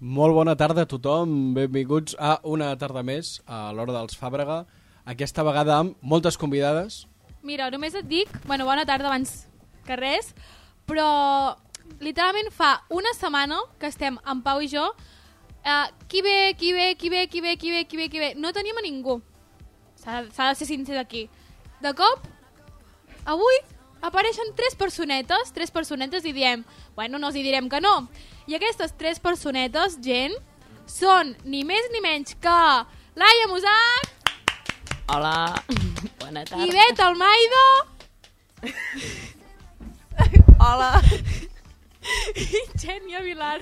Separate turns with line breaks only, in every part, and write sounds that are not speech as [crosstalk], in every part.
Molt bona tarda a tothom, benvinguts a una tarda més a l'Hora dels Fàbrega, aquesta vegada amb moltes convidades.
Mira, només et dic, bueno, bona tarda abans que res, però literalment fa una setmana que estem en Pau i jo, eh, qui ve, qui ve, qui ve, qui ve, qui ve, qui ve, qui ve, no teníem a ningú. S'ha s'ha de ser sincer aquí. De cop, avui apareixen tres personetes, tres personetes i diem, bueno, no els hi direm que no. I aquestes tres personetes, gent, són ni més ni menys que Laia Musac,
Hola,
[laughs]
bona tarda.
I vet el Maido.
Hola.
I Xènia Vilar.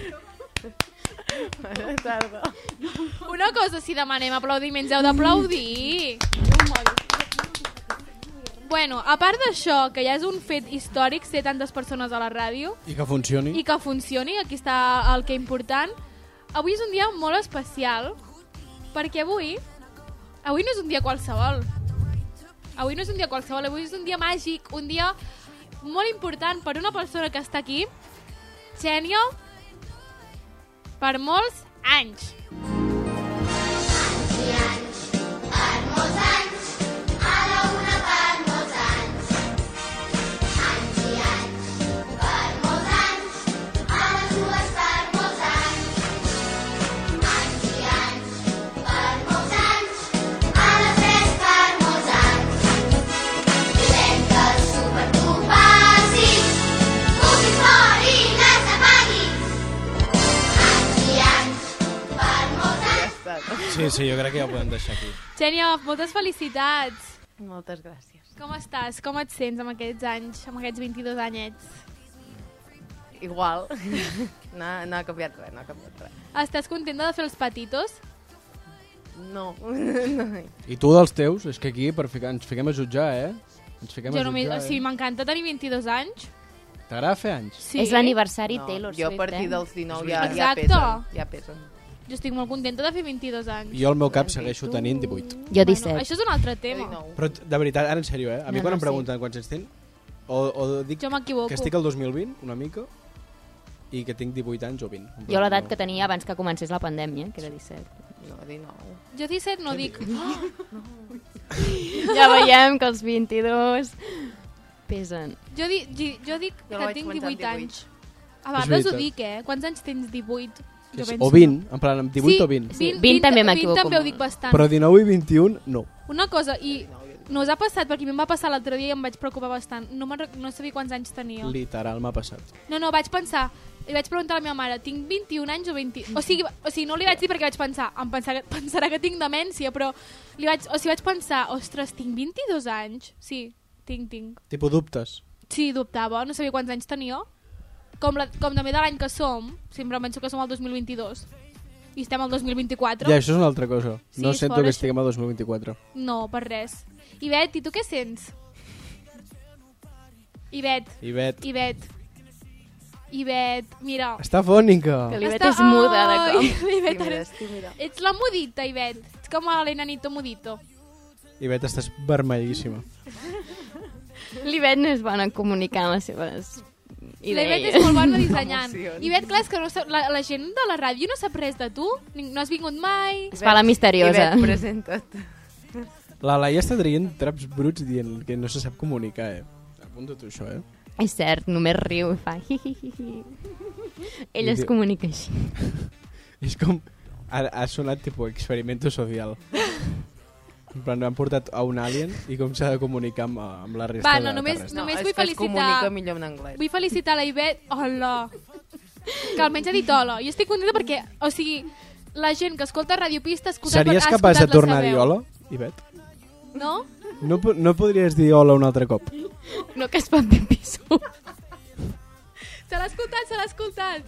Bona tarda.
Una cosa, si demanem aplaudiments, heu d'aplaudir. Bueno, a part d'això, que ja és un fet històric ser tantes persones a la ràdio
I que funcioni.
i que funcioni, aquí està el que important, avui és un dia molt especial perquè avui, avui no és un dia qualsevol. Avui no és un dia qualsevol, avui és un dia màgic, un dia molt important per una persona que està aquí, Xènia, per molts anys.
Sí, sí, jo crec que ja ho podem deixar
[laughs]
aquí.
Xènia, moltes felicitats.
Moltes gràcies.
Com estàs? Com et sents amb aquests anys, amb aquests 22 anyets?
[laughs] Igual. No, no ha canviat res, no ha canviat res.
Estàs contenta de fer els petitos?
No. [laughs] no.
I tu dels teus? És que aquí per ficar, ens fiquem a jutjar, eh? Ens fiquem
jo
a
només,
jutjar,
o sigui,
eh?
m'encanta tenir 22 anys.
T'agrada fer anys?
Sí.
És l'aniversari
no.
Taylor
jo a
Swift,
partir
eh?
dels 19 ja, ja
Exacte.
pesen. Ja pesen.
Jo estic molt contenta de fer 22 anys.
Jo al meu cap segueixo tenint 18.
Jo 17.
això és un altre
Jo
tema.
19.
Però de veritat, ara en sèrio, eh? A mi
No, no,
quan em pregunten quants anys tinc, o, o dic
Jo m'equivoco.
que estic al 2020, una mica, i que tinc 18 anys o 20.
Jo l'edat que tenia abans que comencés la pandèmia, que era 17.
No, 19.
Jo 17 no dic.
[laughs] Ja veiem que els 22 pesen.
Jo, di, gi- jo dic
Jo
que
vaig
tinc
començar
18
amb
anys.
18.
A vegades ho
veritat.
dic, eh? Quants anys tens 18? Jo
És-
penso-
O 20, en plan, amb 18
sí,
o 20.
20, 20,
20 també m'equivoco
20 també ho
molt.
dic bastant.
Però 19 i 21, no.
Una cosa, i no us ha passat, perquè a mi em va passar l'altre dia i em vaig preocupar bastant. No, me'n rec- no sabia quants anys tenia.
Literal, m'ha passat.
No, no, vaig pensar, li vaig preguntar a la meva mare, tinc 21 anys o 20... O sigui, o sigui no li vaig dir perquè vaig pensar, em pensar, pensarà [laughs] que tinc demència, però li vaig, o sigui, vaig pensar, ostres, tinc 22 anys? Sí, tinc, tinc.
Tipo dubtes.
Sí, dubtava, no sabia quants anys tenia. Com, la, com també de l'any que som, sempre em penso que som el 2022 i estem al 2024.
Ja, això és una altra cosa.
Sí,
no
és
sento
fort,
que
això.
estiguem a 2024.
No, per res. Ivet, i tu què sents? Ivet,
Ivet.
Ivet, Ivet, mira.
Està fònica.
Que l'Ivet és muda, de
Ai, [laughs]
cop.
L'Ivet ara
Tímida,
és...
tímida.
Ets la mudita, Ivet. Ets com l'enanito mudito.
Ivet, estàs vermellíssima.
L'Ivet no es bona comunicar amb les seves
L'Ivet
idees.
és molt bona dissenyant.
Emocions.
Ivet, clar, és que no sap, la, la gent de la ràdio no sap res de tu. Ni- No has vingut mai.
[laughs] Es fa la misteriosa.
Ivet, presenta't.
La Laia està traient traps bruts dient que no se sap comunicar, eh? Apunta tu això, eh?
És cert, només riu i fa hi, hi, hi, hi. Ell es
Idiot.
comunica així. [laughs]
És com... Ha, ha sonat tipo experimento
[laughs]
social. En plan, han portat a un alien i com s'ha de comunicar amb, eh, amb la resta
Va,
de
no, només-
terrestres.
no. Només
és
vull
que es
felicitar-
comunica millor en anglès.
Vull felicitar la Ivet. Hola. Que almenys ha dit hola. Jo estic contenta perquè, o sigui, la gent que escolta Radiopista ha escoltat,
Series
ha
capaç de
escoltat la
tornar a
seva
dir
veu.
hola, Ivet?
No?
No, po- no podries dir hola un altre cop?
No que es fa pipí sol.
Se l'ha escoltat, se l'ha escoltat.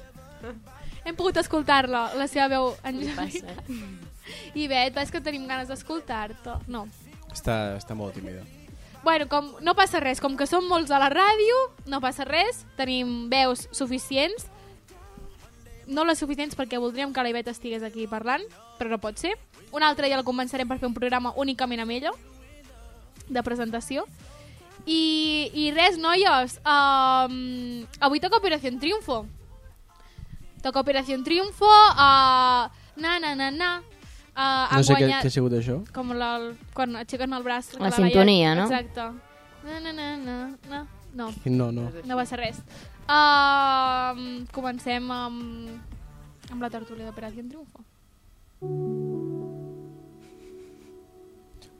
Hem pogut escoltar-la, la seva veu angèlica. [laughs] Ivet, va, és que tenim ganes d'escoltar-te. No.
Està, està molt tímida.
Bueno, com no passa res, com que som molts a la ràdio, no passa res, tenim veus suficients, no les suficients perquè voldríem que la Iveta estigués aquí parlant, però no pot ser. Un altre dia el començarem per fer un programa únicament amb ella, de presentació. I, i res, noies, um, avui toca Operació Triunfo. Toca Operación Triunfo, uh, na, na, na, na. Uh,
No sé què,
guanyat...
què ha sigut això.
com la, quan aixequen el braç. que
La
veiem.
sintonia, no?
Exacte. Na, na, na, na, na. No,
No, no.
no va ser res. Uh, comencem amb, amb la tertúlia d'Operació en Triunfo.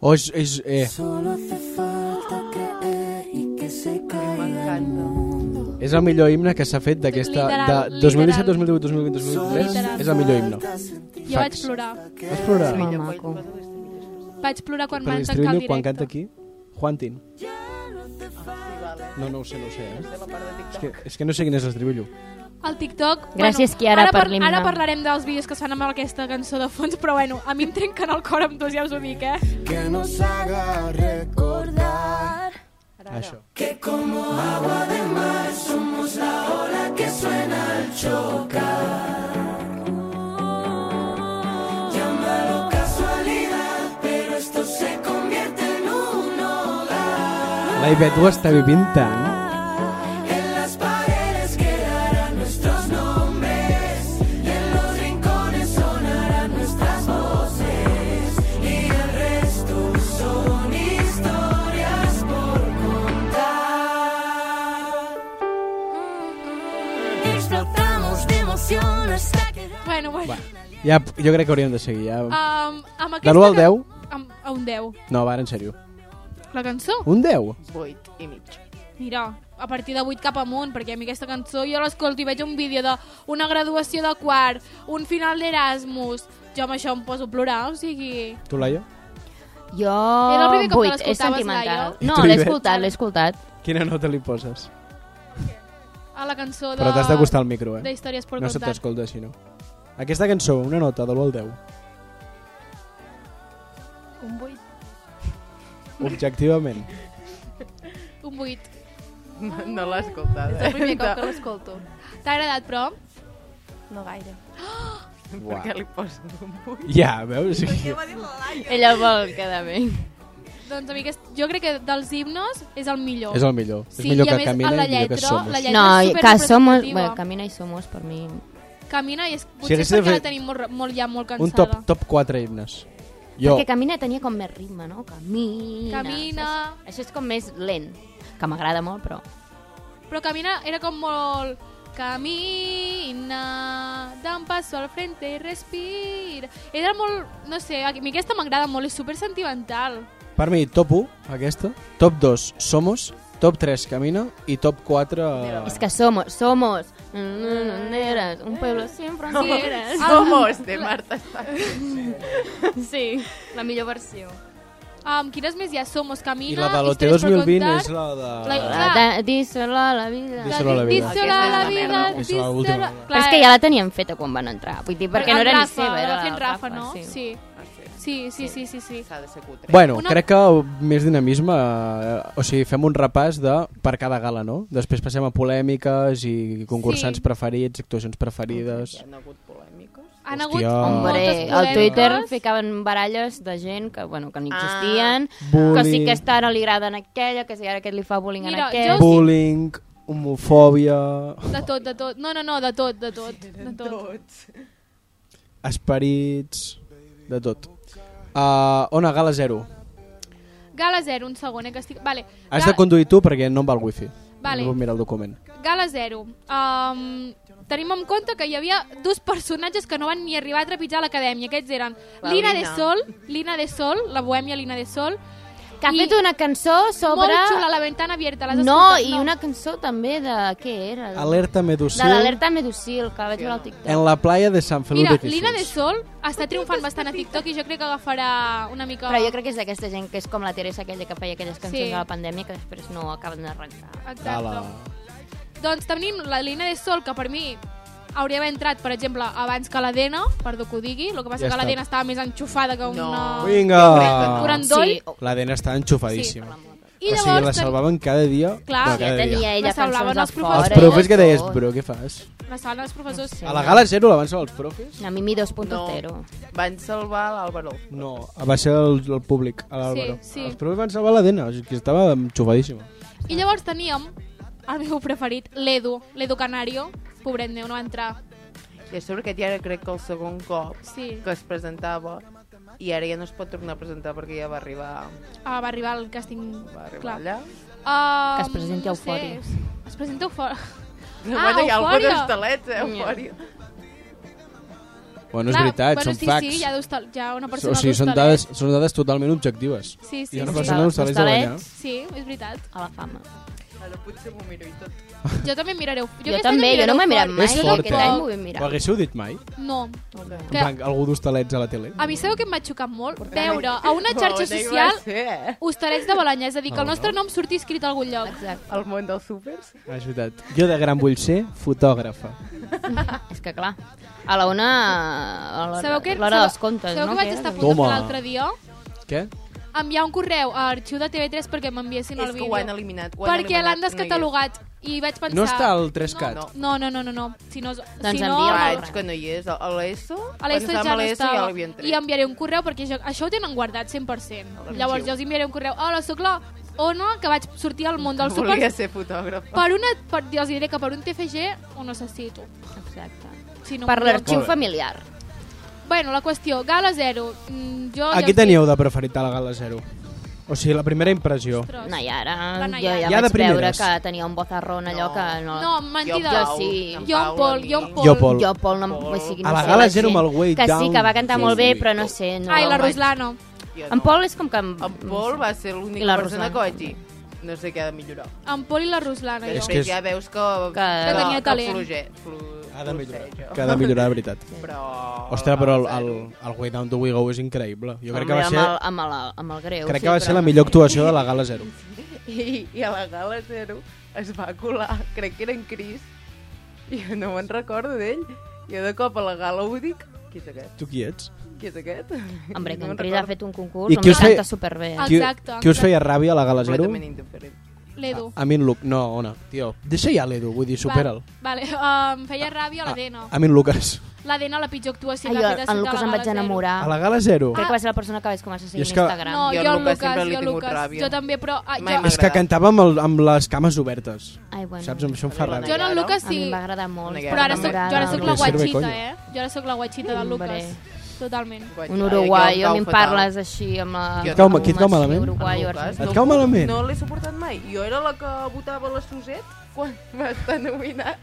Oh, és, és, eh,
M'encanta.
és el millor himne que s'ha fet d'aquesta...
Literal,
De 2017,
literal.
2018, 2020, 2023.
Literal.
És el millor himne.
Jo vaig plorar.
Vas plorar?
Molt maco.
Vaig plorar quan
Per
van tancar el
l'estribillo,
directe.
quan canta aquí, Juantin.
Vale.
No, no ho sé, no ho sé, eh?
La part de
És
TikTok.
que, és que no sé quin és l'estribillo.
El TikTok...
Gràcies, Kiara,
ara
per
par-
l'himne.
Ara parlarem dels vídeos que es fan amb aquesta cançó de fons, però bueno, a mi em trenquen el cor amb dos, ja us ho dic, eh?
que nos haga recordar
Això.
que como agua de mar somos la ola que suena al chocar. Llámalo casualidad, pero esto se convierte en un hogar.
La Ivet ho està vivint tant.
En las paredes quedarán nuestros nombres y en los rincones sonarán nuestras voces y el resto son historias por contar. Explotamos de emoción hasta que
Bueno, bueno.
Va, ja, jo crec que hauríem de seguir, ja.
Um, amb
De
aquesta...
l'1 al
can-
10?
Amb, a un 10.
No, va, ara, en sèrio.
La cançó?
Un 10?
Vuit i mig.
Mira, a partir de 8 cap amunt, perquè a mi aquesta cançó jo l'escolto i veig un vídeo d'una graduació de quart, un final d'Erasmus, jo amb això em poso a plorar, o sigui...
Tu, Laia?
Jo...
Era el primer cop que
Vuit, és
l'escoltaves,
sentimental.
Laia?
I
No,
tu,
l'he
Ivet?
escoltat, l'he escoltat.
Quina nota li poses?
A la cançó de...
Però t'has d'acostar al micro, eh?
De històries per
No se
contar.
t'escolta així, no. Aquesta cançó, una nota de l'1 al 10.
Un 8.
Objectivament.
Un 8.
No, [laughs] no l'he escoltat.
És el primer cop que
No.
l'escolto. T'ha agradat, però?
No gaire. Per
Uau.
què li poso un vuit?
Ja, veus? Sí.
Ella vol quedar bé.
Doncs a mi aquest, jo crec que dels himnos és el millor.
És el millor.
Sí,
és millor
i a
que
més,
camina
la
i millor que
lletra-
som.
la lletra-
No,
és
que somos...
superrepresentativa.
Bueno, Camina i somos, per mi...
Camina i és, potser
hagués
és
de
perquè
fer-
la tenim molt, re- molt ja molt cansada.
Un top, top 4 himnes. Jo,
Perquè Camina tenia com més ritme, no? Camina.
Camina.
saps? Això és com més lent, que m'agrada molt, però...
Però Camina era com molt... Camina, da un passo al frente i respira. Era molt... No sé, a mi aquesta m'agrada molt, és super sentimental.
per mi, top 1, aquesta. Top 2, Somos. Top 3, Camina. I top 4...
Mira,
És que somos, somos... Neres, un pueblo sin fronteres.
Ah.
Somos de Marta Sánchez.
Sí, la millor versió.
Um, quines més hi ha? Somos,
eh, I
Camina...
la de l'OT
Històries per
2020 és
contar.
la de...
La-
Dísela la vida.
Díselo. Díselo a la vida.
Díselo a la vida.
Aquesta
és la merda. Díselo a la-
Clar,
Però és que ja la tenien feta quan van entrar. Vull dir, perquè no
el
era ni
Rafa,
seva. Era
Era fent
la
Rafa, no? Sí.
Ah, sí.
Sí, sí, sí, sí, sí.
S'ha de ser cutre.
Bueno,
Una-
Una... crec que més dinamisme... eh, O sigui, fem un repàs de per cada gala, no? Després passem a polèmiques i concursants
Sí.
sí. preferits, actuacions preferides...
Hi han hagut polèmiques?
Han
Hòstia.
hagut
Hombre,
moltes
al Twitter
polèmiques.
ficaven baralles de gent que, bueno, que no
Ah.
existien, que sí
Bullying.
que està ara li agrada en aquella, que sí, ara aquest li fa bullying
Mira,
en aquell.
jo-
Bullying, homofòbia...
De tot, de tot. No, no, no, de tot, de tot. De tot.
esperits, de tot. Uh, Ona, gala zero.
Gala 0, un segon, eh, que estic... Vale.
Has
Ga-
de conduir tu perquè no em va el wifi.
Vale.
No puc mirar el document.
Gala 0. Um, tenim en compte que hi havia dos personatges que no van ni arribar a trepitjar l'acadèmia. Aquests eren
La
Lina de
Lina.
Sol, Lina de Sol, la bohèmia Lina de Sol.
Que ha
I-
fet una cançó sobre...
Molt xula, la ventana abierta. L'has
No,
escoltat?
i una cançó també de... Què era?
Alerta
De
medusil
l'alerta Medusil, que vaig veure al TikTok.
en la playa de Sant Feliu
Mira,
de Guíxols.
Lina de Sol està triomfant bastant a TikTok i jo crec que agafarà una mica...
Però jo crec que és d'aquesta gent que és com la Teresa aquella que feia aquelles cançons
Sí.
de la pandèmia que després no acaben d'arrencar.
Exacte.
Ala.
Doncs tenim la Lina de Sol, que per mi hauria d'haver entrat, per exemple, abans que la Dena, perdó que ho digui, el que passa
Ja
ja que la
està.
Dena estava més enxufada que una...
No.
Vinga!
Durant doll.
Sí, o-
La Dena està enxufadíssima.
I
o sigui, la
llavors ten-
salvaven cada dia.
Clar.
però
Ja
cada dia.
tenia ella
La salvaven
cançons
els
de
professors.
fora.
Els
Ara
profes
i
que
de
deies,
tot.
però què fas?
la sala dels professors...
Sí.
A la gala zero la van salvar els profes?
La Mimi 2.0.
Van salvar l'Àlvaro.
No, va ser el, el públic, a l'Àlvaro.
Sí, sí.
Els profes van salvar la Dena, o sigui, que estava enxufadíssima.
I llavors teníem el meu preferit, l'Edu, l'Edu Canario. Pobret meu, no va entrar.
I a sobre aquest ja era crec que el segon cop
Sí.
que es presentava i ara ja no es pot tornar a presentar perquè ja va arribar,
Ah, va arribar el càsting...
va arribar
Clar.
allà.
Um,
Que es presenti Eufòria.
Sé, es presenta Eufòria.
Ah, bueno, hi ha algun
Eufòria.
hostalet, eh, Eufòria.
Bueno, és veritat,
bueno,
són
sí,
facts.
Sí, hi ha, hostal, hi ha una
o
persona
sigui, són
d'hostalet.
dades, són dades totalment objectives.
Sí, sí,
hi ha una
sí.
persona d'hostalets
Hostalets.
de Balanyà.
Sí, és veritat.
A la fama. [laughs]
Ara potser m'ho miro i tot.
Jo també miraré... Jo,
Jo,
aquest any
també, jo
miraré
no m'he mirat
Eufòria.
mai.
És
Aquest
forta.
any m'ho vaig
Ho
mirar.
haguéssiu dit mai?
No.
Okay.
En
Que-
plan, algú d'hostalets a la tele?
A mi sabeu que em va xocar molt? Veure a una xarxa social
eh,
hostalets de Balanyà. És a dir, que el
No,
nostre
no.
nom surti escrit a algun lloc. Exacte.
El món dels súpers?
Ah, és veritat. Jo de gran vull ser fotògrafa.
És que clar, a la una... a l'hora-
Sabeu que,
L'hora
sabeu-
dels contes,
sabeu
no?
que vaig estar a punt de
Toma.
fer l'altre dia?
Què?
Enviar un correu a arxiu de TV3 perquè m'enviessin el
és que ho han
vídeo.
eliminat. Ho han
Perquè l'han
eliminat,
descatalogat. I vaig pensar...
No està al 3CAT?
No,
No,
no, no, no, no. Si no,
Doncs
si no
No hi és.
envia,
el-
va.
Faig que no hi és. A l'ESO?
A l'ESO ja no
l'ESO ja
estava.
l'havien tret.
I enviaré un correu perquè jo, això ho tenen guardat 100%.
l'arxiu.
Llavors jo els enviaré un correu. Hola, sóc la Ona, que vaig sortir al món
[laughs]
del súper.
Volia ser fotògrafa.
Per una, per, jo els diré que per un TFG ho necessito.
Exacte.
Si no em
Per
diuen-
l'arxiu
Molt bé.
familiar.
Bueno, la qüestió, gala zero. Mm,
Oh,
jo
Aquí
ja us
teníeu de preferit a la Gala Zero. O sigui, la primera impressió.
dic, ostres.
Nayara,
La
jo
Nayara.
Ja
ja,
de
vaig veure
primeres.
que tenia un bozarrón allò
No.
que... No,
No, mentida.
Jo sí.
Jo en Pol, jo en Pol.
Jo, Pol.
Jo, Pol, no,
Pol.
o sigui, no
A la
sé,
gala
la
zero
gent-
amb el Way
Que sí,
Down.
que va cantar
Sí,
molt bé,
sí.
però no sé... No,
Ai, la
no, vaig-
Ruslano.
En Pol és com que... em-
En Pol va ser
I
l'única
la
persona
Rosana.
que vaig dir. No sé què ha de millorar.
En Pol i la Ruslana,
Que
jo.
que és-
després ja veus que...
Que
tenia talent.
Fluge, flu,
Ha de millorar.
fluceja.
Que ha de millorar, de veritat.
Però...
Ostres, però el, el,
zero.
el Way Down to We Go és increïble. Jo crec que
Home,
va ser,
Amb el, amb el, amb el greu,
crec
sí,
que va
però
ser la
no
millor
sé.
actuació de la Gala Zero.
I, I a la gala zero es va colar, crec que era en Cris, i jo no me'n recordo d'ell. Jo de cop a la gala ho dic, qui és aquest?
Tu qui ets?
Qui és aquest?
Hombre, que
me'n
en Cris ha
recordo.
fet un concurs,
I
I
qui
home,
us feia-
canta superbé.
Ah,
Ah,
Qui,
Exacte,
qui us feia ràbia a la Gala Zero?
Completament indiferent.
L'Edu.
A mi en Luc. No, Ona. Tio, deixa ja l'Edu, vull dir, Ah, supera'l. Ah,
Va, vale, uh, em feia ràbia la
A,
Dena.
a mi en Lucas.
La Dena, la pitjor actuació
ah,
que
jo,
ha fet a
en
Ciutat
Lucas
la
em vaig
Gala Zero.
enamorar.
A la Gala Zero?
Crec que va ser la persona que vaig començar a
I
seguir
és
a
que-
Instagram.
No,
Jo
jo,
al
el
Lucas
Lucas,
sempre
jo
li he
el
tingut
Lucas.
ràbia.
Jo també, però... Ah,
Mai
jo,
m'ha
És que
agradat.
cantava amb, el, amb les cames obertes.
Ai, bueno.
Saps? Amb això em fa
A mi
ràbia.
jo en el
Ara?
Lucas
A mi
sí.
em va agradar molt.
Una
Però ara soc, jo ara soc la
Lucas Serve,
guatxita,
coño.
eh? Jo ara soc la guatxita del
Hombre.
Lucas. Totalment.
Vaig-
Un
Ai,
uruguai,
jo
a
em
mi em
cau fatal.
parles així amb la...
Qui et
cau-
amb
qui et
un
cau
sí,
malament?
Uruguai,
En Lucas,
o
Et
no
cau
puc-
malament?
No l'he suportat mai. Jo era la que votava la Suset quan [laughs] va estar nominat.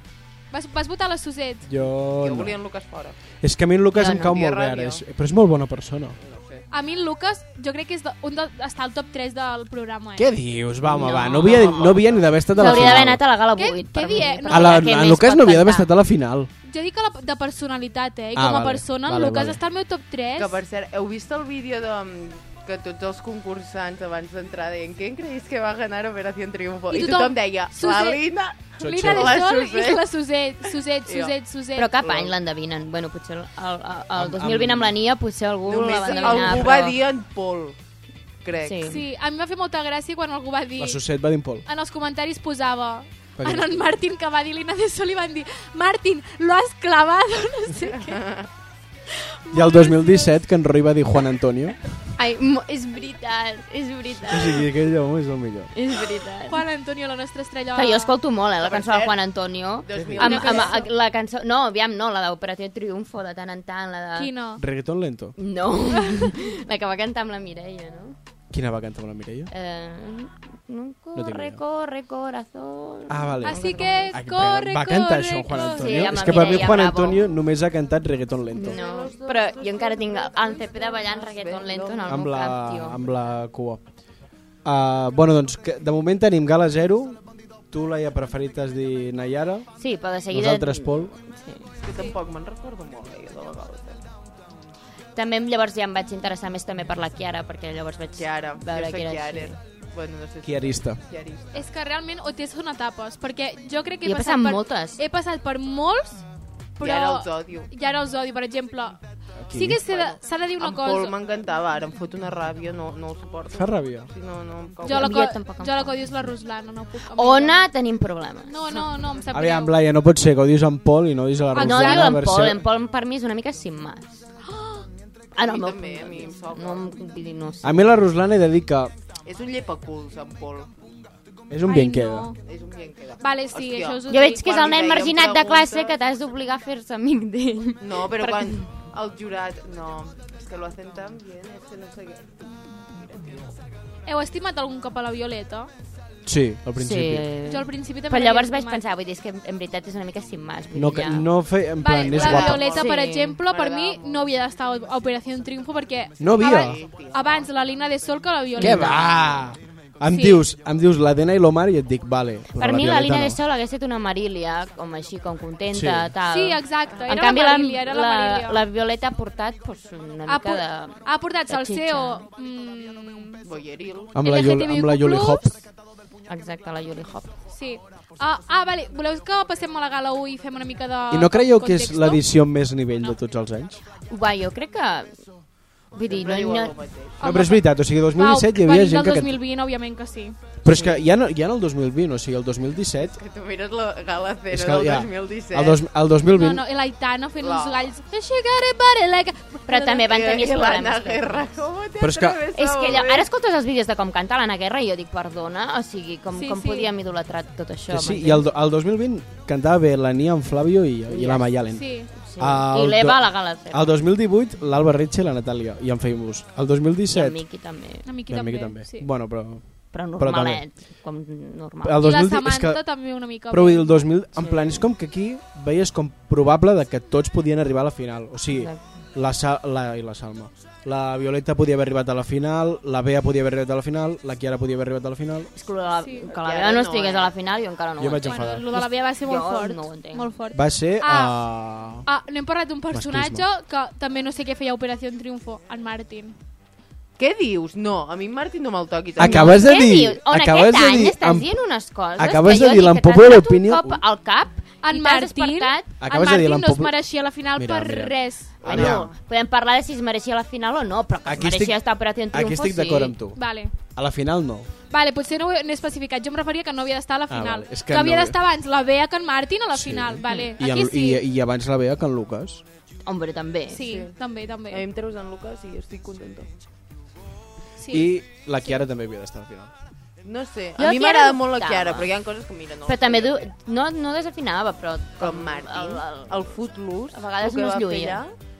Vas, vas votar la Suset.
Jo...
jo
No.
volia en Lucas fora.
És que a mi en Lucas
Jo
em
no.
cau
Tio,
molt bé ara.
ràbia.
És, però és molt bona persona.
No ho sé.
A mi el Lucas, jo crec que és de, un de, està al top 3 del programa, eh?
Què dius? Va, home,
No.
va. No havia, no havia ni d'haver estat a la
S'hauria d'haver
final.
anat a la gala
Què-
8.
què die- no,
A la, en Lucas no havia d'haver estat a la final.
Jo dic que la, de personalitat, eh? I
Ah,
com a
vale,
persona,
vale,
el Lucas
vale.
està al meu top 3.
Que, per cert, heu vist el vídeo de mm, que tots els concursants abans d'entrar deien ¿Quién creéis que va a ganar Operación Triunfo?
I
I,
tothom,
tothom, deia la
Suset.
Lina
Lina de
La
Sol
Suset.
i la Suset. Suset,
Jo.
Suset, Suset.
Però cap any l'endevinen. Bueno, potser el, el, el 2020 amb la Nia potser algú la
Només
va endevinar.
algú
però...
va dir en Pol crec
Sí.
Sí, a mi em va fer molta gràcia quan algú va dir...
La Suset va dir en Pol.
En els comentaris posava...
Va dir-
En en Martín, que va dir Lina de Sol, i van dir Martín, lo has clavado, no sé què.
I el 2017, que en Roy va dir Juan Antonio.
Ai, mo- és veritat, és
O
veritat,
sigui, aquell home és el millor.
és veritat.
Juan Antonio, la nostra estrella.
Que jo escolto molt, eh, la
Per
cançó de
cert,
Juan Antonio.
2000.
Amb, amb, amb, la cançó... No, aviam, no, la d'Operació Triunfo, de tant en tant, la de...
Quina?
Reggaeton lento.
[laughs] No, la que va cantar amb la Mireia, no?
Quina va cantar amb la Mireia?
Eh, no,
tinc
corre,
idea.
corre, corazón...
Ah, vale.
Así que
Ah,
corre,
va
corre,
cantar això, Juan
corre.
Antonio?
Sí, amb
és
la
que per mi
Mireia
Juan
Bravo.
Antonio només ha cantat reggaeton lento.
No, però jo encara tinc el CP de ballant reggaeton lento en el
Amb
meu
la,
cap, tio.
amb la cua. Uh, bueno, doncs, que de moment tenim Gala Zero. Tu, Laia, preferit has dit Nayara.
Sí, però de seguida...
Nosaltres, Pol.
Sí.
És que tampoc me'n recordo molt eh, jo de la gala
També llavors ja em vaig interessar més també per la Chiara, perquè llavors vaig
Chiara,
veure
jo
que
soc
era
Chiara
així.
bueno, no sé si
Chiarista.
Chiarista
És que realment o té són etapes, perquè jo crec que he,
Jo he
passat,
passat
per,
moltes.
He passat per molts, però...
I ara els odio
I ara els odio, per exemple.
Aquí.
Sí que s'ha de, s'ha de dir una
en Pol
cosa.
m'encantava, ara em fot una ràbia, no, no el suporto.
Fa ràbia.
Sí, no, no em cau.
Jo la,
A mi
co-
jo tampoc em
jo la
fa.
que odio és la Ruslana, no puc... amb
Ona, tenim problemes.
ella. No, no, no, em sap
Aviam,
greu.
Laia, no pot ser que odies en Pol i no odies a la
Ah, no,
Rosana.
diu en
per
Pol,
ser-
en Pol per mi és una mica sin mas. Ah, no,
A mi
no,
també, a mi em soca.
no, em- vull dir, no, sé.
A mi la Ruslana he de dir que
És un llepaculs, en Pol.
És un
Ai,
bien queda.
no.
És un bien queda.
Vale, sí,
Hòstia.
això us ho
Jo veig
dic.
que és el nen
Quan li
marginat
feien
de classe
preguntes-
que t'has d'obligar a fer-se amic d'ell.
No, però
Perquè-
quan el jurat... No, és que lo hacen tan bien, és que no sé què.
Heu estimat algun cop a la Violeta?
Sí, al principi.
Jo al
Sí.
principi també
Però
l'havia
llavors vaig
estimat.
pensar, vull dir, és que en veritat és una mica sin mas. Vull
No,
dir,
que,
ja.
no feia... En plan,
Vale,
és
la
guapa.
Violeta, per
Sí,
exemple, per mi
m'agradava molt.
no havia d'estar a Operació Triunfo perquè...
No havia?
Abans,
Ah,
abans la Lina de Sol que la Violeta.
Què va? Em,
Sí.
dius, em dius l'Adena i l'Omar i et dic, vale. però
Per mi la
Violeta
Lina
no.
de Sol hagués estat una Marília, com així, com contenta,
Sí.
tal.
Sí, exacte, era
en canvi,
la Marília, era la Marília.
la, la Violeta ha portat pues, una
Ha,
mica
por
de...
ha portat
de xitxa.
Salseo... Mm,
Boyeril.
Amb la, Yol- amb la Yoli Hop.
Exacte, la Yuli Hop.
sí. Ah, ah, vale, voleu que passem a la gala 1 i fem una mica de
I
eh,
no creieu que és
contexto?
l'edició amb més nivell de tots els anys?
Guai, jo crec que... Vull dir, no,
Sempre diuen el
no,
mateix.
No, però és veritat, o sigui, 2017 hi
Pau,
havia
venim
gent que...
del 2020, òbviament que sí.
Però és que ja, no, ja en el 2020, o sigui, el 2017...
Que tu mires la gala
És
cero
que
del
ja,
2017.
el, dos, el
No,
2020...
no, i l'Aitana fent
La-
uns galls... She got it, but it like a-"
però també van tenir
I l'Anna
problemes.
Guerra, com te
Però és que-
atreves
És
a
que allò,
voler?
ara escoltes els vídeos de com canta l'Anna Guerra i jo dic, perdona, o sigui, com,
Sí,
com
sí.
podíem idolatrar tot això?
Que sí,
m'entens?
i el, do- el 2020 cantava bé la Nia, en Flavio i, i la Mayalen.
Sí.
Sí.
El
I l'Eva
do-
a la gala cero.
El 2018, l'Alba Retxe i la Natàlia, i en Famous. El
I el
2017...
Miqui també.
Una miqueta
la
també.
Miqui també.
Sí.
Bueno, però...
Però
Però
normalet, com
El
normal.
I la
2010 és
Samantha
que-
també una mica.
Però vull dir,
bé.
el 2000, en plan, és com que aquí veies com probable de que tots podien arribar a la final. O sigui,
Exacte.
la, Sa la, i la Salma. La Violeta podia haver arribat a la final, la Bea podia haver arribat a la final, la Chiara podia haver arribat a la final...
És que la,
Sí.
que la
I
Bea
ara
no
no,
estigués
eh?
a la final, jo encara no
Jo
ho
vaig
entenc.
enfadar.
Bueno, el de la Bea va ser molt
Jo
fort.
no ho entenc.
Molt fort.
Va ser...
Ah.
Uh...
Ah, no hem parlat d'un personatge
Masclisme.
que també no sé què feia a Operació Triunfo, en Martin.
Què dius? No, a mi en Martin no me'l toquis.
Acabes de
Què
dir...
dius? On
acabes
Eh, aquest
de
any
dir...
estàs
em-
dient unes coses
acabes
que
de
jo
dir
dic que t'has
l'Unpopular
donat
Opinion-
un cop al cap
En
i t'has
Martin,
despertat.
en
Acabes de dir
Martin no es
l'empopu-
mereixia la final
Mira,
per
mira.
res.
Bueno,
Aviam.
podem parlar de si es mereixia la final o no, però que
Ah, Aquí
es mereixia
estic-
estar operat en triomfo,
Aquí estic
sí.
d'acord amb tu.
Vale.
A la final no.
Vale, potser no ho he no he especificat. Jo em referia que no havia d'estar a la
Ah,
final.
vale. És
que,
que
havia
no-
d'estar abans la Bea que en Martin a la final. Vale.
I,
Aquí
en,
sí.
i, I abans la Bea que en Lucas.
Hombre, també.
Sí, també, també.
A mi em treus en Lucas i estic contenta.
Sí.
I la Chiara també havia d'estar al final.
No sé,
Jo
a
Chiara
mi m'agrada
no
molt la
estava.
Chiara, però hi ha coses que mira, no.
Però també du... no, no desafinava, però
Com Martin,
El, el...
el Footloose,
a vegades
el que
no es
va fer
lluïa.
allà,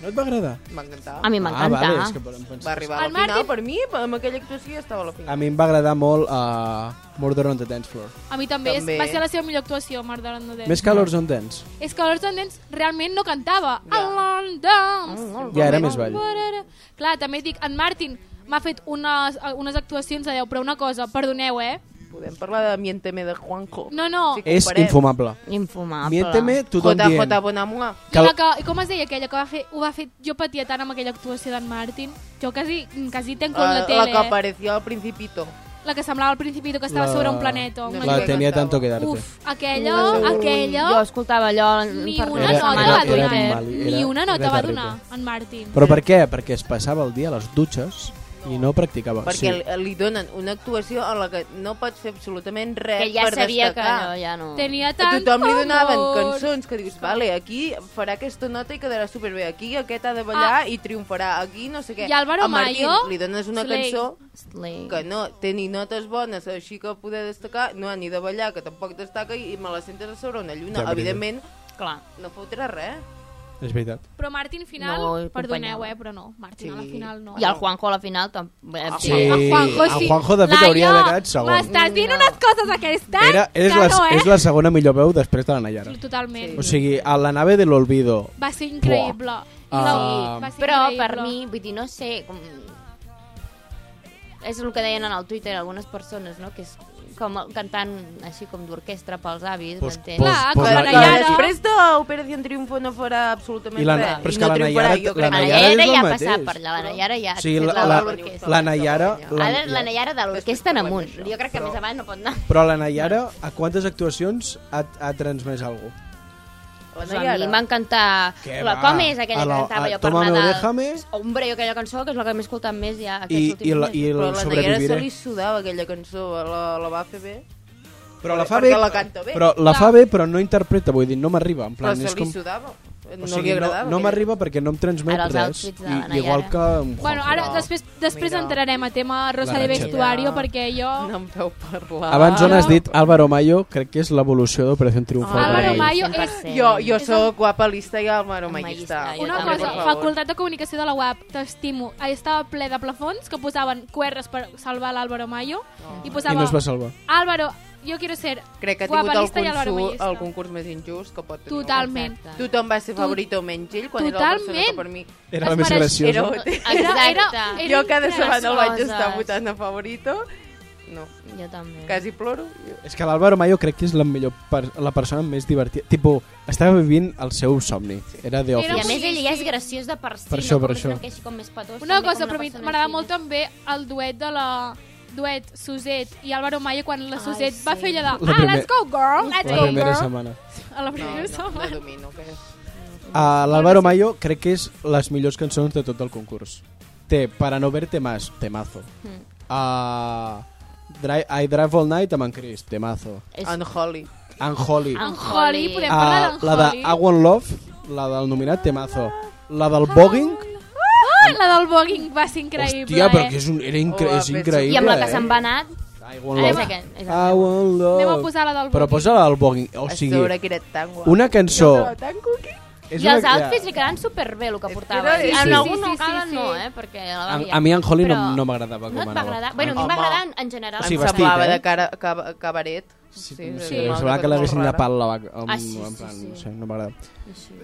No et va agradar?
M'encantava.
A mi m'encanta.
Ah, vale, és que podem pensar...
Va arribar a la
El
final,
Martin-
per mi, amb aquella actuació ja estava a la
A
final.
mi em va agradar molt uh, Murder on the Dance Floor.
A mi també. És,
També.
va ser la seva millor actuació, Mar de Londres.
Més que Lords on Dance.
És que Lords and Dance realment no cantava.
Ja.
A London.
Ja era més ball.
Clar, també dic, en Martin m'ha fet unes, unes actuacions de 10, però una cosa, perdoneu, eh?
Podem parlar de Mienteme de Juanjo.
No, no.
Sí,
És
comparem.
infumable.
Infumable.
Miénteme, tothom
JJ
dient...
Bonamua.
Que...
Que-
La que, i com es deia aquella que va fer, ho va fer jo patia tant amb aquella actuació d'en Martin jo quasi, quasi tenc
eh, La,
la,
la,
tele
que apareció al Principito.
eh? la que semblava al principi que estava
La-
sobre un planeta una
La
que
llum.
tenia
cantava.
tanto que darte.
Uf, aquella,
Ui.
aquella
Jo escoltava allò... en-
ni
per-
una
Era-
nota
era-
va
era
donar eh?
animal, era-
ni una
era
nota va
terrible.
donar en Martin
Però per què? Perquè es passava el dia a les dutxes i no practicava.
Perquè li, li donen una actuació en la que no pots fer absolutament res
Que ja
per
sabia que
destacar.
allò ja no...
tenia
A
tant
tothom li donaven
amor.
cançons que dius, vale, aquí farà aquesta nota i quedarà superbé, aquí aquest ha de ballar
Ah.
i triomfarà, aquí no sé què.
I Álvaro
a Martín
Mayo,
li dones una
Slay.
cançó
Slay.
que no té ni notes bones, així que poder destacar, no ha ni de ballar, que tampoc destaca, i me la sentes a sobre una
Ja,
lluna.
veritat.
Evidentment,
Clar.
no fotrà res.
És veritat.
però Martin final,
No el
perdoneu
acompanyava.
eh, però no Martin a la
Sí.
final no
I el Juanjo a la final eh, també...
Ah, Sí,
el Juanjo,
el
sí.
Juanjo, de fet,
Laia,
hauria d'haver quedat segon.
M'estàs dient
No.
unes coses aquestes
Era, és,
que
la,
no, eh?
és la segona millor veu després de la Nayara.
Totalment.
O sigui, a la nave de l'olvido.
Va ser increïble. I
Ah.
la- va ser
Però
increïble.
per mi, vull dir, no sé... Com... És el que deien en el Twitter algunes persones, no? Que és com el- cantant així com d'orquestra pels avis,
Pues-
m'entens?
pues-
Clar,
pues la-
clar, la
la-
Nayara-
després d'Operació Triunfo no farà absolutament
I la,
res.
però és
I
que
no
la
triomfarà,
Nayara,
jo
la
crec.
Nayara
Nayara és
ja
el
ha
mateix.
passat per allà, la Nayara ja
O sigui,
ha fet
la,
la-
la,
l'orquestra.
la Nayara... La,
Ara la Nayara de l'orquestra en amunt. Jo crec que
Però-
més avant no pot anar.
Però la Nayara, a quantes actuacions ha, ha transmès algú?
La
Pues a
Nayara.
mi m'encanta...
Què
La,
va?
com és aquella
A
que
la-
cantava
a
jo per
Tómame o
Nadal?
déjame.
Hombre, jo aquella cançó, que és la que m'he escoltat més ja aquests
I,
últims
i, la,
mesos.
i el
Però la Nayara se
sobreviviré.
li sudava aquella cançó, la, la va fer bé.
Però la fa
Perquè
bé,
la canta bé.
Però la fa bé, però no interpreta, vull dir, no m'arriba. En
Però
plan,
se
és
li
com...
sudava. no li agradava.
No, no
aquella-
m'arriba perquè no em transmet
Ara els
res.
outfits de
I,
la Nayara.
igual que... en
Bueno,
Juanjo.
ara
però-
després, després
mira.
entrarem a tema rosa
Clar,
de
mira.
vestuario perquè jo...
No em veu parlar.
Abans on
Ah.
has dit Álvaro Mayo, crec que és l'evolució d'Operació Triunfo.
Ah,
Álvaro
Álvaro
Mayo
Mayo.
és...
100%.
Jo, jo
És
sóc guapalista i el maromayista.
Maromayista, jo
Una
també,
cosa,
per
Facultat de Comunicació de la UAP, t'estimo. Ah, Estava ple de plafons que posaven QRs per salvar l'Álvaro Mayo i
I
posava
no es va salvar.
Álvaro, jo quiero ser
Crec que ha tingut el,
guapalista i
consu,
albaromayista.
el concurs més injust que pot tenir.
Totalment.
Exacte.
Tothom va ser
Tu-
favorit o menys ell, quan era la persona que
Totalment.
per mi...
Era
Es
la més
mereix-
Era...
graciosa.
Era,
Exacte.
era, era
Jo cada
increïble.
setmana el vaig
coses.
estar votant a favorito. No,
Jo
Mm.
també.
quasi ploro. Jo-
És que l'Álvaro Mayo crec que és la millor per la persona més divertida. Tipo, estava vivint el seu somni. Era The
I a
Office.
més ell ja és graciós de per si,
Per
no?
això, per
com
això.
Que així com més petós,
Una
també
cosa,
com
però mi-
persona
m'agrada
així
molt també el duet de la duet Suset i Álvaro Mayo quan la
Ai,
Suset
sí.
va fer allà de
La
Ah,
primer-
let's go girl, let's
La
go
primera
girl.
setmana.
A la
No,
primera
no, no
setmana.
domino. Que...
Uh, L'Álvaro Mayo crec que és les millors cançons de tot el concurs. Té Para no verte más, temazo. Uh, Dri I Drive All Night amb en Chris, temazo.
És...
Unholy.
Unholy.
Ah,
En Holly,
Holly.
podem parlar
Uh,
d'en
la de
Holly?
I Want Love, la del nominat, temazo. La del Bogging,
Ah, la del Bogging va ser increïble.
hòstia, però
eh?
que és, un, era incre
Oh,
és
va,
increïble,
I amb la que se'n
eh?
va anat...
I Want
Ah, és
Love.
aquest, és aquest.
I Want Love.
Anem a posar la del
Però
Bogging.
posa la del Bogging, o
A
sigui,
sobre que era tan guapo.
una cançó...
Oh,
Però tan cuqui.
És
I els
una-
outfits li quedaven superbé el que
És que
portava.
era-
Sí,
sí,
en
sí,
algun
sí,
no
sí,
cal,
sí.
no, eh? Perquè la
A,
vam
a mi en Holly
Però
no, no m'agradava com
No et va
anava.
agradar? Bueno, a mi em
Home.
va agradar en, en general.
Sí,
em
vestit,
semblava
eh?
de cara, cava- cabaret.
Sí, sí,
Sí, sí,
em
sí.
semblava que l'haguessin
Molt rara.
llapat la vaca. Amb,
Ah, sí,
en
sí,
plan,
sí.
No, sé, no m'agrada.
Així.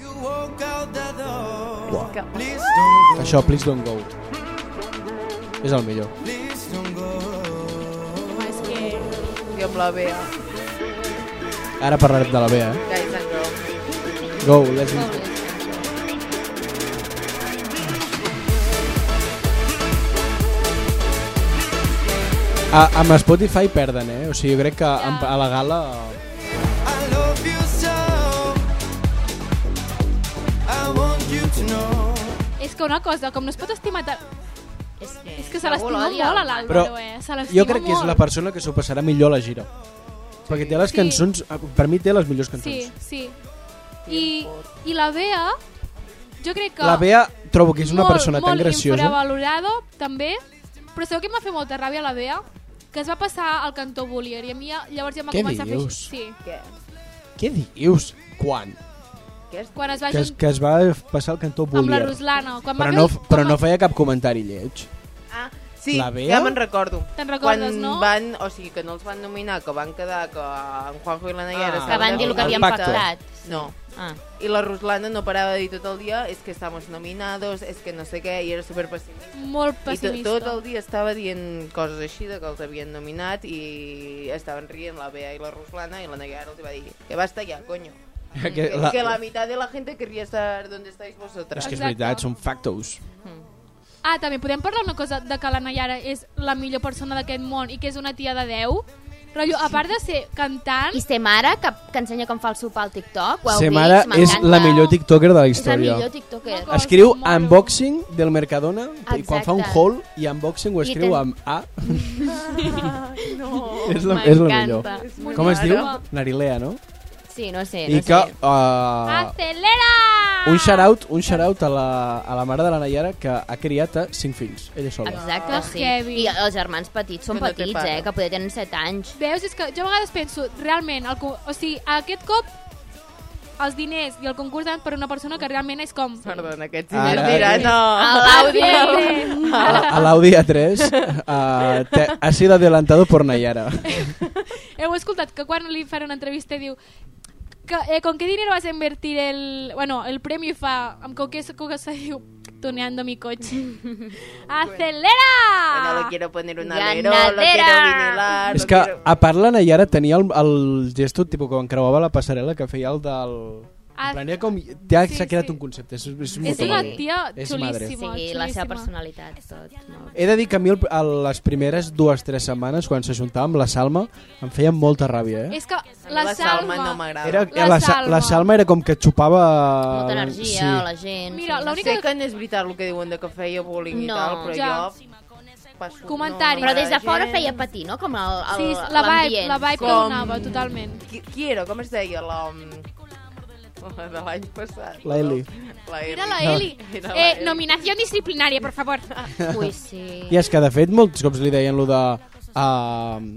You walk out the door.
Que-
Please don't go.
Això, Please Don't Go. És el millor.
Please don't go.
És que...
Jo amb la Bea.
Ara parlarem de la Bea, eh?
Guys and girls.
Go, let's go. A, amb Spotify perden, eh? O sigui, jo crec que amb, a la gala...
I love you so. I want you to know.
És que una cosa, com no es pot estimar... ta-
És que,
És que se l'estima
Algú l'odia.
molt a
Però
l'Àlvaro, eh? Se l'estima
jo crec que és la
molt.
persona que s'ho passarà millor a la gira. Perquè té les
Sí.
cançons... eh, Per mi té les millors cançons.
Sí, sí. I, I la Bea, jo crec que...
La Bea trobo que és una
molt,
persona tan
Molt
graciosa.
infravalorada, també. Però sabeu que em va fer molta ràbia la Bea? Que es va passar al cantó Bullier i a mi ja- llavors ja em va
Què
començar
dius?
a fer... així.
Què?
Què dius? Quan?
Què és?
Sí, quan es va
Que, es,
juntar
que es va passar el cantó
amb la
Bullier.
Ruslana. Quan
Però
va
no,
fer,
però
quan
no
va-
feia cap comentari lleig.
Ah, sí,
La Bea?
ja me'n recordo.
Te'n recordes,
Quan
no?
Van, o sigui, que no els van nominar, que van quedar que en Juanjo i la Nayara...
Ah,
estaven
Que van dir el que
El
havien
pacte.
pactat.
No,
Ah.
i la Ruslana no parava de dir tot el dia és que estamos nominados, és que no sé què, i era super pessimista.
Molt
I
pessimista.
to, tot el dia estava dient coses així de que els havien nominat i estaven rient la Bea i la Ruslana i la Nayara els va dir que basta ja, coño.
[laughs] Que
Mm,
Que la, que la mitad de la gente querría estar donde estáis vosotras.
És que és
Exacte.
veritat, són factos.
Ah, també podem parlar una cosa de que la Nayara és la millor persona d'aquest món i que és una tia de 10? Rotllo, a part de ser cantant...
I ser mare, que, que ensenya com fa el sopar al TikTok. Ho heu
Ser
vist?
mare és
M'encanta.
la millor tiktoker de la
És la
història.
millor tiktoker.
Una cosa
Escriu
molt-
unboxing del Mercadona i quan
Exacte.
fa un haul i unboxing ho
I
escriu
ten-
amb A.
No.
és, la, és la millor.
M'encanta.
molt
Com es diu?
raro.
Narilea, no?
Sí, no sé. No
I que...
sé.
Uh,
Ah, Acelera!
un shout-out un shout a, la, a la mare de la Nayara que ha criat a cinc fills, ella sola.
Ah.
Exacte, sí.
Heavy.
I els germans petits són
Que no té
petits,
pare.
eh? Que poder tenir 7 anys.
Veus, és que jo a vegades penso, realment, el, co- o sigui, aquest cop els diners i el concurs van per una persona que realment és com...
Perdona, aquests
Ara,
diners
ara.
diran... No.
L'Audi!
A, la- a l'Audi A3 uh, te, ha sido adelantado por Nayara.
Heu escoltat que quan li fan una entrevista diu que, eh, con qué dinero vas a invertir el... Bueno, el premi fa... Amb con qué cosa diu tuneando mi coche.
No lo
Acelera!
quiero poner un
Ganadera.
alero, lo quiero vinilar...
És
lo
que,
quiero-
a part, la Nayara tenia el, el gesto tipus, quan creuava la passarel·la que feia el del...
Ah,
En plan, era com... Ja
sí,
s'ha creat
sí.
un concepte. És, és,
És
molt
una
maco.
tia
És
Sí,
xulíssima,
la seva
xulíssima.
personalitat, tot. No?
He de dir que a mi el, a les primeres dues o tres setmanes, quan s'ajuntava amb la Salma, em feia molta ràbia, eh?
És que
A mi
la, Salma...
no m'agrada.
Era,
La
la, Sa-
Salma.
la Salma era com que et xupava...
Molta energia,
Ah, Sí.
o la gent...
Mira,
sí,
l'única-
Sé que no és veritat el que diuen de que feia bullying
No,
i tal, però
ja.
jo... Passo,
Comentaris.
Però des de
m'agrada
fora
gens.
feia patir, no? Com el, el,
Sí, la vibe,
l'ambient.
la vibe que
Com-
donava, totalment.
Qui, qui era? Com es deia? La... um, La de l'any passat.
La Eli.
La Eli.
Mira la
No.
Eli.
Mira la
Eh,
Eli.
nominación disciplinaria, por favor.
Ui, sí.
I és que, de fet, molts cops li deien lo de... Uh,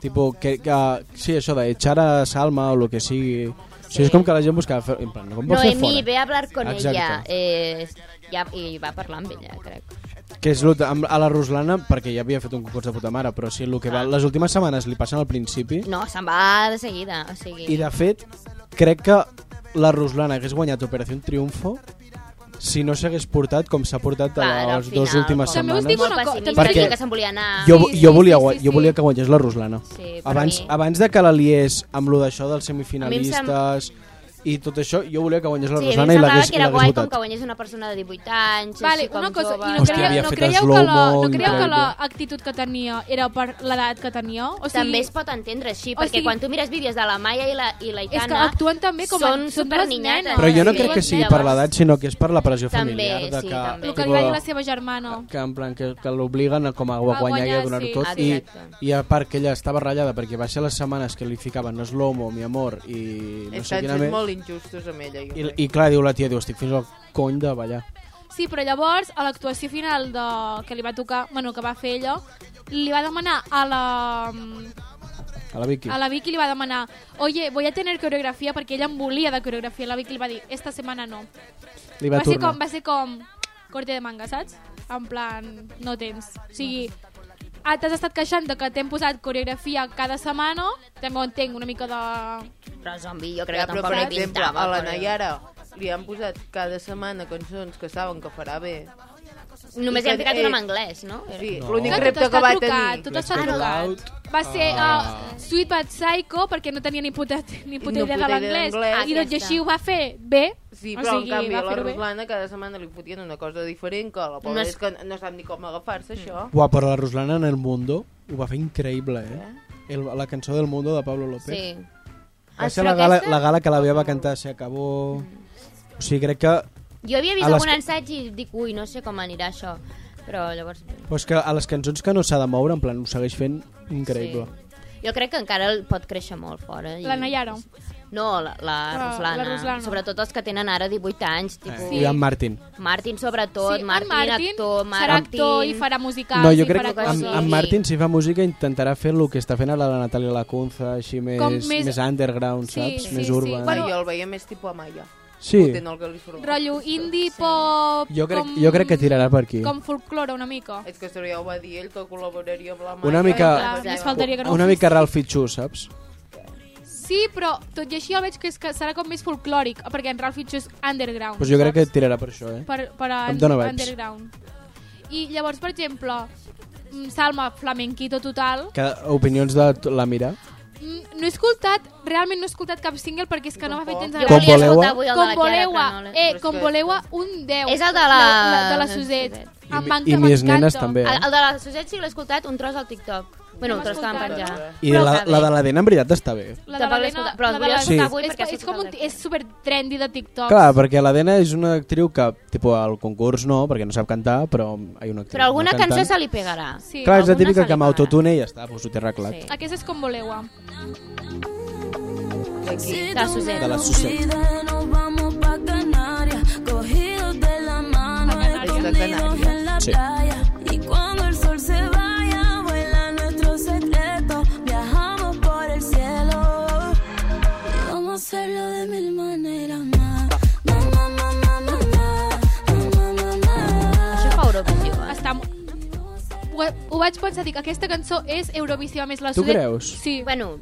tipo, que, que, sí, això de echar a Salma o el que sigui. O sigui, és com que la gent buscava fer... En plan, com pots fer
Noemí,
fora?
ve a hablar con
Exacte.
ella. Eh, ja, I va parlar amb ella, crec.
Que és lo de- amb, a la Ruslana, perquè ja havia fet un concurs de puta mare, però sí, el que va, les últimes setmanes li passen al principi,
Ah. No, se'n va de seguida, o sigui...
i de fet, crec que la Ruslana hagués guanyat Operació Triunfo si no s'hagués portat com s'ha portat a
Clar, al
les dues
final,
últimes
També us
setmanes.
dic una
Molt
cosa,
pessimista,
Perquè-
perquè... que se'n volia anar...
Jo,
Sí,
jo,
sí,
volia,
sí,
gua-
sí,
jo
sí.
volia que guanyés la Ruslana.
Sí, per
abans,
mi.
abans de que la liés amb lo d'això dels
A mi
semifinalistes i tot això, jo volia que guanyés la
Sí, a mi em
Ruslana i
semblava
l'hagués
que
i
era
l'hagués
guai com que
votat.
guanyés una persona de 18 anys,
Vale,
així com
una cosa,
jove...
i no
Hòstia,
creieu,
havia
no
fet
creieu, que, la,
slow-mo,
no creieu que
increïble.
l'actitud que tenia era per l'edat que tenia? O sigui,
També es pot entendre així,
o
perquè
sigui-
quan tu mires vídeos de la Maia i la, i la Itana...
És que actuen també com a-
Són
són dues
superninyates.
nenes.
Però jo no
Sí.
crec que sigui
Llavors-
per l'edat, sinó que és per la pressió
També,
familiar. de
sí,
que,
també.
el que li
tipo,
va dir la seva germana.
que en plan que, que l'obliguen a com a guanyar,
guanyar,
i a donar-ho
sí.
tot
Exacte.
i, i a part que ella estava ratllada perquè va ser les setmanes que li ficaven slow-mo, mi amor i no
Ells
sé
han
quina
set
més
molt injustos amb ella. Jo
I,
crec.
i clar, diu la tia, diu, estic fins al cony de ballar
Sí, però llavors, a l'actuació final de... que li va tocar, bueno, que va fer ella, li va demanar a la...
a la Vicky
A la Vicky li va demanar Oye, voy a tener coreografía perquè ella em volia de coreografia. La Vicky li va dir, esta setmana no.
li va,
Va, ser
tornar
com, va ser com corte de manga, saps? En plan, no tens. O sigui, ah, t'has estat queixant de que t'hem posat coreografia cada setmana, també entenc una mica de...
Però zombi, jo crec
Ja,
que
però,
tampoc
per
li
exemple,
pintava.
a la
però-
Nayara li han posat cada setmana cançons que saben que farà bé.
Només
I
hi han
que-
ficat una
eh,
en anglès, no?
Sí,
No.
l'únic
Que tot
repte
està
que va
trucat,
tenir...
tot està
Let's Go
trucat.
Out.
Va ser
Ah.
uh, Sweet But Psycho perquè no tenia ni puta, ni puta
No
idea
puta
de
idea
l'anglès.
d'anglès.
I doncs i així ho va fer bé.
Sí,
O
però
sigui,
en canvi
va
a la
fer-ho bé.
Ruslana cada setmana li fotien una cosa diferent que la pobra
No
no
és-
és... que no sap ni com agafar-se això.
Uà, però la Ruslana en El Mundo ho va fer increïble, eh? El, la cançó del Mundo de Pablo López
Sí.
va
Ah,
ser
però
la gala,
aquesta-
la gala que la Bea va cantar Se acabó
Mm.
o sigui, crec que
Jo havia vist
A les
algun
que-
ensaig i dic, ui, no sé com anirà això. Però llavors...
però és que a les cançons que no s'ha de moure, en plan, ho segueix fent increïble.
Jo crec que encara el pot créixer molt fora. I...
La Nayara.
No, la, la,
La-
Ruslana.
la Ruslana.
Sobretot els que tenen ara 18 anys, tipus...
Eh, I en Martin.
Martin, sobretot,
en
Martin, actor, Martin...
serà actor i farà musicals
No, jo
i
crec
farà
que
coses.
en, en
Sí.
Martin, si fa música, intentarà fer el que està fent ara la Natàlia Lacunza, així més,
Com
més...
més-
més underground,
Sí,
saps?
sí,
més
sí.
urban.
Bueno,
Bueno,
jo el veia més tipus Amaya.
sí,
Potent el que li surt.
Rotllo indie, pop...
jo crec,
com,
jo crec que tirarà per aquí.
Com folclore, una mica.
És que això ja ho va dir ell, que col·laboraria amb la Amaya.
Una mica...
Clar,
Exacte.
més faltaria que no ho
una
fes.
mica Ralph Fitxú, saps?
Sí, però tot i així el veig que, és que serà com més folclòric, perquè en Ralph Fitch és underground.
Pues jo crec que tirarà per això, eh?
Per, per
Em
en,
dóna vibes.
underground. I llavors, per exemple, mm, Salma, flamenquito total,
Que opinions de t- la Mira?
Mm, no he escoltat, realment no he escoltat cap single perquè és que no m'ha fet gens de
Jo
Com
volia
voleu- eh?
escoltar avui el de
Com
la Chiara,
voleu,
però no l'he-
eh,
Però és
com
que-
voleu, un 10.
És el de la-
de la Suset.
Suset.
I mi-
Em van
i Mies Nenes
m'encanta.
també.
Eh, El, el de la Suset sí que l'he escoltat un tros al TikTok. Bueno, un tros que van
escoltat.
penjar.
I
Però
la,
està
la
bé.
de l'Adena, en veritat, està bé.
La
Tampoc l'he
Helena-
escoltat, però
la
volia
de la-
escoltar
avui
és, és,
perquè ha
com un,
sortit el
és super trendy de TikTok.
Clar, perquè l'Adena és una actriu que, tipus, al concurs no, perquè no sap cantar, però hi ha una actriu...
Però alguna
una
cançó
cantant.
se li pegarà.
Sí.
Clar, és la
alguna se
típica
li
que amb
pegarà.
autotune i ja està, doncs ho té arreglat.
Sí.
Aquesta és com voleu.
De la Suset.
De la Suset.
Nos vamos pa' Canarias, cogidos de la mano, escondidos en la
Sí.
playa. Y cuando el sol se vaya, vuela nuestro secreto. Viajamos por el cielo. Y vamos a hacerlo de mil maneras más. Ma, ma, ma, ma, ma, ma, ma, ma, ma, ma.
Això fa Eurovisió, eh?
Està... mo- Ho, ho vaig pensar, dic, aquesta cançó és Eurovisiva més la
Tu
Sudet.
creus?
Sí.
Bueno,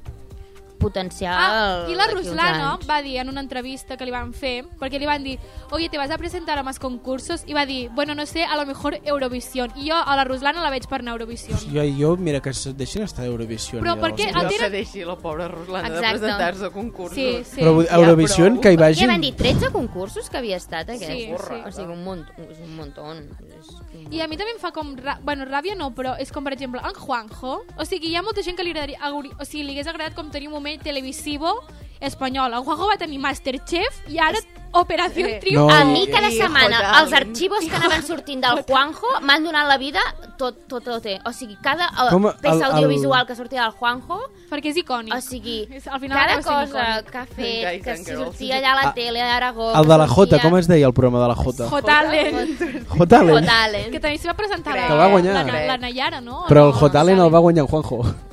potencial...
Ah, i la
d'aquí uns
Ruslana
anys.
va dir en una entrevista que li van fer, perquè li van dir, oye, te vas a presentar a más concursos? I va dir, bueno, no sé, a lo mejor Eurovisión. I jo a la Ruslana la veig per anar a Eurovisión.
Jo, jo, mira, que es deixen estar d'Eurovisió.
Però
ni de
per què Ah,
l'hòstia.
No
tenen-
que deixi la pobra Ruslana
Exacte.
de presentar-se a concursos.
Sí, sí.
Però vull-
Ja,
Eurovisió
prou.
que hi vagin...
Què van dir? 13 concursos que havia estat aquest?
Sí, sí.
O sigui, un munt, és un muntón. És un
I a mi també em fa com... Ra bueno, ràbia no, però és com, per exemple, en Juanjo. O sigui, hi ha molta gent que li, agradaria, agri- o sigui, li hagués agradat com tenir un moment televisivo espanyol. En Juanjo va tenir Masterchef i ara Operación
Eh,
No.
Triunfo. No.
Oh.
A mi cada
Hijo
setmana
tal.
els arxius que anaven sortint del Juanjo m'han donat la vida tot, tot, tot, eh? O sigui, cada eh,
Com el-
peça
el-
audiovisual que sortia del Juanjo,
Perquè és icònic.
o sigui,
És- al final
cada
acaba sent
cosa
icònic.
que ha
Guys
fet, que
and
si
girls.
sortia allà a
Ah,
la tele d'Aragó...
El de la Jota, com es deia el programa de la Jota? [laughs]
J-Talent.
J-Talent.
J-Talent.
Que també s'hi va presentar
Crec.
la,
Que
va guanyar.
la, Na- la
Crec.
Nayara, no?
Però el
No,
J-Talent
no
el va guanyar en Juanjo.
saben.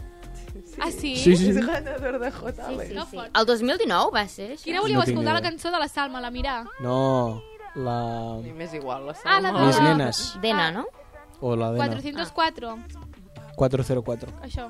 Ah, sí?
Sí, sí,
És
sí.
ganador de J
Sí,
Talent.
sí,
No
sí.
pot.
El 2019 va ser això?
Quina volíeu
No tinc
escoltar la
idea.
cançó de la Salma, la Mirà?
No, la...
I m'és igual, la
Ah, la
Salma.
Mis
Ah.
nenas.
Dena, no?
O la Dena.
404,
404.
això.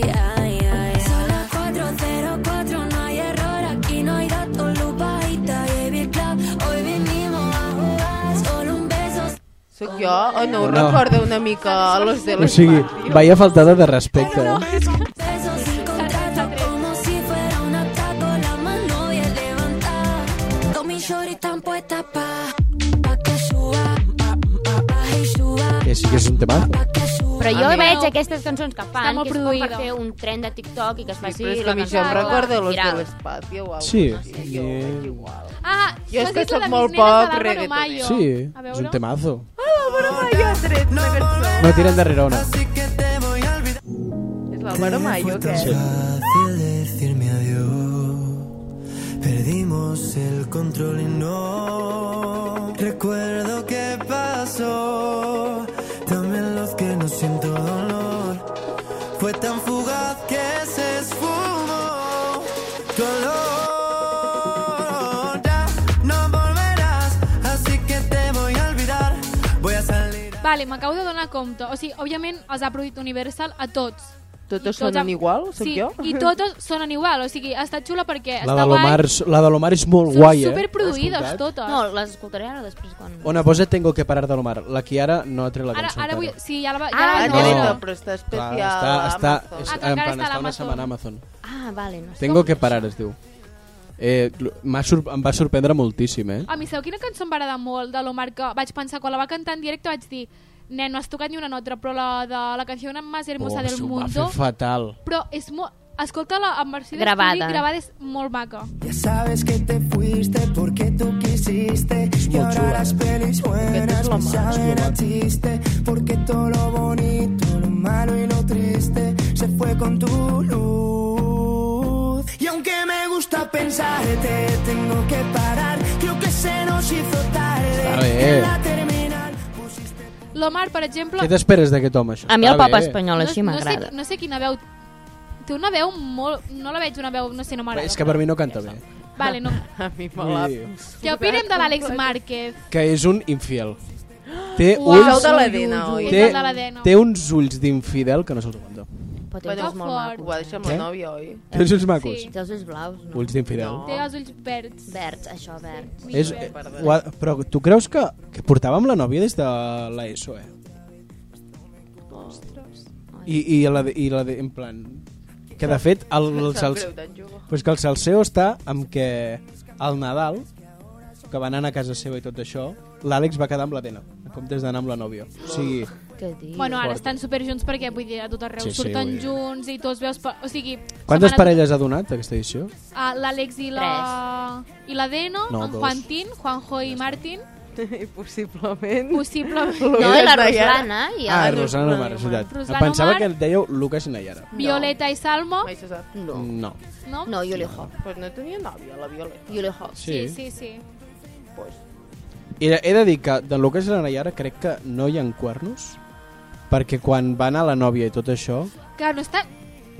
Son las 404, no hay error, aquí no hay dato, lupa y baby club. Hoy vinimos a jugar, solo un beso.
Sóc jo? Oh,
No.
no, no. recorda una mica a los de
O
los
sigui,
Barrios?
veia faltada de respecte. eh?
Besos sin contrato, como si fuera una tapa, la mano bien levantada. Todos mis shorty están puestas pa, pa que suba, pa, pa, pa y suba,
Que sí que és un tema.
pa que suba.
Però jo
mi no.
veig aquestes cançons que fan,
Ah, molt
que és com per
produïda.
fer un tren de TikTok i que es faci
Sí, però és que
la
a mi això em
cançó
recorda los de
viral.
l'espacio o alguna
Sí.
cosa així, jo ho veig igual.
Ah,
Jo és
has
que
dit la
sóc
de
molt
Mis Nenes de
poc
l'Alvaro
reggaetoner.
Mayo.
Sí,
A
és un
veure.
temazo.
Jo he tret una cançó.
No tiren darrere una.
És l'Alvaro Mayo, què?
Sí.
fácil decirme adiós. Perdimos el control y no recuerdo qué pasó. También los que no siento dolor. Fue tan fugaz que se esfumó. Tu olor ya no volverás, así que te voy a olvidar. Voy a salir. a-
Vale, m'acabo de donar compte. O sigui, òbviament els ha produït Universal a tots. I
Totes sonen
amb-
igual, sóc
Tota- sí,
jo?
i tota- totes sonen igual. O sigui, està xula perquè
La
està
de l'Omar,
guai.
la de l'Omar és molt
Són
guai, eh?
superproduïdes
Escoltat?
totes.
No, les escoltaré ara després quan...
Ona, posa Tengo que parar de l'Omar. La Kiara no ha tret la
ara,
cançó.
ara vull...
encara.
Sí, ja la, va- ja
Ah,
[laughs] Ah,
la
no.
ja
vaig-
ve, no, però està especial Doncs
Clar, està,
a
està,
Amazon.
és,
Ah, que
en
encara
plan,
està a
està una
l'Amazon.
setmana a Amazon.
Ah, vale, no sé
Tengo
com
que
és.
parar, es diu. Eh, m'ha sur em va sorprendre moltíssim, eh?
A Ah, mi sabeu quina cançó em va agradar molt de l'Omar que vaig pensar quan la va cantar en directe vaig dir nen, no has tocat ni una nota, però la de la canció Más hermosa
Oh,
del
s'ho va
mundo
fer fatal.
però és molt... Escolta-la en versió
Gravada.
d'estudi gravada és molt maca.
Ya sabes que te fuiste porque tú quisiste Y
muy chula. ¿eh?
ahora las pelis buenas me saben a chiste Porque todo lo bonito, lo malo y lo triste Se fue con tu luz Y aunque me gusta pensarte, tengo que parar Creo que se nos hizo
Está
tarde
bien.
En la terminal pusiste
L'Omar, per exemple...
Què t'esperes d'aquest home, això?
A mi el
Està
pop
bé.
espanyol així
no, sé,
m'agrada.
no sé quina veu... Té una veu molt... No la veig una veu... No sé, no m'agrada.
És que per mi no canta bé.
Vale, no.
A mi me la...
Sí.
Què opinem de l'Àlex Márquez?
Que és un
[gasps]
infiel. Té
Uau.
Us heu
ulls,
de la Dena, oi?
Té-
té,
el de la Dena.
té uns ulls d'infidel que no se'ls aguanta.
Però té els
Bueno,
ulls molt
fort.
macos.
Ho va deixar amb
Què?
la nòvia, oi?
Té uns ulls macos.
Sí.
Té els ulls blaus, no?
Ulls d'infidel.
No.
Té els ulls verds.
Verds, això, verds.
Mig
Ah. És, eh,
verd.
ho ha- però tu creus que, que portàvem la nòvia des de l'ESO, eh? I, i, la, de- i la de, en plan... Que de fet, el, el,
Em sap
salseo...
greu, tan jove.
Pues que el salseo està amb que al Nadal, que van anar a casa seva i tot això, l'Àlex va quedar amb la Dena, en comptes d'anar amb la nòvia. O sigui,
Què dius?
Bueno, ara
Fort.
estan superjunts perquè, vull dir, a tot arreu
Sí, sí,
surten
vull dir.
junts i tots veus... pa- O sigui...
quantes
setmana-
parelles ha donat aquesta edició?
Ah, L'Àlex i la... I la Dena,
No,
en
dos.
Juantín, Juanjo i Martín,
[laughs] I possiblement...
possiblement.
[laughs] No, i la
Nayara.
Ruslana i
Ah,
el...
no,
Rosana Omar,
Rosana
és veritat.
Omar. Rosana
Pensava
Omar.
que el dèieu Lucas i Nayara.
Violeta i Salmo,
Mai se sap.
No.
No.
no?
No, jo li ho
Pues no tenia nòvia, la Violeta.
Jo li ho
Sí, sí, sí.
Pues,
He, de- he de dir que de Lucas i la Nayara crec que no hi ha cuernos, perquè quan va anar la nòvia i tot això...
Clar, no estan...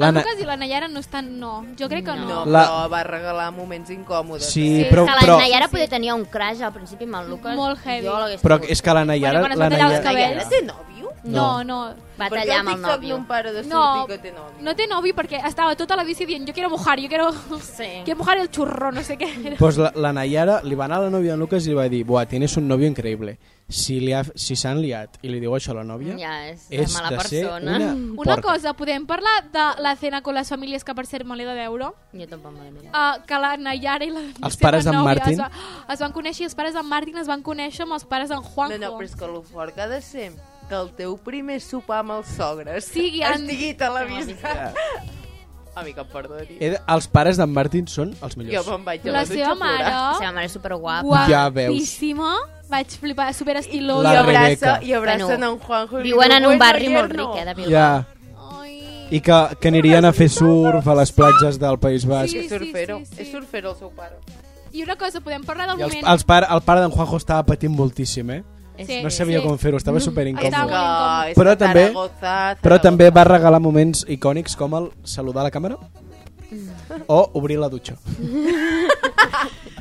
La
El
Na-
Lucas i la Nayara no estan... No, jo crec que
no,
no.
La-
però va regalar moments incòmodes. Eh,
Sí,
Sí,
però,
Que la
però,
Nayara podia tenir un crash al principi amb el Lucas.
Molt heavy.
Jo l'hagués
però
tingut.
és que la Nayara...
quan es
la
va tallar els
Nayara-
cabells.
Nayara té nòvio?
No, no.
Va tallar amb el
Per què TikTok no
nòvio.
em para de
No,
sortir que té nòvio?
No té novio perquè estava tota la bici dient jo quiero mojar, jo quiero... Sí. Quiero mojar el churro, no
[laughs]
sé què era.
Pues la, la Nayara li va anar a la nòvia de Lucas i li va dir Buah, tienes un novio increïble. Si li ha, si s'han liat i li diu això a la nòvia,
Ja, és de
és
mala
de ser
persona.
una
Una
porca.
cosa, podem parlar de la cena con les famílies que per cert me l'he de veure?
Jo tampoc me l'he mirat.
Uh, que la Nayara i la
Els
seva
pares d'en
nòvia
Martin.
Es, va, es van conèixer i els pares d'en Martin es van conèixer amb els pares d'en Juanjo.
No, no, però és que el fort que ha de ser que el teu primer sopar amb els sogres
Sigui en-
estigui televisat. A mi que em perdoni.
He de... Eh, Els pares d'en Martin són els
Jo
millors.
me'n vaig a
La
la,
seva
dutxa
mare...
La seva mare és superguapa.
Ja veus.
Guapíssima. Vaig flipar, super
I,
La
estilosa.
Rebecca.
abraça, I abracen
Bueno,
en Juanjo. i
Viuen
diu,
en un
"Bueno,
barri molt
yerno".
ric, eh, de Bilbao.
Ja. I que, que anirien a fer surf a les platges del País Basc.
Sí,
Que
sí,
surfero.
sí, sí.
És surfero el seu pare.
I una cosa, podem parlar del
I els,
moment...
els par, el pare d'en Juanjo estava patint moltíssim, eh?
Sí,
No sabia
sí.
com fer-ho, estava
Estava
superincòmode.
molt incòmode.
és
Però
que
també-
Zaragoza, Zaragoza.
Però també va regalar moments icònics com el saludar a la càmera o obrir la dutxa.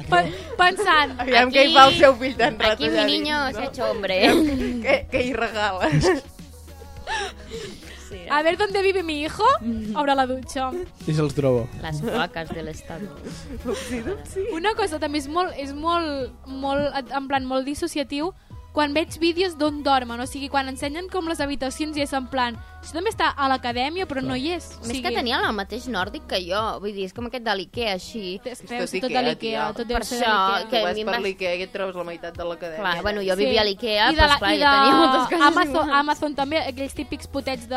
Pe- Pensant,
Aviam
Aquí-
què hi fa el seu fill tan rato.
Aquí mi
allà
niño
dins,
se ha
no?
hecho [laughs] hombre.
Què, què
[laughs]
hi regales?
a ver dónde vive mi hijo,
Mm.
obre la dutxa.
I se'ls trobo.
Las placas del estado.
Una cosa també és molt, és molt, molt, en plan, molt dissociatiu quan veig vídeos d'on dormen, o sigui, quan ensenyen com les habitacions i és en plan, això també està a l'acadèmia, però no hi és. O
Més
sigui,
que tenien el mateix nòrdic que jo. Vull dir, és com aquest de l'Ikea, així.
té- Deu
Tot
ser tot
Ikea,
a l'Ikea,
tia.
tot
Per
deu ser
això,
de l'Ikea.
que
Que
a
vas
mi em
per
va-
l'Ikea i et trobes la meitat de l'acadèmia.
Clar, bueno, jo
Sí.
vivia a l'Ikea,
I de
doncs
la-
clar,
i
jo tenia moltes coses.
Amazon, Amazon també, aquells típics potets de...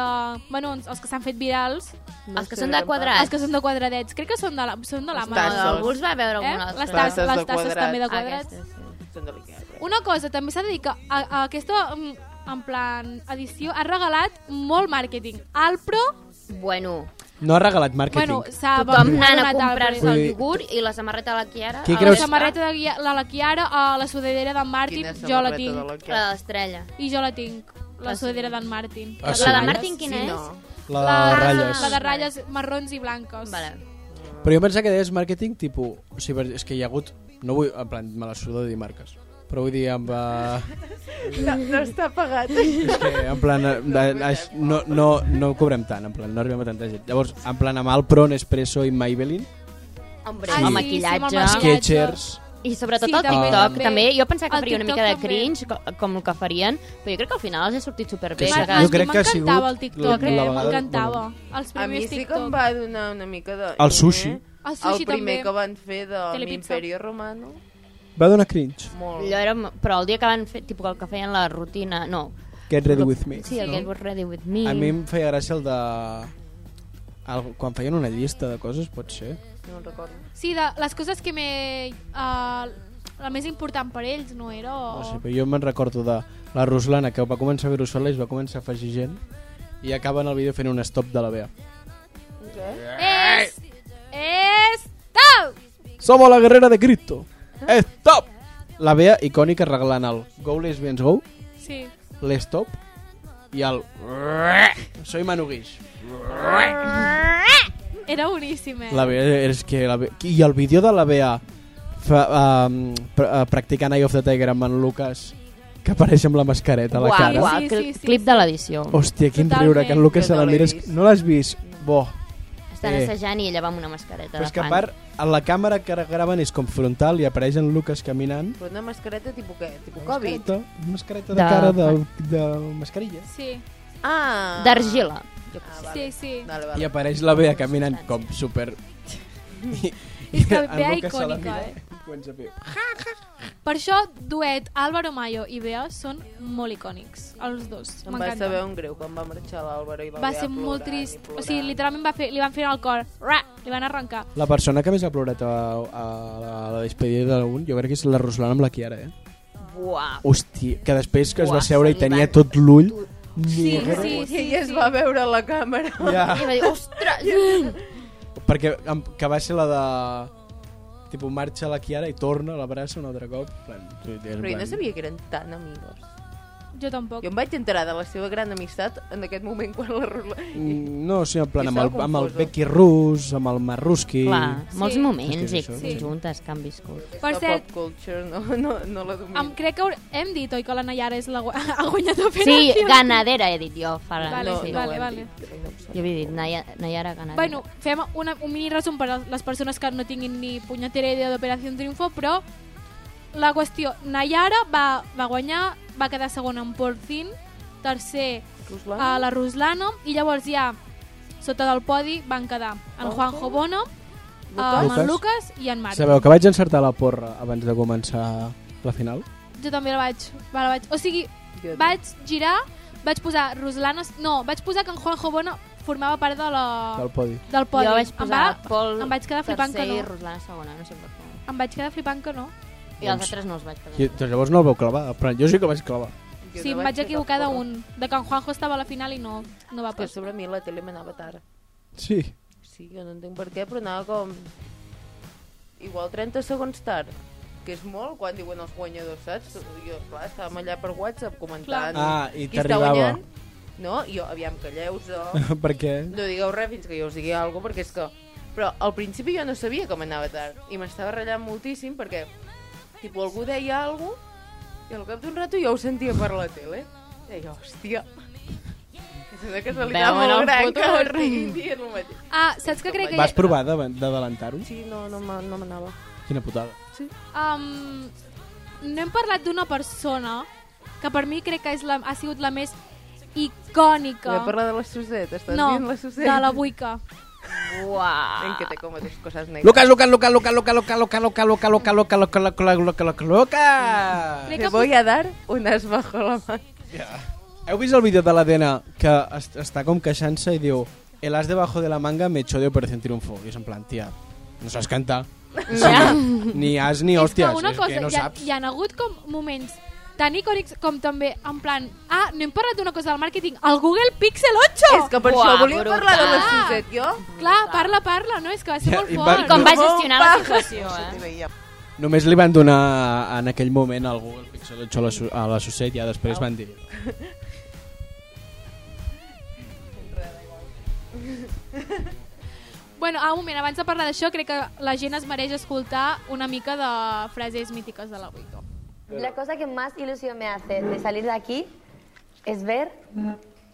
Bueno, els- els que s'han fet virals,
Els que són de quadrat.
els que són de quadradets. Crec que són de la- són de
No,
l'Amazon.
Tasses.
algú els va veure
Eh?
alguna
Les,
cosa.
tasses,
Tasses de
les tasses també de
quadrats.
quadrats.
Aquestes, sí.
Són eh? de l'Ikea. però.
Una cosa, també s'ha de dir que a, a aquesta, mm, en plan, edició ha regalat molt màrqueting. Alpro,
Bueno,
No ha regalat
bueno,
màrqueting.
s'ha
tothom
ha
anant a
donat
comprar-se
Alpro.
Vull
el
dir-
iogurt i la samarreta de la Kiara.
Qui
a la
La
creus-
vespa,
samarreta de Guia- la, la Chiara, a la sudadera d'en Martin,
Quina
jo la
samarreta de
tinc.
la Ah,
La
Ikea.
de l'estrella.
I jo la tinc, la sudadera d'en Martin.
Ah, sí?
La de Martin, quina
Sí,
és?
no.
La de ratlles.
La de ratlles marrons i blanques.
Vale.
Però jo pensava que deies màrqueting tipus... O sigui, per- és que hi ha hagut... No vull... En plan, me la suda de dir marques. Però vull dir, amb... Uh,
No, no està pagat.
és que, en plan, eh, de, aix- no, no, no cobrem tant, en plan, no arribem a tanta gent. Llavors, en plan, amb Alpro, Nespresso i Maybelline, Sí.
Hombre, el
Sí,
Ah, sí, amb
maquillatge.
el maquillatge.
Skechers...
I sobretot
Sí,
el
també,
TikTok,
també.
també. Jo pensava que
El
faria una
TikTok
mica de
també.
cringe, co- com el que farien, però jo crec que al final els ha sortit superbé.
Que
Que
sí.
cada-
Jo crec que ha sigut
M'encantava el
la-
TikTok,
la
eh?
vegada-
m'encantava. Els
A mi
primers
sí que em
TikTok.
va donar una mica de... eh?
El sushi.
El sushi
el primer
també.
que van fer de
Telepizza.
l'Imperio Romano.
Va donar cringe.
Molt.
Allò era, però el dia que van fer, tipus el que feien la rutina, no.
Get ready with me.
Sí, el Get Was Ready With Me.
A mi em feia gràcia el de... El, quan feien una llista de coses, pot ser.
No en recordo.
Sí, de les coses que m'he... Uh, la més important per ells no era... O...
No sé, però jo me'n recordo de la Ruslana, que va començar a fer-ho sola i es va començar a afegir gent i acaben el vídeo fent un stop de la Bea.
És... És... Tau!
Somos la guerrera de Cristo. Stop! La Bea icònica regalant el Go Lesbians Go,
Sí.
l'Stop i el Soy Manu Guix.
Era boníssim, eh?
La Bea, és que la Bea... I el vídeo de la Bea fa, um, pra, uh, practicant Eye of the Tiger amb en Lucas que apareix amb la mascareta a la
Guau,
cara.
guau,
Sí,
cl-
sí, sí,
clip
sí.
de l'edició.
Hòstia, quin
Totalment.
riure, que en Lucas
Jo
se
no
la
l'he
mires...
vist.
No l'has vist? Bo.
Estan
Eh.
assajant i ella va amb una mascareta
Però
de
és que a
fan.
part, a la càmera que graven és com frontal i apareix en Lucas caminant.
Però una mascareta tipus què? Tipus Covid?
Mascareta, mascareta de,
De-
cara de, de mascarilla.
Sí,
Ah!
D'argila. Jo què
Ah,
sé.
sí,
vale.
sí.
Vale,
I
vale.
apareix la Bea caminant com super... I,
És que
[laughs] en
Bea
Lucas se la
icònica,
mira
eh?
i comença a fer-
Per això, duet Álvaro Mayo i Bea són molt icònics, els dos.
Em va
M'encanta.
saber un greu quan va marxar l'Àlvaro i la
Va
Bea
ser molt
plorant i
trist. O
plorant.
sigui, literalment va fer, li van fer el cor. Ra! Li van arrencar.
La persona que més ha plorat a, a, la, a la despedida d'un, jo crec que és la Ruslana amb la Kiara, eh?
Buah.
Hòstia, que després que es
Uah,
va seure i
se li
tenia
van-
tot l'ull
Sí,
negre.
sí,
I
sí.
ella es va veure a la càmera.
Ja,
I va dir, ostres!
perquè em- que va ser la de... Tipo, marxa la Kiara i torna, l'abraça un altre cop. En Plan, tu- en
Però jo no
plan-
sabia que eren tan amigos.
Jo tampoc.
Jo em vaig enterar de la seva gran amistat en aquest moment quan la Rula...
Mm, No, sí, en plan,
Jo
amb el,
estava
amb el
confusa.
Becky Rus, amb el Marruski...
Clar,
Sí.
molts moments
Sí,
i
sí,
sí.
juntes que han viscut.
Per
la
cert,
pop culture no, no, no la domino.
em crec que haur- hem dit, oi, que la Nayara és la gu- [laughs] ha guanyat el
Sí,
penalti.
ganadera he dit jo, Ferran.
Vale,
sí.
vale,
ho hem
vale.
dit, crec, no ho sé.
Jo havia dit Naya- Nayara ganadera.
Bueno, fem una, un mini resum per a les persones que no tinguin ni punyetera idea d'Operació Triunfo, però la qüestió, Nayara va, va guanyar, va quedar segona en Porcín, tercer
Ruslana?
a la Ruslano, i llavors ja sota del podi van quedar en Juanjo Bono, eh,
Lucas.
en Lucas, Lucas i en Marc.
Sabeu que vaig encertar la porra abans de començar la final?
Jo també la vaig, la vaig... O sigui,
Jo també.
vaig girar, vaig posar Ruslana... No, vaig posar que en Juanjo Bono formava part de la...
del podi.
del podi.
Jo vaig posar
em, va,
Pol
em vaig quedar flipant que
tercer
no.
i Ruslana segona, no sé per què.
Em vaig quedar flipant que no.
I els altres no els vaig
I,
quedar.
doncs llavors no el vau clavar, però jo sí que el vaig clavar.
Jo
sí, em
no
vaig
fer cap
equivocar
porra.
d'un. De que en Juanjo estava a la final i no, no va
És Que
pas.
sobre mi la tele m'anava tard.
Sí.
Sí, jo no entenc per què, però anava com... Igual 30 segons tard, que és molt quan diuen els guanyadors, saps? Jo, clar, estàvem allà per WhatsApp comentant...
Clar.
Ah, i
qui està
t'arribava.
guanyant. No, jo, aviam,
[laughs]
calleu-vos,
[laughs] Perquè...
no digueu res fins que jo us digui alguna cosa, perquè és que... Però al principi jo no sabia com anava tard, i m'estava ratllant moltíssim perquè, tipus, algú deia alguna cosa, i al cap d'un rato jo ho sentia per la tele. Deia, hòstia, [laughs] és una casualitat
Veuen el
molt gran que
futur.
ho estiguin dient el mateix.
Ah, saps que crec que...
Vas provar d'ava- d'adelantar-ho?
Sí, no, no, me- no m'anava.
Quina putada.
Um, no hem parlat d'una persona que per mi crec que és la, ha sigut la més icònica.
Voy a parlar de la Suset, estàs
no,
dient la Suset?
de la Buica.
Uau!
En que te como tus cosas negras.
Lucas, Lucas, Lucas, Lucas, Lucas, Lucas, Lucas, Lucas, Lucas, Lucas, Lucas, Lucas, Lucas, Lucas, Lucas, Lucas.
Crec
Te
que
voy a dar unas bajo la mano.
Heu vist el vídeo de l'Adena que es, està com queixant-se i diu el as debajo de la manga me echó de Operación Triunfo i és en plan, tia, no saps
[laughs]
cantar O sigui, ni as ni hòsties
és que una
és
cosa,
que no
hi, ha,
saps
hi ha hagut com moments tan icònics com també en plan, ah, no hem parlat d'una cosa del màrqueting, el Google Pixel 8!
És que per
Buah,
això volia
brutal.
parlar de la Suset, jo.
Clar, parla, parla, no? És que va ser
Ja,
molt
i va-
fort.
I
Com va
Molt
gestionar la
bajo.
situació, eh?
només li van donar en aquell moment al Google Pixel 8 a la Su- a la Suset i ja després van dir
Bueno, ah, un moment, abans de parlar d'això, crec que la gent es mereix escoltar una mica de frases mítiques de la Wico.
La cosa que más ilusión me hace de salir de aquí es ver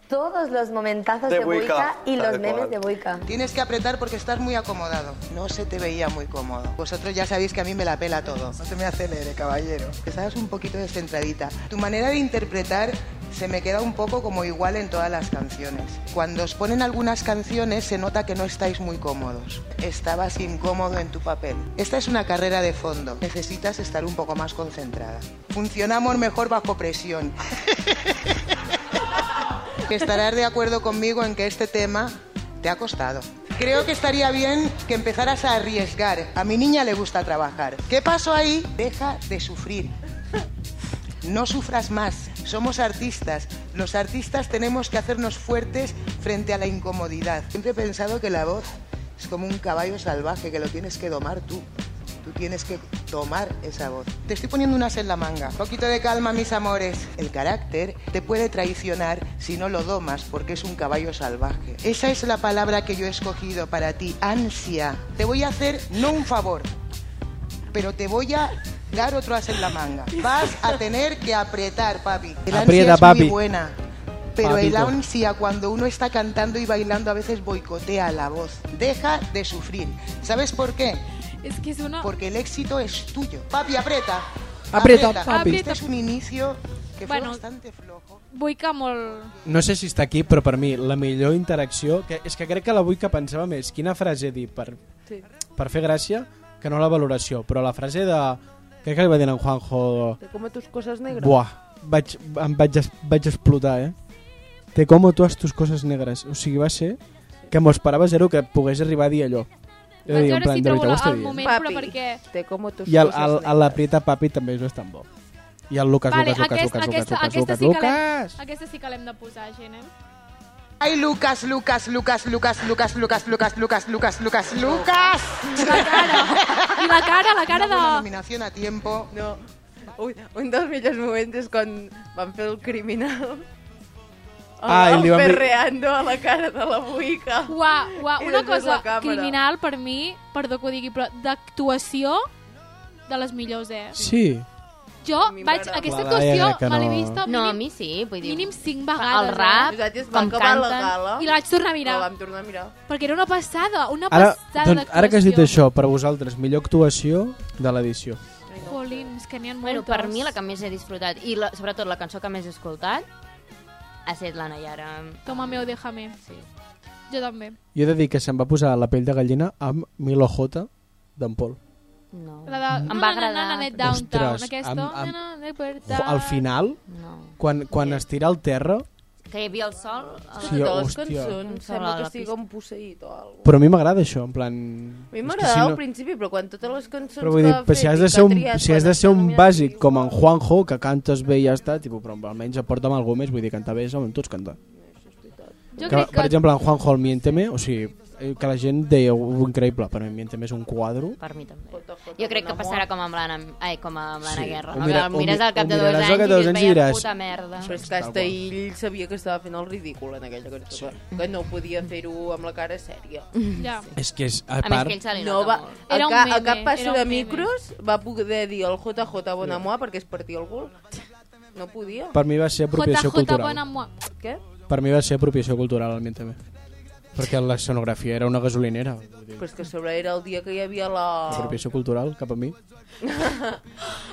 todos los momentazos de, Buica y los memes de Buica.
Tienes que apretar porque estás muy acomodado. No se te veía muy cómodo. Vosotros ya sabéis que a mí me la pela todo. No se me acelere, caballero. Estabas un poquito descentradita. Tu manera de interpretar se me queda un poco como igual en todas las canciones. Cuando os ponen algunas canciones se nota que no estáis muy cómodos. Estabas incómodo en tu papel. Esta es una carrera de fondo. Necesitas estar un poco más concentrada. Funcionamos mejor bajo presión. que estarás de acuerdo conmigo en que este tema te ha costado. Creo que estaría bien que empezaras a arriesgar. A mi niña le gusta trabajar. ¿Qué pasó ahí? Deja de sufrir. No sufras más. Somos artistas. Los artistas tenemos que hacernos fuertes frente a la incomodidad. Siempre he pensado que la voz es como un caballo salvaje que lo tienes que domar tú. Tú tienes que tomar esa voz. Te estoy poniendo unas en la manga. Un poquito de calma, mis amores. El carácter te puede traicionar si no lo domas porque es un caballo salvaje. Esa es la palabra que yo he escogido para ti, ansia. Te voy a hacer no un favor, pero te voy a dar otro as en la manga. Vas a tener que apretar, papi. El ansia
Aprieta,
es
papi.
muy buena, pero el
Papito.
ansia cuando uno está cantando y bailando a veces boicotea la voz. Deja de sufrir. ¿Sabes por qué?
És que és una...
Porque el éxito es tuyo. Papi, aprieta.
Aprieta, papi.
Este es un inicio que fue
Bueno.
bastante flojo.
Buica molt...
no sé si està aquí però per mi la millor interacció que, és que crec que la Buica pensava més quina frase dir per,
Sí.
per fer gràcia que no la valoració però la frase de crec que li va dir en Juanjo
Te como tus cosas negras.
Buah, vaig, em vaig, es- vaig explotar, eh? Te como todas tus cosas negras. O sigui, va ser que m'ho esperava zero que pogués arribar a dir allò. Jo
Vaig
diria, en
veure
plan,
si
de
trobo
veritat, ho
la-
està
el
dient?
moment,
Papi,
però perquè...
te como tus
I el,
cosas
el,
negras.
el, l'aprieta papi també no és tan bo. I el Lucas,
Vale,
Lucas, Lucas,
aquest-
Lucas,
aquesta-
Lucas, Lucas,
aquesta sí que l'hem-
Lucas.
Aquesta sí que l'hem de posar, gent, eh?
Ay, Lucas, Lucas, Lucas, Lucas, Lucas, Lucas, Lucas, Lucas, Lucas, Lucas, Lucas.
La cara. I la cara, la cara
Una buena
de...
nominación a tiempo.
No. Un, un dels millors moments és quan van fer el criminal.
Ah, i li van dir-
Perreando a la cara de la buica.
Uà, uà,
I
una
després
cosa
la càmera.
criminal per mi, perdó que ho digui, però d'actuació de les millors, eh?
Sí.
Jo
A mi
vaig,
m'agrada.
aquesta
La
actuació
Laia que
me l'he
no.
vista
No, a
mínim,
mi sí, vull dir...
mínim cinc
El
vegades.
rap,
Nosaltres va
com
acabar la
canten...
gala.
Eh? I la vaig tornar a
Mira.
mirar,
La vam tornar a mirar.
perquè era una passada, una
Ara,
passada
doncs,
d'actuació.
ara que has dit això, per vosaltres, millor actuació de l'edició.
Jolín, és que n'hi ha moltes.
Bueno, per mi la que més he disfrutat i la, sobretot la cançó que més he escoltat ha estat la Nayara.
Toma meu, déjame.
Sí.
Jo també.
Jo he de dir que se'm va posar la pell de gallina amb Milo J d'en Pol.
No.
La de...
Em
no,
va
no, no, No,
agradar.
no, no, Downtown,
Ostres,
aquesta.
amb- amb-
No, no, no,
Jo, Al final,
No.
quan, quan es tira al terra,
que hi havia el sol... eh,
Sí,
totes les
hòstia.
cançons sembla
Sola a
que
la
estigui
pista.
com posseït o alguna
Però a mi m'agrada això, en plan...
A mi
és que
m'agradava al
si no...
principi, però quan totes les cançons
Però vull dir,
que ha
però si
fet
has
i
de
que
ser
ha
un,
triat,
si has de
quan
ser
està
un
nominat,
bàsic
diu,
com en
"Uau".
Juanjo, que cantes bé i ja està, tipus, però almenys aporta'm algú més, vull dir, cantar bé, home, tots cantar.
Jo
que,
crec
per
que...
exemple, en Juanjo el Miénteme, o sigui, eh, que la gent deia "Uh, increïble, però el Miénteme és un quadro.
Per mi també. Jo crec que passarà com amb l'Anna ai, com amb l'Anna
Sí,
Guerra.
ho
No?
mira-
que
ho
el mires
mi-
al cap
ho
de dos
miraràs al
anys
cap
i
de dos
dius,
anys i
veia
diràs,
puta merda.
Però és que hasta ell sabia que estava fent el ridícul en aquella cançó, que- que no podia fer-ho amb la cara sèria.
Ja.
És que és, a
A més
part...
que ell se li
No
nota
va,
molt.
a,
Era un
ca, a
meme,
cap
era
passo
un
de
meme.
micros va poder dir el JJ Bonamoa perquè es partia el cul. No podia.
Per mi va ser apropiació
JJ
cultural.
Bonamua.
Què?
Per mi va ser apropiació cultural, el Miénteme. Perquè la escenografia era una gasolinera. vull dir,
Però és que a sobre era el dia que hi havia la...
Apropiació cultural, cap a mi.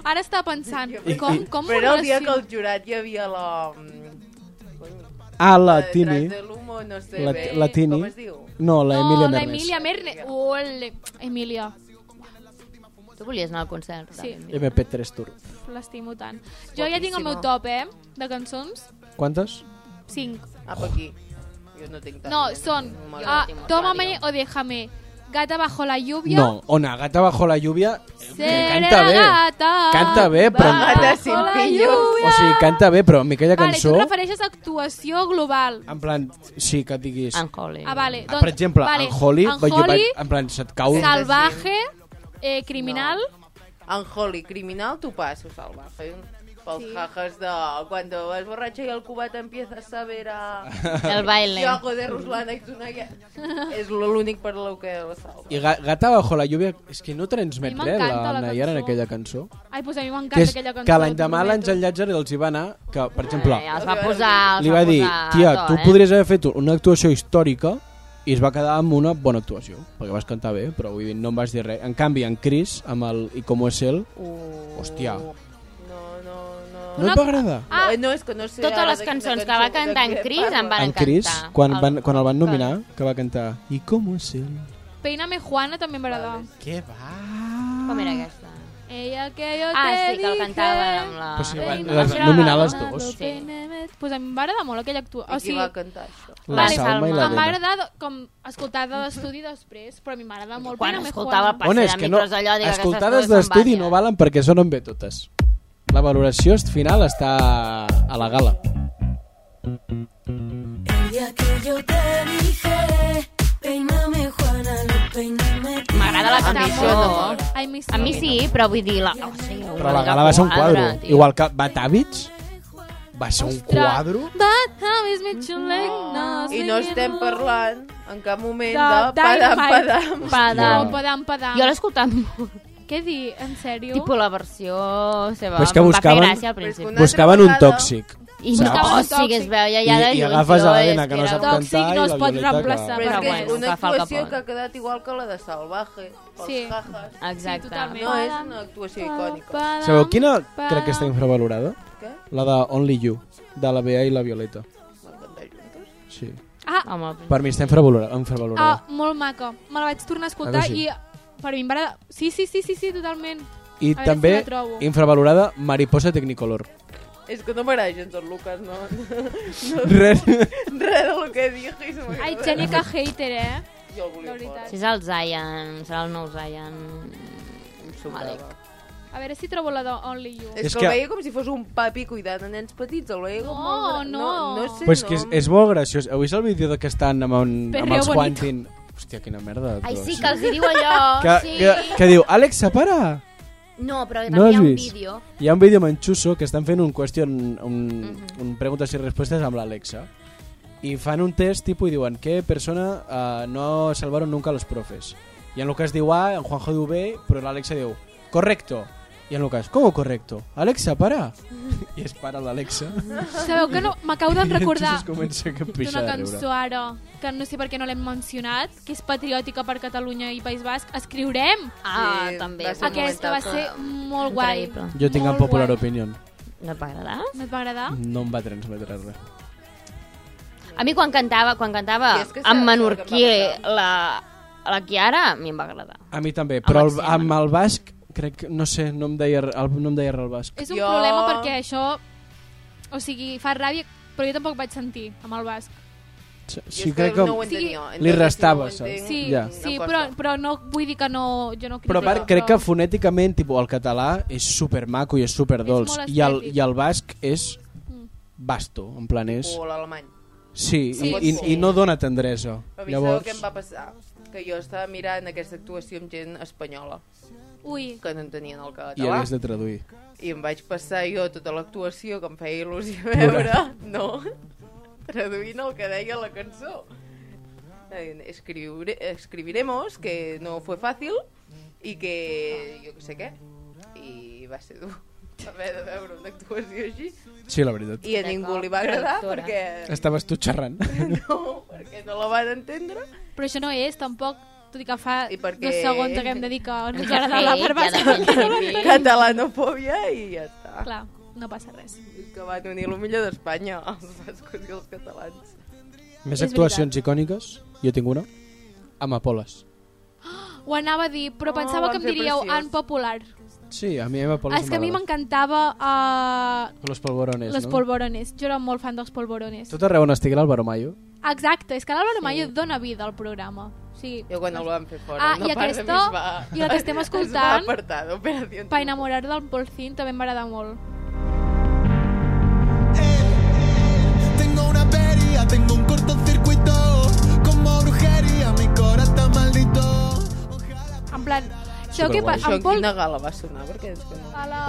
Ara està pensant,
I-
com,
i-
com
Però era el dia que
relaciono?
al jurat hi havia la... mm, Cony,
Ah, la
detrás
Tini...
del humo, no sé
La,
bé,
la Tini...
Com es diu?
No, la Emilia
no, la
Mernes.
Emilia Mernes. Ole, Emilia,
Tu volies anar al concert.
Sí.
també, mira.
MP3 Tour.
l'estimo tant. Jo ja tinc el meu top, eh, de cançons.
Quantes?
5.
Apa Ah, aquí. Jo no tinc tant.
No, són
No
ah,
m'agrada.
Tómame o Déjame, Gata bajo la lluvia,
No, Ona, Gata bajo la lluvia... eh,
Seré
Canta
la
bé.
gata
Canta bé, però...
Gata
bajo
sin
la
pillos.
lluvia.
O sigui, canta bé, però a mi aquella
Vale, tu
cançó...
et refereixes a actuació global.
En plan, Ah, sí, que et diguis...
Unholy.
Ah, vale.
Ah,
Doncs,
per exemple,
vale,
en Holly,
en
vaig-
Holly,
vaig- en plan, se't cau...
Salvaje, eh, Criminal,
Anjoli, criminal, tu passo, salva. Pels sí. jajas de... Cuando vas borracha y el cubat empiezas a ver a...
El baile.
Yo hago de Ruslana y Tunaya. És l'únic per lo que la salva.
I Ga- Gata bajo la lluvia... És que no transmet
A mi
res,
m'encanta
la
la
Nayara, en
cançó.
aquella cançó.
Ai, pues a mi
Que,
m'encanta
és,
aquella cançó.
que l'endemà
t'ho prometo.
l'Àngel Llàtzer els hi va anar que, per exemple,
Eh, els va posar... Els
li va dir,
posar
tia,
to,
tu
eh?
podries haver fet una actuació històrica i es va quedar amb una bona actuació, perquè vas cantar bé, però vull dir, no em vas dir res. En canvi, en Chris, amb el I com és ell,
Uh,
hòstia,
No, no, no.
no et va agradar?
Ah, no, és que no sé
Totes
ara
les
de quina
cançons que
cançó-
va cantar
de
en
què
Cris em
parla.
van
En Chris,
encantar.
quan, van, quan el van nominar, que va cantar I com és ell?
Peíname Juana també m'agradava.
Què va?
Com era aquesta?
Ella que jo
Ah,
te
sí, que el
dije,
cantaven amb la...
Però si van-
peíname
les
Juana,
nominar les
Juana,
dues.
lo
Sí.
peíname- Pues a mi m'agrada molt aquella actuació. O
I qui
sigui,
va cantar això?
La
Vale,
Salma i la
Salma.
em va
Elena.
agradar do- com escoltar de l'estudi després, però a mi m'agrada molt
Quan
Peíname
escoltava el
Juana.
On
passi
és
de
que no,
micros allò, dic, aquestes
escoltades
dues se'n
d'estudi
van,
no
ja.
valen perquè sonen bé totes. La valoració final està a la gala.
El día que yo te dije, peíname Juana, lo peíname tú.
M'agrada la
mi
cançó.
això no.
Ai, mi sí.
A mi sí, però vull dir... La... O sigui,
Però la gala va ser un quadro.
tio.
Igual que Batavits va ser un
Ostres.
quadro.
But how is me to like no,
I no estem parlant en cap moment
De
de padam,
Dynamite.
padam.
Padam.
No.
Padam, padam.
Jo l'he escoltat molt.
Què dir? En sèrio?
Tipo la versió seva.
Però és que
Em
buscaven-
Va fer gràcia al
Però és que
principi.
una
Buscaven un
trucada.
tòxic.
I no,
Saps?
o sigui, es veia ja
I-
de
i
lluny.
agafes
tio,
a l'Helena,
és
que no
era
sap
un-
Tòxic
cantar i
no es
la
pot
Violeta que-
reemplaçar.
Però és
Però
que és
bueno,
una
que fa el que
actuació
pot.
que ha quedat igual que la de Salvaje, pels
Sí.
jajas.
Sí,
Exacte.
totalment.
No és una actuació icònica.
Padam,
Sabeu quina
padam.
crec que està infravalorada?
Què?
La de Only You, de la Bea i la Violeta.
Van cantar juntes.
Sí.
Ah,
Home, el
Per mi està infravalorada. infravalorada.
ah, molt maca. Me la vaig tornar a escoltar
Ah, que sí?
i per mi em va agradar. Sí, sí, sí, sí, sí, totalment.
I
veure
també
si la trobo.
infravalorada Mariposa Technicolor.
És que no m'agrada gens el Lucas, no? [laughs]
Res.
Res del que diguis. m'agrada.
Ai, Xenia, que hater, eh?
Jo el volia
La veritat.
Si és el Zion, serà el nou Zion.
fora.
Malek.
A veure si trobo la de Only You.
És,
És
és que,
que-
el veia com si fos un papi cuidant a nens petits, el veia com
No,
molt... gra-
no.
no, no sé,
[laughs] pues
no.
que és, és molt graciós. Heu vist el vídeo de que estan amb, un, amb
Perreo
els
bonito.
Quantin? Hòstia, quina merda. de
Ai,
tros.
Doncs sí, que els hi diu [laughs] allò.
que,
sí.
que, que diu, Àlex, separa!
No, però també
No
hi
has
ha un
vist?
vídeo.
Hi ha un vídeo manxuso que estan fent un qüestion, un, un preguntes i respostes amb l'Alexa. I fan un test tipus i diuen que persona eh, no salvaron nunca los profes. I en Lucas diu A, en Juanjo diu B, però l'Alexa diu correcto. I en Lucas, ¿cómo correcto? Alexa, para. [laughs] I es para l'Alexa.
Sabeu que no, m'acabo de
I
recordar
entonces comença que pixa
d'una
de
cançó
riure.
ara, que no sé per què no l'hem mencionat, que és patriòtica per Catalunya i País Basc. Escriurem!
Ah,
Sí,
també.
va ser un
Aquesta va
momentazo.
ser molt guai.
Increïble.
Jo tinc
Molt
en popular Mm.
guai. Ah?
opinion.
No et va agradar?
No et va agradar?
No em va transmetre res.
A mi quan cantava, quan cantava
I és que
amb
és
menorquí
el que
la, la Kiara, a mi em va agradar.
A mi també, però el,
Maxima.
amb el basc crec que, no sé, no em deia, el, no em deia res el basc.
És un
Jo-
problema perquè això... O sigui, fa ràbia però jo tampoc vaig sentir amb el basc.
Sí,
Jo
sí
és
crec
que
que...
no ho
Sí.
entenia.
Li
Entenc,
restava,
si no ho
saps?
entenc,
Sí,
Ja.
sí
no costa.
però, però no vull dir que no... Jo no
Però a part,
critico,
crec que
però-
fonèticament tipo, el català és supermaco i és superdolç.
És molt
I el,
estètic. Mm.
I el basc és basto, en plan és...
O l'alemany.
Sí,
Sí.
i, i, i no dona tendresa.
A mi Llavors...
Llavors...
sabeu què em va passar? Que jo estava mirant aquesta actuació amb gent espanyola,
Ui,
que no entenien el català.
I hagués de traduir.
I em vaig passar jo tota l'actuació que em feia il·lusió veure, no, traduint el que deia la cançó. Eh, Escriure, escribiremos que no fue fácil i que jo que sé què. I va ser dur [laughs] haver de veure una actuació així.
Sí, la veritat.
I a ningú li va agradar [laughs] perquè
Estaves tu
[laughs]
xerrant.
no, perquè no la van entendre.
però això no és tampoc, tot i que fa
I perquè-
dos segons que hem de dir que ens agrada la
Sí,
part basca.
ja
[laughs] que no l'entenem.
Catalanofòbia i ja està.
Clar, no passa res.
És que van unir el millor d'Espanya, els bascos i els catalans.
Més
És
actuacions icòniques. Jo tinc una. Amb Apoles.
Ho anava a dir, però
Oh,
pensava
vam
que em
fer
diríeu
preciós.
en popular.
Sí, a mi Amapoles
Ah, és que a mi
m'agrada.
m'encantava uh,
Los polvorones,
los
no?
polvorones. Jo era molt fan dels polvorones.
Tot arreu on estigui l'Álvaro Mayo.
Exacte, és que l'Àlvaro Mayo dona vida al programa. O sigui,
Eh,
Jo quan el van fer fora,
Ah,
una
i
part de mi
aquesta-
es va...
i la que estem
[laughs] Es va
escoltant-
apartar d'Operació.
eh.
pa enamorar del Polcín també m'agrada molt.
Eh, Tengo una avería, tengo un cortocircuito. Como brujería, mi cora está maldito.
En plan, això que
Superguai.
passa
Això en
amb Pol...
quina gala va sonar? Perquè és que no...
A la...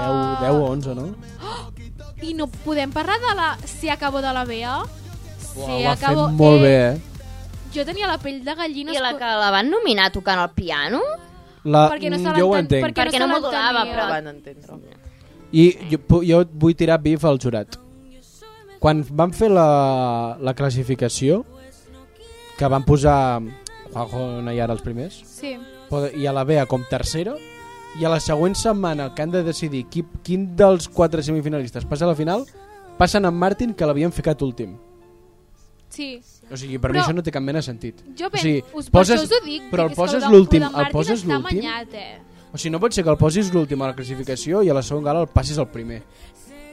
10, 10 o 11, no?
I no podem parlar de la Si acabo de la Bea? Si
Uau, ho ha fet molt bé, eh?
Jo tenia la pell de gallina...
I la que la van nominar tocant el piano?
La, mm,
Perquè no se
jo ho
l'enten-
entenc.
perquè-
Perquè
no
no,
se
m'ho donava,
l'entenia.
No
però...
van entendre.
I jo, pu- jo vull tirar bif al jurat. Quan van fer la, la classificació, que van posar Juanjo Nayar els primers,
Sí.
pode- i a la Bea com tercera, i a la següent setmana que han de decidir qui, quin dels quatre semifinalistes passa a la final, passen a en Martin, que l'havien ficat últim.
Sí.
O sigui, per mi
Però-
això no té cap mena de sentit.
Jo
o
penso,
sigui,
us, per
poses,
això us ho dic,
però
dic,
el
és que
poses
de-
l'últim,
de
el
Martin
poses
està
l'últim.
Manyat, eh?
O sigui, no pot ser que el posis l'últim a la classificació i a la segona gala el passis el primer.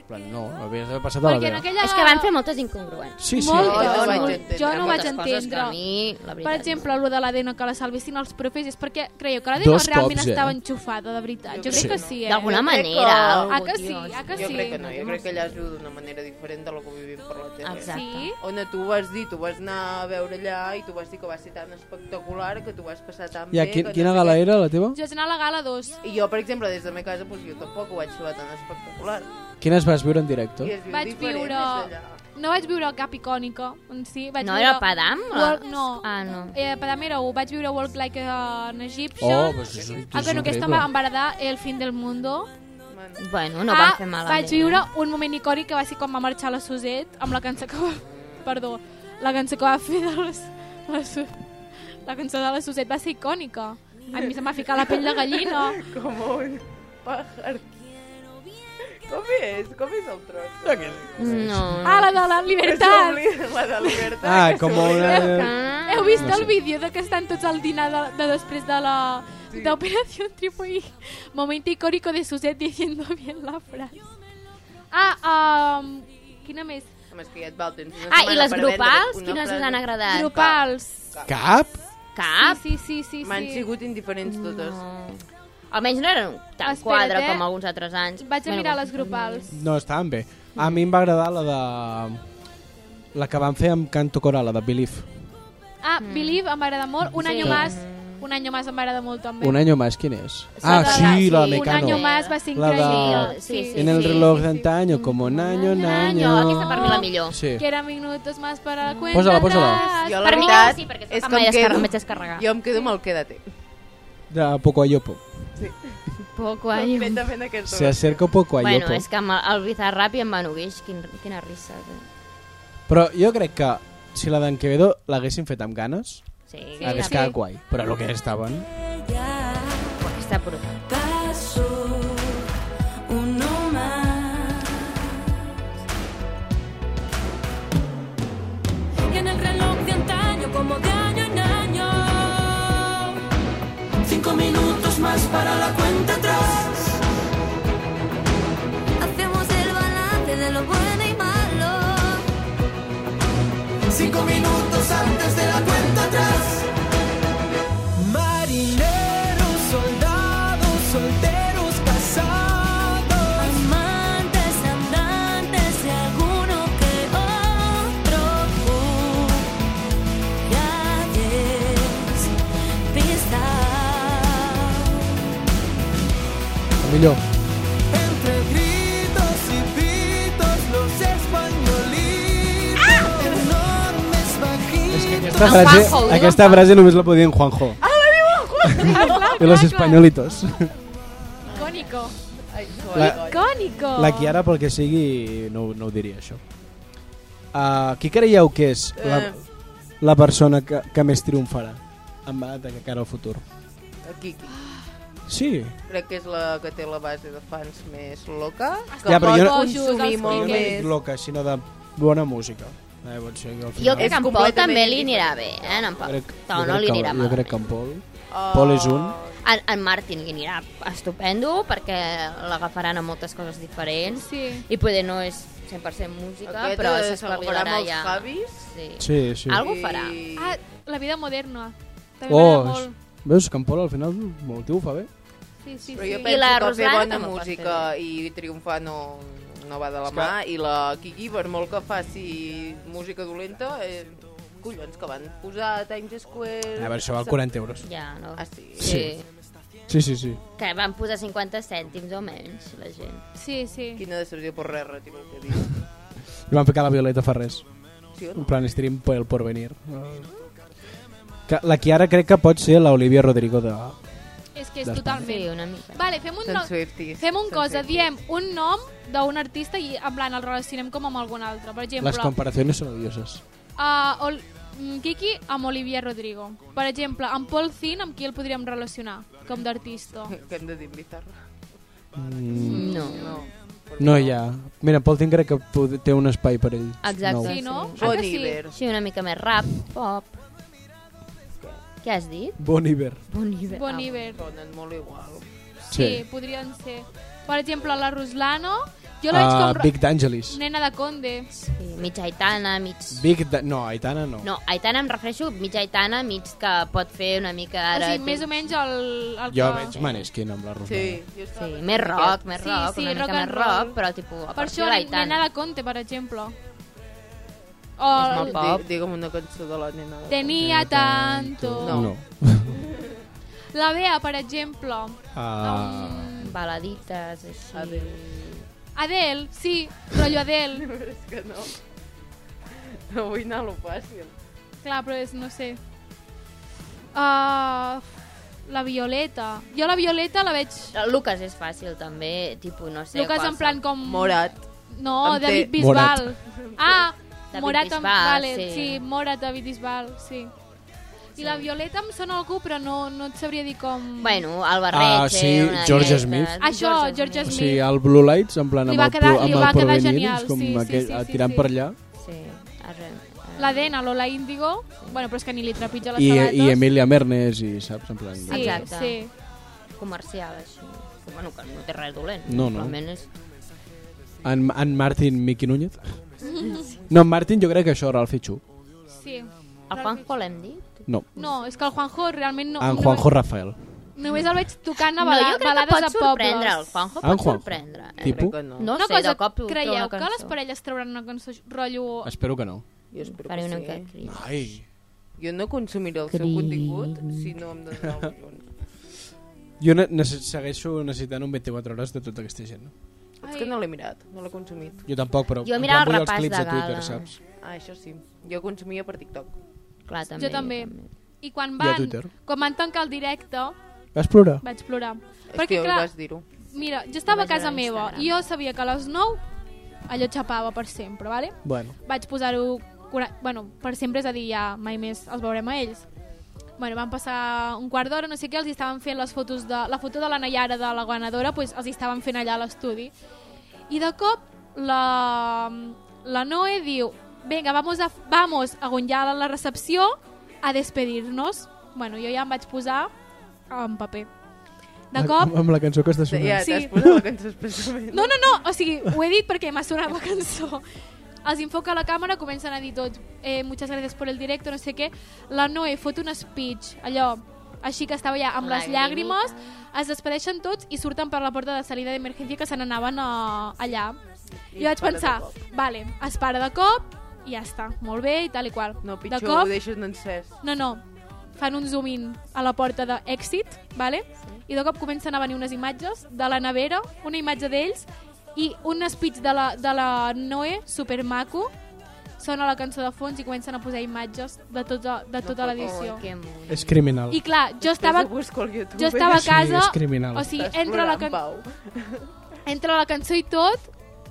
En plan, no, havies d'haver passat a la
Perquè en
Bea.
aquella...
És que van fer moltes incongruents.
Sí, sí.
Moltes,
Jo no vaig
molt-
entendre
jo no
moltes
vaig
Coses que
entendre.
a mi, la veritat...
Per exemple, el de l'Adena que la salvessin els profes és perquè creieu que l'Adena
Dos
realment
cops, eh?
estava enxufada, de veritat. Jo crec
Sí.
que sí, eh?
D'alguna
crec que-
manera...
Ah,
algú,
que
tio,
sí,
és
ah, que
Jo
sí.
crec que no, jo crec que allà es viu d'una manera diferent de la que vivim per la tele.
Exacte.
Sí?
Ona, tu vas dir, tu vas anar a veure allà i tu vas dir que va ser tan espectacular, que tu vas passar tan
Ja,
bé...
quin,
que
quina
sé
gala
què.
era la teva?
Jo vaig anar a la gala 2.
I jo, per exemple, des de la meva casa, doncs, jo tampoc ho vaig trobar tan espectacular.
Quines vas viure en
I
directe?
es viu
Vaig
diferent
viure...
des d'allà.
No vaig viure cap icònica, en si. Vaig
No
viure...
era Padam?
World- No.
Ah, no.
Eh, Padam era un. Vaig viure Walk Like an Egyptian.
Oh, pues és, un-
Ah,
és
bueno, aquesta em
increïble.
va agradar El fin del mundo.
Bueno,
Bueno, no van fer malament.
Ah,
eh?
Vaig viure un moment icònic que va ser quan va marxar la Suset amb la cançó que va... Perdó. La cançó que va fer de les... La, Su... la cançó de la Suset va ser icònica. A mi se'm va ficar la pell de gallina.
Como un [laughs] pájaro. Com és? Com és el tros?
No.
Ah, la de la libertat!
La de libertat.
Ah, com una...
Ah,
Heu vist
No sé.
el vídeo de que estan tots al dinar de, de després de la... d'Operació Tripo i... Momento icónico de Suset diciendo bien la frase. Ah, um, quina més?
Home, és que ja et val, tens una
ah i
setmana
les
per
grupals?
vendre't una
Quines us
frase.
han agradat?
Grupals.
Cap?
Cap?
Sí, sí, sí, sí.
M'han
sí.
sigut indiferents totes.
No. Almenys no eren tan
Espera't,
quadre
eh?
com alguns altres anys.
Vaig a
Bueno,
mirar
com-
les grupals.
No, estaven bé. A mi em va agradar la de... La que van fer amb Canto Coral, la de Belief.
Ah, Believe em va agradar molt. Un
Mm. Sí.
año más. Un año más em va agradar molt també.
Un año más, quin és?
S'ha
Ah,
de-
sí, la
sí,
de
Un
Mecano.
año más va ser
La de-
increïble.
Sí, sí,
En el
sí,
reloj
sí, sí.
d'antaño, como un año, un año...
No, aquesta per mi la millor.
Sí.
Que eran minutos más para la cuenta
Posa-la, posa-la.
atrás.
Jo, la
Per mi,
veritat,
sí, perquè
és
és
que
com
em quedo-
vaig descarregar.
Jo em quedo amb el quédate.
De poco a yopo.
Poco, ai.
Completament aquesta.
Se acerca poco a
Bueno,
yopo.
és que amb el, el Bizarrap i en Manuguix, quin, quina risa. eh?
Però jo crec que si la d'en Quevedo l'haguessin fet amb ganes,
Sí,
sí,
sí.
hagués
sí.
quedat guai. Però el que estaven...
està brutal.
Paso uno más. Y en el reloj de antaño, como de año en año.
Cinco minutos más para la cuenta atrás.
Hacemos el balance de lo bueno y malo.
Aquesta frase, aquesta frase només la podien Juanjo
Ah,
[laughs]
i los españolitos.
Oh.
Icónico.
La-
Icónico.
La Kiara, pel que sigui, no, no ho diria, això. Uh, qui creieu que és la,
Eh.
la persona que, que més triomfarà en va de cara al futur?
El Kiki.
Sí,
Crec que és la que té la base de fans més loca. Que
Ja, però jo no-
pot
Bojos,
consumir
els
molt
no
més.
dic loca, sinó de bona música. Eh, pot ser que al
Jo
final...
crec que
És
en Pol
completament
també li
diferent.
anirà bé, eh? En, en Pol.
crec,
No,
jo
no
crec
li Oh.
que-
anirà
Jo crec
malament.
que en Pol... Pol és un...
En, en Martin li anirà estupendo perquè l'agafaran a moltes coses diferents
Sí.
i poder no és 100% música,
Aquest
però
eh,
s'espavilarà
s'espavilarà amb els
ja.
Javis.
Sí.
Sí, sí.
Algo farà.
I-
Ah, la vida moderna. També
Oh,
m'agrada
és-
molt.
veus que en Pol al final molt ho fa bé.
Sí, sí,
Però jo
sí.
penso
la
que fer
Ruslana
bona
també ho pot
música i triomfar no, no va de la mà. I la Kiki, per molt que faci música dolenta, eh, collons, que van posar a Times Square...
A veure, això val 40 euros.
Ja, no.
Ah, sí?
Sí.
Sí, sí, sí.
Que van posar 50 cèntims o menys, la gent.
Sí, sí.
Quina decepció per res, retiro el que dic.
I van ficar la Violeta Ferrés.
Sí o
En
no?
plan, stream por el porvenir. Que, la Kiara crec que pot ser l'Olivia Rodrigo de...
És que és
D'Espanya.
Sí,
totalment...
una mica.
Vale, fem un,
Són
nom,
Swifties.
fem un
Són
cosa,
Swifties.
diem un nom d'un artista i en plan el relacionem com amb algun altre. Per
Les
exemple,
comparacions són odioses.
a Ol mm, Kiki amb Olivia Rodrigo. Per exemple, amb Paul Thin, amb qui el podríem relacionar com d'artista?
Que hem de d'invitar-la.
Mm,
No.
No.
no hi ha. Mira, Paul Thin crec que pod- té un espai per ell.
Exacte.
Sí, no?
Sí.
Ah,
Bon
que sí?
Iver.
Sí, una mica més rap, pop. Què has dit?
Nou. Bon Iver.
Bon Iver. Ah,
Bon Iver.
Sonen molt igual.
Sí,
Sí.
podrien ser. Per exemple, la Ruslano, jo la veig
Uh,
com
Big D'Angelis.
nena de conde.
Sí, mig Aitana, mig...
Big da No, Aitana no.
No, Aitana em refereixo mig Aitana, mig que pot fer una mica
o
ara...
sigui, més o menys el, el
Jo
que...
veig Maneskin amb la Rosa.
Sí, jo estava...
Sí, més rock, més
Sí,
rock,
sí,
una
rock and
mica més rock,
roll.
però tipus...
Per això, nena de conte, per exemple. O
És molt
el-
pop.
Di- Digue'm una cançó de la nena. De...
Tenia tanto.
No. no.
La Bea, per exemple.
Uh,
Baladites, així...
Adele, sí, rotllo Adele.
Però és que no. No vull anar a lo fàcil.
Clar, però és, no sé. Uh, la Violeta. Jo la Violeta la veig...
El Lucas és fàcil, també, tipus, no sé...
Lucas en plan
Mm.
com...
Morat.
No,
Em té-
David Bisbal. Ah,
David
Morat amb...
Bisbal,
Vale,
sí.
sí. Morat, David Bisbal, sí. I la Violeta em sona algú, però no, no et sabria dir com... Ah,
Bueno, el barret...
Ah, sí, George Smith.
Això, George
o
Smith.
sigui, el Blue Lights, en plan,
Li
amb
va
el,
quedar-
pro-
li
amb
va
el
quedar
provenir,
genial,
és com
sí, sí,
aquell,
sí, sí,
tirant
sí.
per allà.
Sí, eh, arre,
La Dena, Lola Índigo. Bueno, però és que ni li trepitja les
I,
sabates.
I Emilia Mernes, i saps, en plan...
Sí,
Exacte.
sí.
comercial, així. Que, bueno, que no té res dolent.
No, no.
Simplement és...
En, en Martin Miqui Núñez? No, en Martin jo crec que això, Ralph Chu.
sí.
El Juanjo l'hem dit?
No,
No, és que el Juanjo realment no...
en Juanjo Rafael.
Només, només el veig tocant a
no,
bala,
jo crec que
balades
pot
de pobles.
sorprendre, el
Ah, en
Juanjo pot
Juanjo.
sorprendre. Eh?
Tipo?
Crec que no.
No,
una
sé,
cosa,
de cop treu
creieu
una
que les
cançó.
parelles trauran una cançó rotllo...
Espero que no.
Jo espero
Faré
que
una
sí. eh?
mica de crit.
Ai.
Jo no consumiré el seu contingut si no em donen el guion.
Jo ne ne segueixo necessitant un 24 hores de tota aquesta gent.
És que no l'he mirat, no l'he consumit.
Jo tampoc, però...
Jo
en
mirava
plan, vull
el repàs
els clips
de
de Twitter,
gala.
saps?
Ah, això sí. Jo consumia per TikTok.
Clar, també.
Jo també. I quan
I a
van,
Twitter.
quan van tancar el directe,
Vas plorar?
vaig plorar.
Perquè,
Perquè,
Hòstia,
clar,
vas dir-ho.
mira, jo estava a
Ho vaig
casa
veure a
meva
Instagram.
i jo sabia que a les 9 allò xapava per sempre, vale?
Bueno.
vaig posar-ho... cura- Bueno, per sempre, és a dir, ja mai més els veurem a ells. Bueno, van passar un quart d'hora, no sé què, els hi estaven fent les fotos de... La foto de la Nayara, de la guanadora, doncs els hi estaven fent allà a l'estudi. I de cop la, la Noe diu Venga, vamos a, vamos a guanyar a la recepció a despedir-nos. Bueno, jo ja em vaig posar en paper. De cop...
Amb la cançó que està sonant.
Ja,
Sí.
t'has posat la cançó especialment.
No, no, no, o sigui, ho he dit perquè m'ha sonat la cançó. Els enfoca la càmera, comencen a dir tots eh, muchas gracias por el directo, no sé què. La Noe fot un speech, allò, així que estava ja amb les
Lagrimita.
llàgrimes, es despedeixen tots i surten per la porta de salida d'emergència que se n'anaven a... allà. I,
I
jo
es
vaig
para de
pensar,
cop.
vale, es para de cop i ja està, molt bé i tal i qual.
No,
de
pitjor, ho
cop,
deixes encès.
no, no. Fan un zoom in a la porta d'èxit, vale? i de cop comencen a venir unes imatges de la nevera, una imatge d'ells i un speech de la, de la Noe, supermaco, sona la cançó de fons i comencen a posar imatges de, tot, de tota l'edició.
Oh, que mono.
És criminal.
I clar, jo estava,
Després ho busco al YouTube.
jo estava a
Sí,
casa...
és criminal.
O sigui,
Estàs
entra la,
plorant,
can...
Pau.
entra la cançó i tot,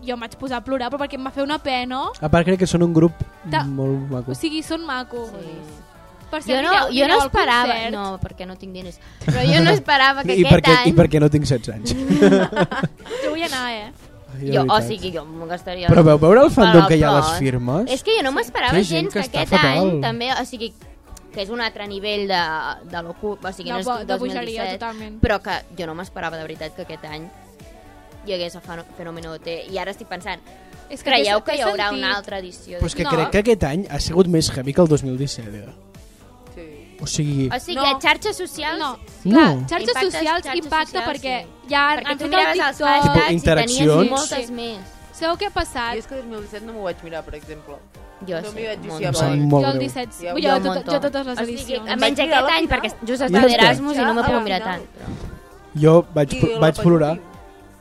jo em vaig posar a plorar, però perquè em va fer una pena.
A part crec que són un grup
Ta-
molt maco.
O sigui, són macos. Sí. Per
Jo no,
mireu-
jo no
mireu el
esperava...
concert.
No, perquè no tinc diners. Però jo [laughs] no esperava que
I
aquest
perquè,
any...
I perquè no tinc 16 anys. [laughs]
Jo vull anar, eh?
Ai, de
Mm. Jo, o
veritat.
sigui, jo m'ho gastaria...
Però veu veure el fandom
Però,
que hi ha a
però,
les firmes?
És que jo no m'esperava
Que hi ha gent
gens
que
que,
està
aquest
fatal.
any també, o sigui, que és un altre nivell de, de l'ocu... O sigui,
De
no és
bo- de
2017,
bogeria, totalment.
Però que jo no m'esperava de veritat que aquest any hi hagués el feno- fenòmeno OT. I ara estic pensant,
És
creieu
té-
que
té
hi haurà
sentit.
una altra edició?
Però és que
No.
crec que aquest any ha sigut més heavy que el 2017. eh?
Sí.
O sigui,
O sigui,
No.
a xarxes socials...
No,
No.
clar, xarxes
Impactes-
socials
xarxes
impacta
socials,
perquè
sí.
ja han,
Perquè
han fet
tu
el
miraves
TikTok...
els
Tipo,
hashtags i
interaccions.
tenies moltes
Sí.
més.
Sabeu què ha
Jo
passat?
és que el 2017 no m'ho vaig mirar, per exemple.
Jo
No
sí,
m'hi vaig
molt.
juiciar
em sap
molt.
molt
jo el
greu.
17, jo,
Jo- jo
jo,
un
tot,
montón.
jo totes les
O sigui,
edicions.
almenys
Vaig mirar
aquest
la
any,
final.
perquè just
Ja
estava
està.
d'Erasmus i no m'he
Ja,
pogut
al
mirar
final.
tant.
Jo vaig,
I
pl-
la
vaig
Pau
plorar,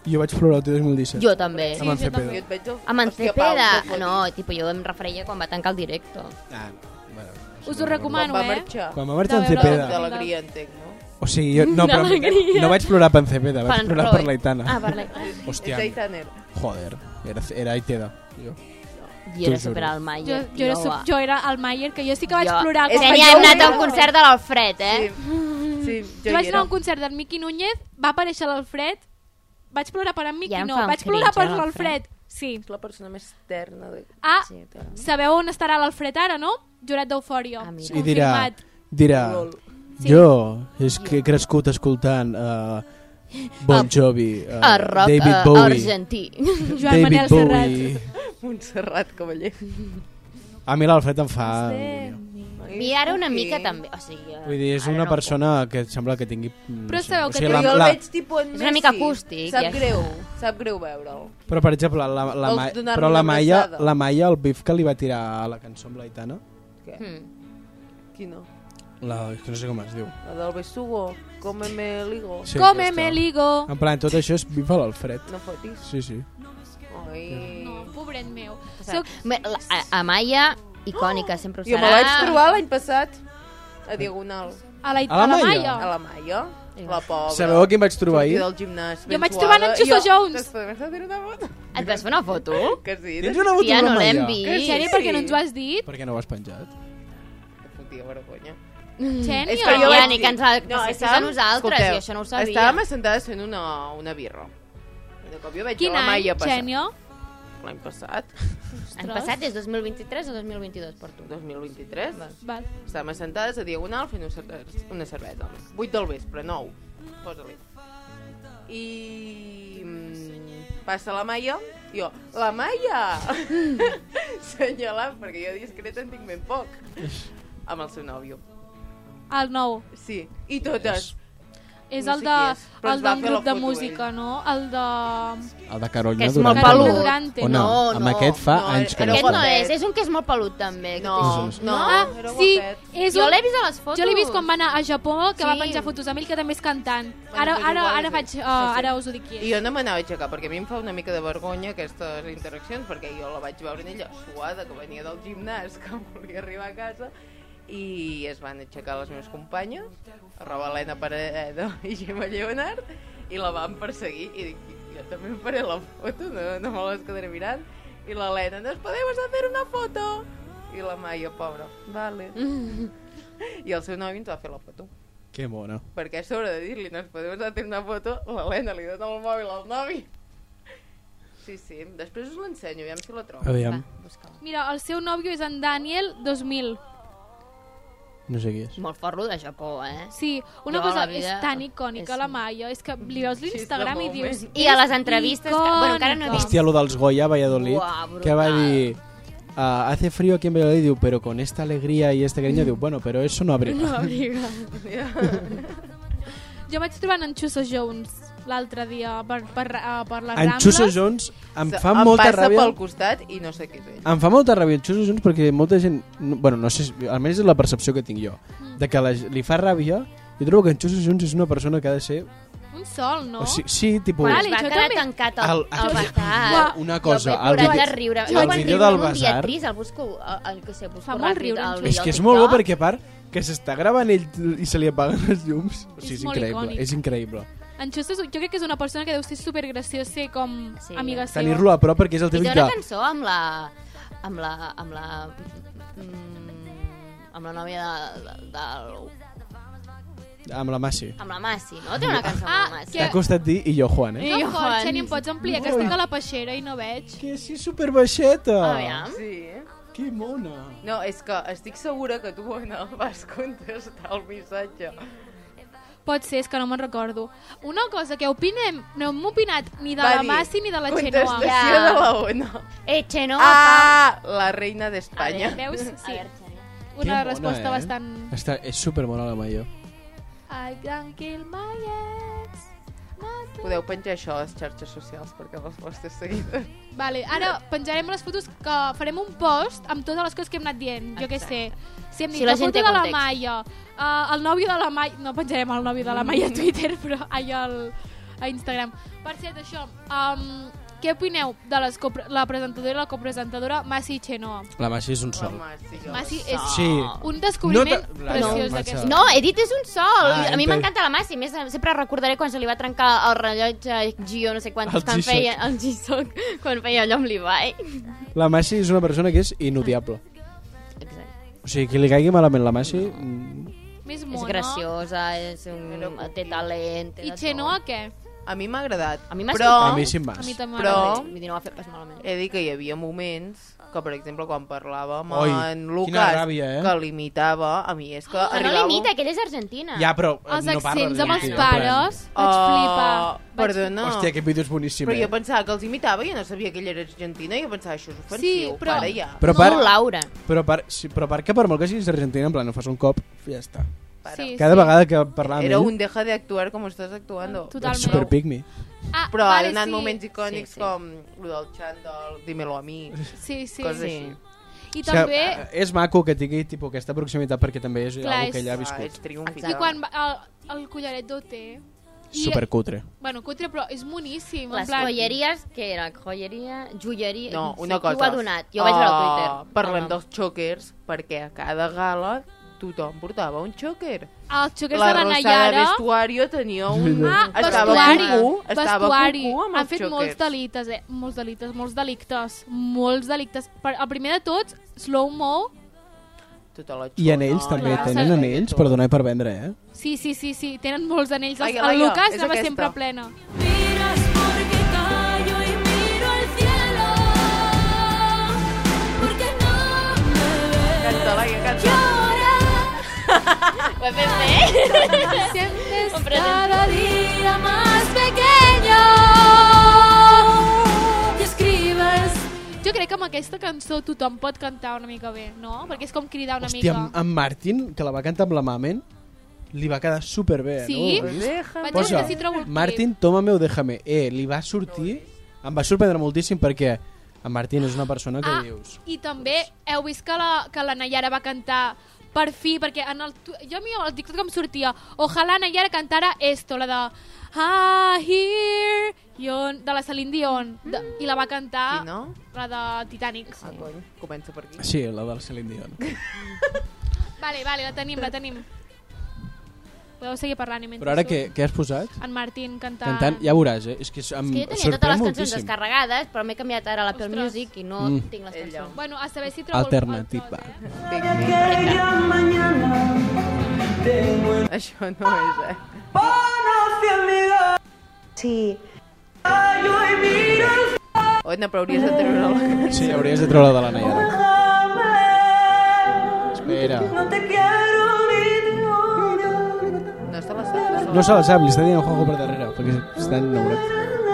diu,
jo vaig plorar el 2017.
Jo també.
Amb en
Sí, jo
Cepeda.
Jo et veig el...
Amb en
Hòstia, Pau,
Cepeda,
fotis.
no, tipo, jo em referia quan va tancar el directe.
Ah, bueno,
Us ho recomano.
Quan va
eh?
marxar.
Quan va marxar en
De veure-
Cepeda...
D'alegria, entenc, no?
O sigui,
[laughs]
jo, no, però
D'alegria.
no vaig plorar per en Cepeda, vaig
en
plorar
Roy.
per l'Aitana.
Ah, per l'Aitana.
Hòstia,
És Aitaner.
joder, era, era Aiteda. Jo.
I
T'ho
era
juro.
super al Maia,
Jo, jo, era, sub, jo era el Mayer, que jo sí que vaig plorar.
És
quan
que
vaig
ja
jo
hem
veure-
anat a un
era.
concert de l'Alfred, eh?
Sí,
Jo
jo
vaig anar
hi era.
a un concert d'en Miqui Núñez, va aparèixer l'Alfred, vaig plorar per en Miqui,
Ja em
no,
fa un
vaig plorar per
cringe, eh, l'Alfred.
l'Alfred. Sí.
És la persona més terna de...
Ah,
Sí, però...
sabeu on estarà l'Alfred ara, no? Jurat d'Eufòria.
Ah, mira.
I dirà,
Confirmat.
dirà
Lol.
Sí.
jo és que he crescut escoltant uh, Bon Jovi, uh,
A rock
David
eh,
Bowie,
[laughs]
argentí.
Joan
David
Manel Serrat.
Bowie...
Montserrat Cavaller.
[laughs]
A mi l'Alfred em fa... agonia.
I ara una
Sí.
mica també, o sigui... eh,
Vull dir, és
ara
una
no
persona que sembla que tingui... mm,
Però
no sé,
sabeu que
Però
la-
jo el
la-
veig tipus en
És
Messi.
una mica acústic,
Sap
ja.
greu, sap greu veure'l.
Però, per exemple, la, la,
Vols
Ma-
donar-me
però la
una
Maia,
abraçada?
la Maia, el bif que li va tirar a la cançó amb l'Aitana,
Què?
puc. Mm.
Qui no?
la, és que no sé com es diu.
La del Besugo, cómeme el higo.
Sí,
Come
aquesta.
meligo.
En plan, tot això és bif a l'Alfred.
No fotis.
Sí, sí.
Ai.
No, pobret meu.
O
Soc...
sigui, me- la- a- Amaya, icònica, sempre ho
Jo
serà.
me la vaig trobar l'any passat a Diagonal,
A la,
A la
a la
Maia?
Maia.
Ah.
a la Maia. La pobra.
Sabeu a qui em vaig trobar
Sortir
ahir?
del gimnàs.
Jo em vaig trobar en
suada,
Xuso
i jo,
Jones.
"Després de fer una foto?"
Et vas fer una foto?
Que sí,
Tens una foto
Tia,
amb la
no l'hem
Maia?
vist.
En
Sí.
sèrio, perquè no ens ho has dit?
Per què no ho has penjat?
Fotia vergonya.
Xènia.
Mm. És que jo
Ja,
vaig
ni
dir-
que ens la- que passis a
estàvem-
nosaltres,
escolteu,
i això no ho sabia.
Estàvem assentades fent una, una birra. I de cop jo veig
Quin
la
any,
Maia passar.
Xènia?
L'any passat,
Han passat des 2023 a 2022 per tu.
2023,
Val.
estàvem assentades a Diagonal fent una cervesa. Una cervesa. 8 del vespre, 9. Posa-li. I... mm, Passa la Maia, i jo, la Maia! [laughs] Senyalant, perquè jo discreta en tinc ben poc. Amb el seu nòvio.
El nou.
Sí, i totes.
És
No
el
sé
de,
qui és, però
el
ens va
d'un
fer la
grup de
foto, eh.
música,
ell.
no? El de...
El de Carolina
Que és molt
Durante.
Carolina
pelut.
Durante.
O no,
No,
amb
no.
aquest fa
No,
anys que
era
no
Aquest
fa.
no
guapet.
és, és un que és molt pelut també. que
No,
Sí, sí, sí.
no,
ah,
era
sí,
guapet.
és
Jo
un...
l'he vist a les fotos.
Jo l'he vist quan va anar a Japó, que
Sí.
va penjar fotos amb ell, que també és cantant.
Bueno,
Ara,
pues
ara,
igual
ara,
és
faig,
ell.
uh,
Sí, sí.
ara us ho dic qui
I
és.
jo no me n'anava a aixecar, perquè a mi em fa una mica de vergonya aquestes interaccions, perquè jo la vaig veure en ella suada, que venia del gimnàs, [laughs] que volia arribar a casa, i es van aixecar les meves companyes, arroba Helena Paredo i Gemma Lleonard, i la van perseguir, i dic, jo també em faré la foto, no, no me les quedaré mirant, i l'Helena, nos podemos hacer una foto! I la Maia, pobra, vale. [laughs] I el seu nòvio ens va fer la foto.
Que bona.
Perquè a sobre de dir-li nos podem fer una foto, l'Helena li dona el mòbil al nòvio. Sí, sí. Després us l'ensenyo, ja si la trobo.
Aviam,
Mira, el seu nòvio és en Daniel 2000.
no sé qui és.
Molt forro de Japó, eh?
Sí, una
Jo,
cosa
la vida,
és tan icònica,
és-
la Maia, és que li veus l'Instagram i
moment.
dius...
I a les entrevistes... que- Bueno, encara no he vist...
Hòstia, lo dels Goya a Valladolid,
Buah, brutal.
que va dir... ah, hace frío aquí en Valladolid, diu, pero con esta alegría y este cariño, diu, bueno, pero eso no abriga.
Jo vaig trobar en Chuso Jones l'altre dia per, per, uh, per les
en
Rambles.
Chuso Jones em
Se-
fa molta
passa
ràbia...
pel costat i no sé què és ell.
Em fa molta ràbia el Chuso Jones perquè molta gent... no- Bueno, no sé, si- almenys és la percepció que tinc jo. De que la, li fa ràbia, jo trobo que en Chuso Jones és una persona que ha de ser
Un sol, no?
O sí, sí tipus...
Vale,
Vale, va
jo
quedar
també.
tancat
El-
al, al
el-
bazar.
Una cosa,
Jo
el,
vaig
vídeo-
de riure.
el
quan
vídeo
riure
del
un dia
bazar...
trist, el busco, el, el, que sé, busco
Fa molt
ràpid.
riure,
al
en
vídeo
És que
al
és molt bo
TikTok.
perquè, a part, que s'està gravant ell i se li apaguen les llums. O sigui,
És
és,
molt
increïble,
icònic.
és increïble.
En Xus, jo crec que és una persona que deu ser supergraciós ser com
Sí.
amiga seva.
Tenir-lo a prop perquè és el
I té
típic
una
que...
cançó amb la... amb la... amb la... mm, amb la nòvia de, de, del...
Amb la Massi.
amb la Massi, no? Té una cançó
Ah,
amb la Massi.
que-
T'ha costat dir i jo, Juan, eh?
No,
Ei,
Juan,
Juan.
Xeni, em pots ampliar, que estic a la peixera i no veig.
Que sí,
Ah,
superbaixeta!
Ah,
Aviam.
Sí. eh?
Que mona!
No, és que estic segura que tu no vas contestar el missatge.
Pot ser, és que no me'n recordo. Una cosa que opinem, no hem opinat ni de la
Va dir,
Massi ni de la
Contestació
Xenoa.
Ja.
de la ONU.
Eh, Xeno,
Ah, la reina d'Espanya.
[laughs]
Veus?
fa-
Sí,
A veure, Xeno.
Que
una
mona,
resposta
eh?
bastant...
Està, és supermona la Mayo.
I can kill my ex.
Podeu penjar això a les xarxes socials perquè respostes seguides.
Vale, ara penjarem les fotos que farem un post amb totes les coses que hem anat dient, jo què sé. Si hem dit
Si
la,
la gent
foto
té
de la
context.
Maia, uh, el nòvio de la Maia... No penjarem el nòvio de la Maia a Twitter, però allò al, a Instagram. Per cert, això, um, què opineu de les copre- la presentadora i la copresentadora Massi i Chenoa?
La Massi és un
La
sol.
Mar, sí, jo.
Massi és
Sí.
un descobriment
No te-
preciós
No,
d'aquesta.
No, he dit és un sol.
Ah,
a mi
ente-
m'encanta la Massi. A més, sempre recordaré quan se li va trencar el rellotge Gio, no sé quant,
El
quan
G-Shock.
feia el G-Shock, quan feia allò amb l'Ibai.
La Massi és una persona que és inodiable.
Exacte.
O sigui, qui li caigui malament la Massi... mm,
Més
És
mono.
graciosa, és un... té talent, té
I
de
Chenoa què?
A mi m'ha agradat.
A mi m'ha
però
A mi sí em vas.
A mi també
Però-
m'agrada.
tot. Vull dir, no ho ha fet pas malament.
he dit que hi havia moments que, per exemple, quan parlava amb
Oi,
en
quina
Lucas,
ràbia, eh?
que l'imitava, a mi és
Ah,
que
Que no
arribava...
limita, aquella és argentina.
Ja, però eh,
Els
no parla
accents amb els
argentí, en plan-
pares, vaig
Oh,
flipar. Vaig
perdona.
Hòstia, aquest vídeo és boníssim,
Però jo
eh?
pensava que els imitava i jo no sabia que ell era argentina i jo pensava això és ofensiu,
Sí, però-
pare, ja.
Però
no,
per,
Laura.
però, per, sí, però per que per molt que siguis argentina, en plan, no fas un cop, ja està.
Sí,
Cada
sí.
vegada que parlàvem
Era un deja de actuar com estàs actuando.
Total.
és
Totalment.
super pigmi.
Ah,
Però ha
vale,
donat
sí,
moments icònics
Sí, sí.
com el del xant del dímelo a mi,
Sí, sí.
coses
sí.
així.
I també,
O eh, sigui, és maco que tingui tipo, aquesta proximitat perquè també és
Clar,
Clar, que ella ha
és-
Ah, és
viscut.
triomf.
i quan va, el, el collaret d'OT... I, eh,
Supercutre.
Bueno, cutre, però és moníssim. en
Les
plan,
joieries, que era joieria, joieria...
No,
sí,
una
Qui ho
cosa. Ah,
ha donat? Jo vaig veure a Twitter.
Parlem
El nom.
dels xòquers, perquè a cada gala tothom portava un xòquer.
Els xoquers
La
de la
Rosa de
Nayara...
vestuario tenia un...
Ah,
estava
vestuari.
cucú, estava
vestuari.
cucú amb
Han
els
fet molts
xòquers.
delites, eh? Molts delites, molts delictes. Molts delictes. Per, el primer de tots, slow mo.
Tota la
I anells
xona,
també,
clar,
tenen
sí.
anells per donar i per vendre, eh?
Sí, sí, sí, sí. Tenen molts anells.
Ai,
el
Laia,
Lucas
és
anava
aquesta.
sempre plena.
Miras porque callo y miro al cielo. Porque no
Canta, Laia, canta.
Ho he fet bé?
Sientes
cada día más pequeño. Y escribes
Jo crec que amb aquesta cançó tothom pot cantar una mica bé, no? Perquè és com cridar una
Hòstia,
mica.
en, en Martin, que la va cantar amb la Mamen, li va quedar superbé, eh,
Sí?
no? Ho heu vist?
Déjame.
Vaig a veure si trobo el clip.
Martin, tómame o déjame. Eh, li va sortir... Em va sorprendre moltíssim perquè en Martin és una persona que
Ah,
dius...
i també heu vist que la, que la Nayara va cantar per fi, perquè en el, tu- jo a mi el TikTok em sortia ojalà Nayara cantara esto, la de Ah, here, Dion, de la Celine Dion, de, i la va cantar
Qui no?
la de Titanic.
Ah, cony, comença per aquí.
Sí, la del Celine Dion.
Vale, vale, la tenim, la tenim. Podeu seguir parlant i mentre
Però ara
surt
què, què has posat?
En Martín cantant.
Cantant, ja veuràs, eh? És que em
És que jo tenia totes
sorprèn
les cançons
moltíssim.
descarregades, però m'he canviat ara a l'Apple
Ostres.
Music i no
Mm.
tinc les
Ella.
cançons.
Bueno, a saber si trobo el- el
Alternativa.
tros, eh?
Això no és, eh?
Sí.
Ona, però hauries de treure-la.
Sí, hauries de treure de la Nayara. Espera.
No se la sap, no se la
No se la sap, li està dient eh? el Juanjo per darrere, perquè està enamorat.
Sabes que te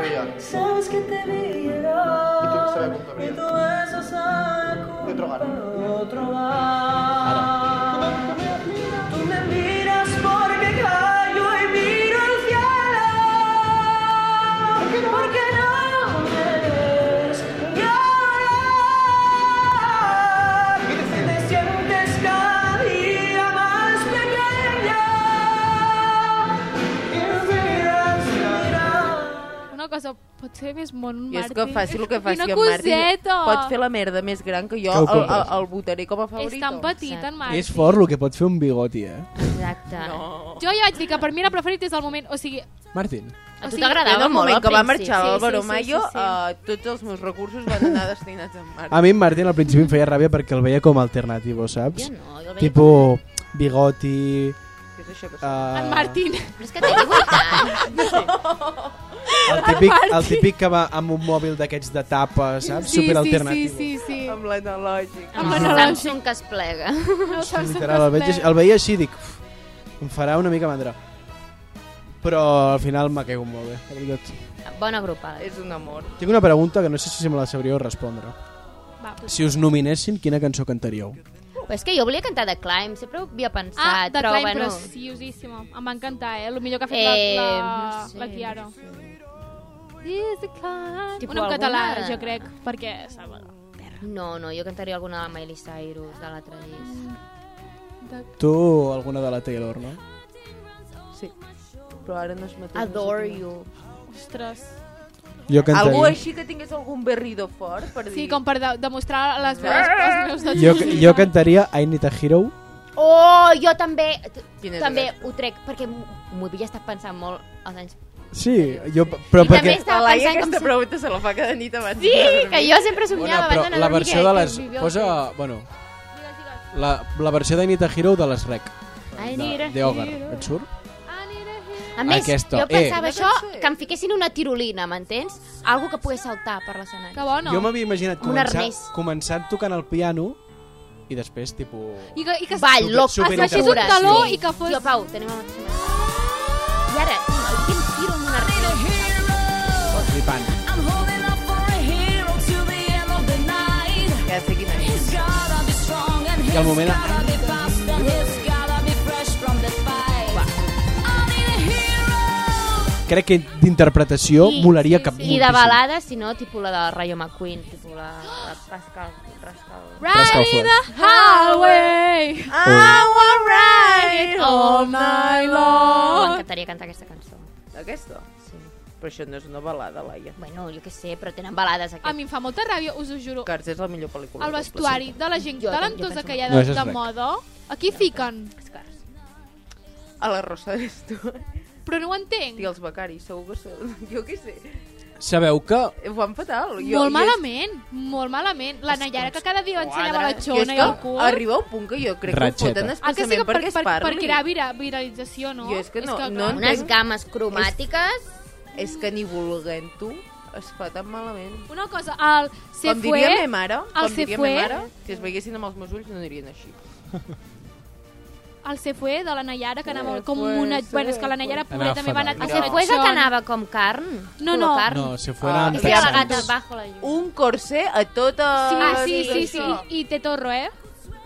voy a dar.
Sabes que te
Y tú que sabes punto de De otro hogar.
Ara.
sientes cada día más pequeña
eh? bé més món,
I és
Martí.
que faci el que faci
Quina
en Martí,
coseta!
pot fer la merda més gran que
Que
jo,
ho
el, el,
compres.
el votaré com a favorito.
És tan petit, en Marc.
És fort el que pot fer un bigoti, eh?
Exacte.
No.
Jo ja vaig dir que per mi era preferit des del moment... O sigui,
Martín.
A tu
sigui,
En
t'agradava
el
molt
moment
al
que va
principi. Sí,
marxar
sí,
l'Álvaro
sí,
Mayo,
sí, sí.
eh, tots els meus recursos van anar destinats a en Marc.
A mi en Martín al principi em feia ràbia perquè el veia com a alternativo, saps?
Jo no, jo el veia
tipo bigoti...
Què és això que
Uh,
en Martín...
Però és que té 18
[laughs]
anys.
el, típic, el típic que va amb un mòbil d'aquests de tapa, saps?
Sí, sí, sí,
Superalternativo.
sí, sí.
Amb l'analògic.
Amb el Samsung que es plega. [laughs]
No saps on
Literal, el,
estàs.
veig, així- el veia així i dic... "Uf, Em farà una mica mandra. Però al final m'ha caigut molt bé, la veritat.
Bona grupada.
És un amor.
Tinc una pregunta que no sé si me la sabríeu respondre.
Va, pues.
Si us nominessin, quina cançó cantaríeu?
Però és que jo volia cantar The Climb, sempre ho havia pensat.
Ah, de
però,
Klein,
bueno,
preciosíssima. Em va encantar, eh? El millor que ha fet
Eh,
la, la,
no sé,
la Kiara. This is Klein.
Tipo
Una en català,
alguna-
jo crec, perquè... Sabe,
No, no, jo cantaria alguna de la Miley Cyrus, de l'altre disc.
Tu o alguna de la Taylor, no?
Sí. Però ara no es mateix.
Adore you.
ostres.
Jo cantaria...
Algú així que tingués algun berrido fort per dir...
Sí, com per de demostrar les
Ah!
meves, els meus dots.
Jo, jo cantaria I Need a Hero.
Oh, jo també, t-
Quina és
també
aquesta?
ho trec, perquè m'ho m'ho havia estat pensant molt els anys.
Sí, jo, però
I
perquè...
també estava
La Laia
pensant com
aquesta
si-
pregunta se la fa cada nit abans
Sí,
de
que
dormir.
jo sempre
però
somiava abans d'anar
la
a dormir
versió de
que-
les...
que vivió-
Posa... Bueno, la, la versió d'I Need a Hero de les Rec.
I
De,
need a
de Ogre.
hero.
Et surt?
A més,
Aquesta,
jo
eh. No
pensava això, que em fiquessin una tirolina, m'entens? Algo que pogués saltar per l'escenari.
Que bona.
Jo m'havia imaginat
Un
començar,
arnès.
començant tocant el piano i després, tipo...
I que, i que
Ball,
Super-
loc,
super
baixés un
interpretació.
taló i que fos-
Tio, Pau, tenim el mateix. I ara, tio, aquí em tiro amb una arnesa.
Flipant.
I'm holding up for a hero till the end of the night.
Ja sé quina és.
He's gotta be strong and
I al
he's
moment-
gotta be fast and he's gotta be fresh from the fight. I need a hero.
Crec que d'interpretació
I-
molaria
sí,
cap
sí.
I de balada, si no, tipus la de Rayo McQueen, tipus la, la Pascal, Pascal.
Rascal
Riding
Flash.
the highway
I will ride all night long.
Oh, M'encantaria cantar aquesta cançó.
Aquesta?
Sí.
Però això no és una balada, Laia.
Bueno, jo què sé, però tenen balades
A
aquestes.
mi em fa molta ràbia, us ho juro.
Cars és la millor pel·lícula.
El
del
vestuari de la gent
Jo
talentosa
penso
que hi ha
No,
de,
això és
de
rec.
moda, aquí fiquen.
planeta. A la Rosa eres tu.
Però no ho entenc.
Tio, els becaris, segur que són. [laughs] Jo què sé.
Sabeu que...
Ho fan fatal. Jo,
molt
jo-
malament, molt malament. La Nayara que cada dia ensenyava la
Jo és
xona i
que
el cul.
arriba un punt que jo crec que
Ratxeta.
ho foten
Ah, que sí
expressament
que per,
perquè
per,
es parli.
perquè era vira, viralització, no?
Jo és que no- no
clar.
Unes
entenc.
games cromàtiques.
És que ni vulguent tu es fa tan malament.
Una cosa, el se
com
fue...
diria me mare,
el
com
se
diria
fue.
me mare, si es veiessin amb els meus ulls no anirien així.
El se fue de la Nayara, que anava
Se
com
fue,
una...
se
bueno, és que la Nayara
fue.
pobre també va anar...
Anava
El
a fer
Sefuego que
accions.
anava com carn.
No,
Color
no.
Carn.
No, se
Oh,
fuera amb
És que la
texans.
gata bajo la llum.
Un corset a tota...
Sí, Ah, sí, sí, sí, I, i te torro, eh?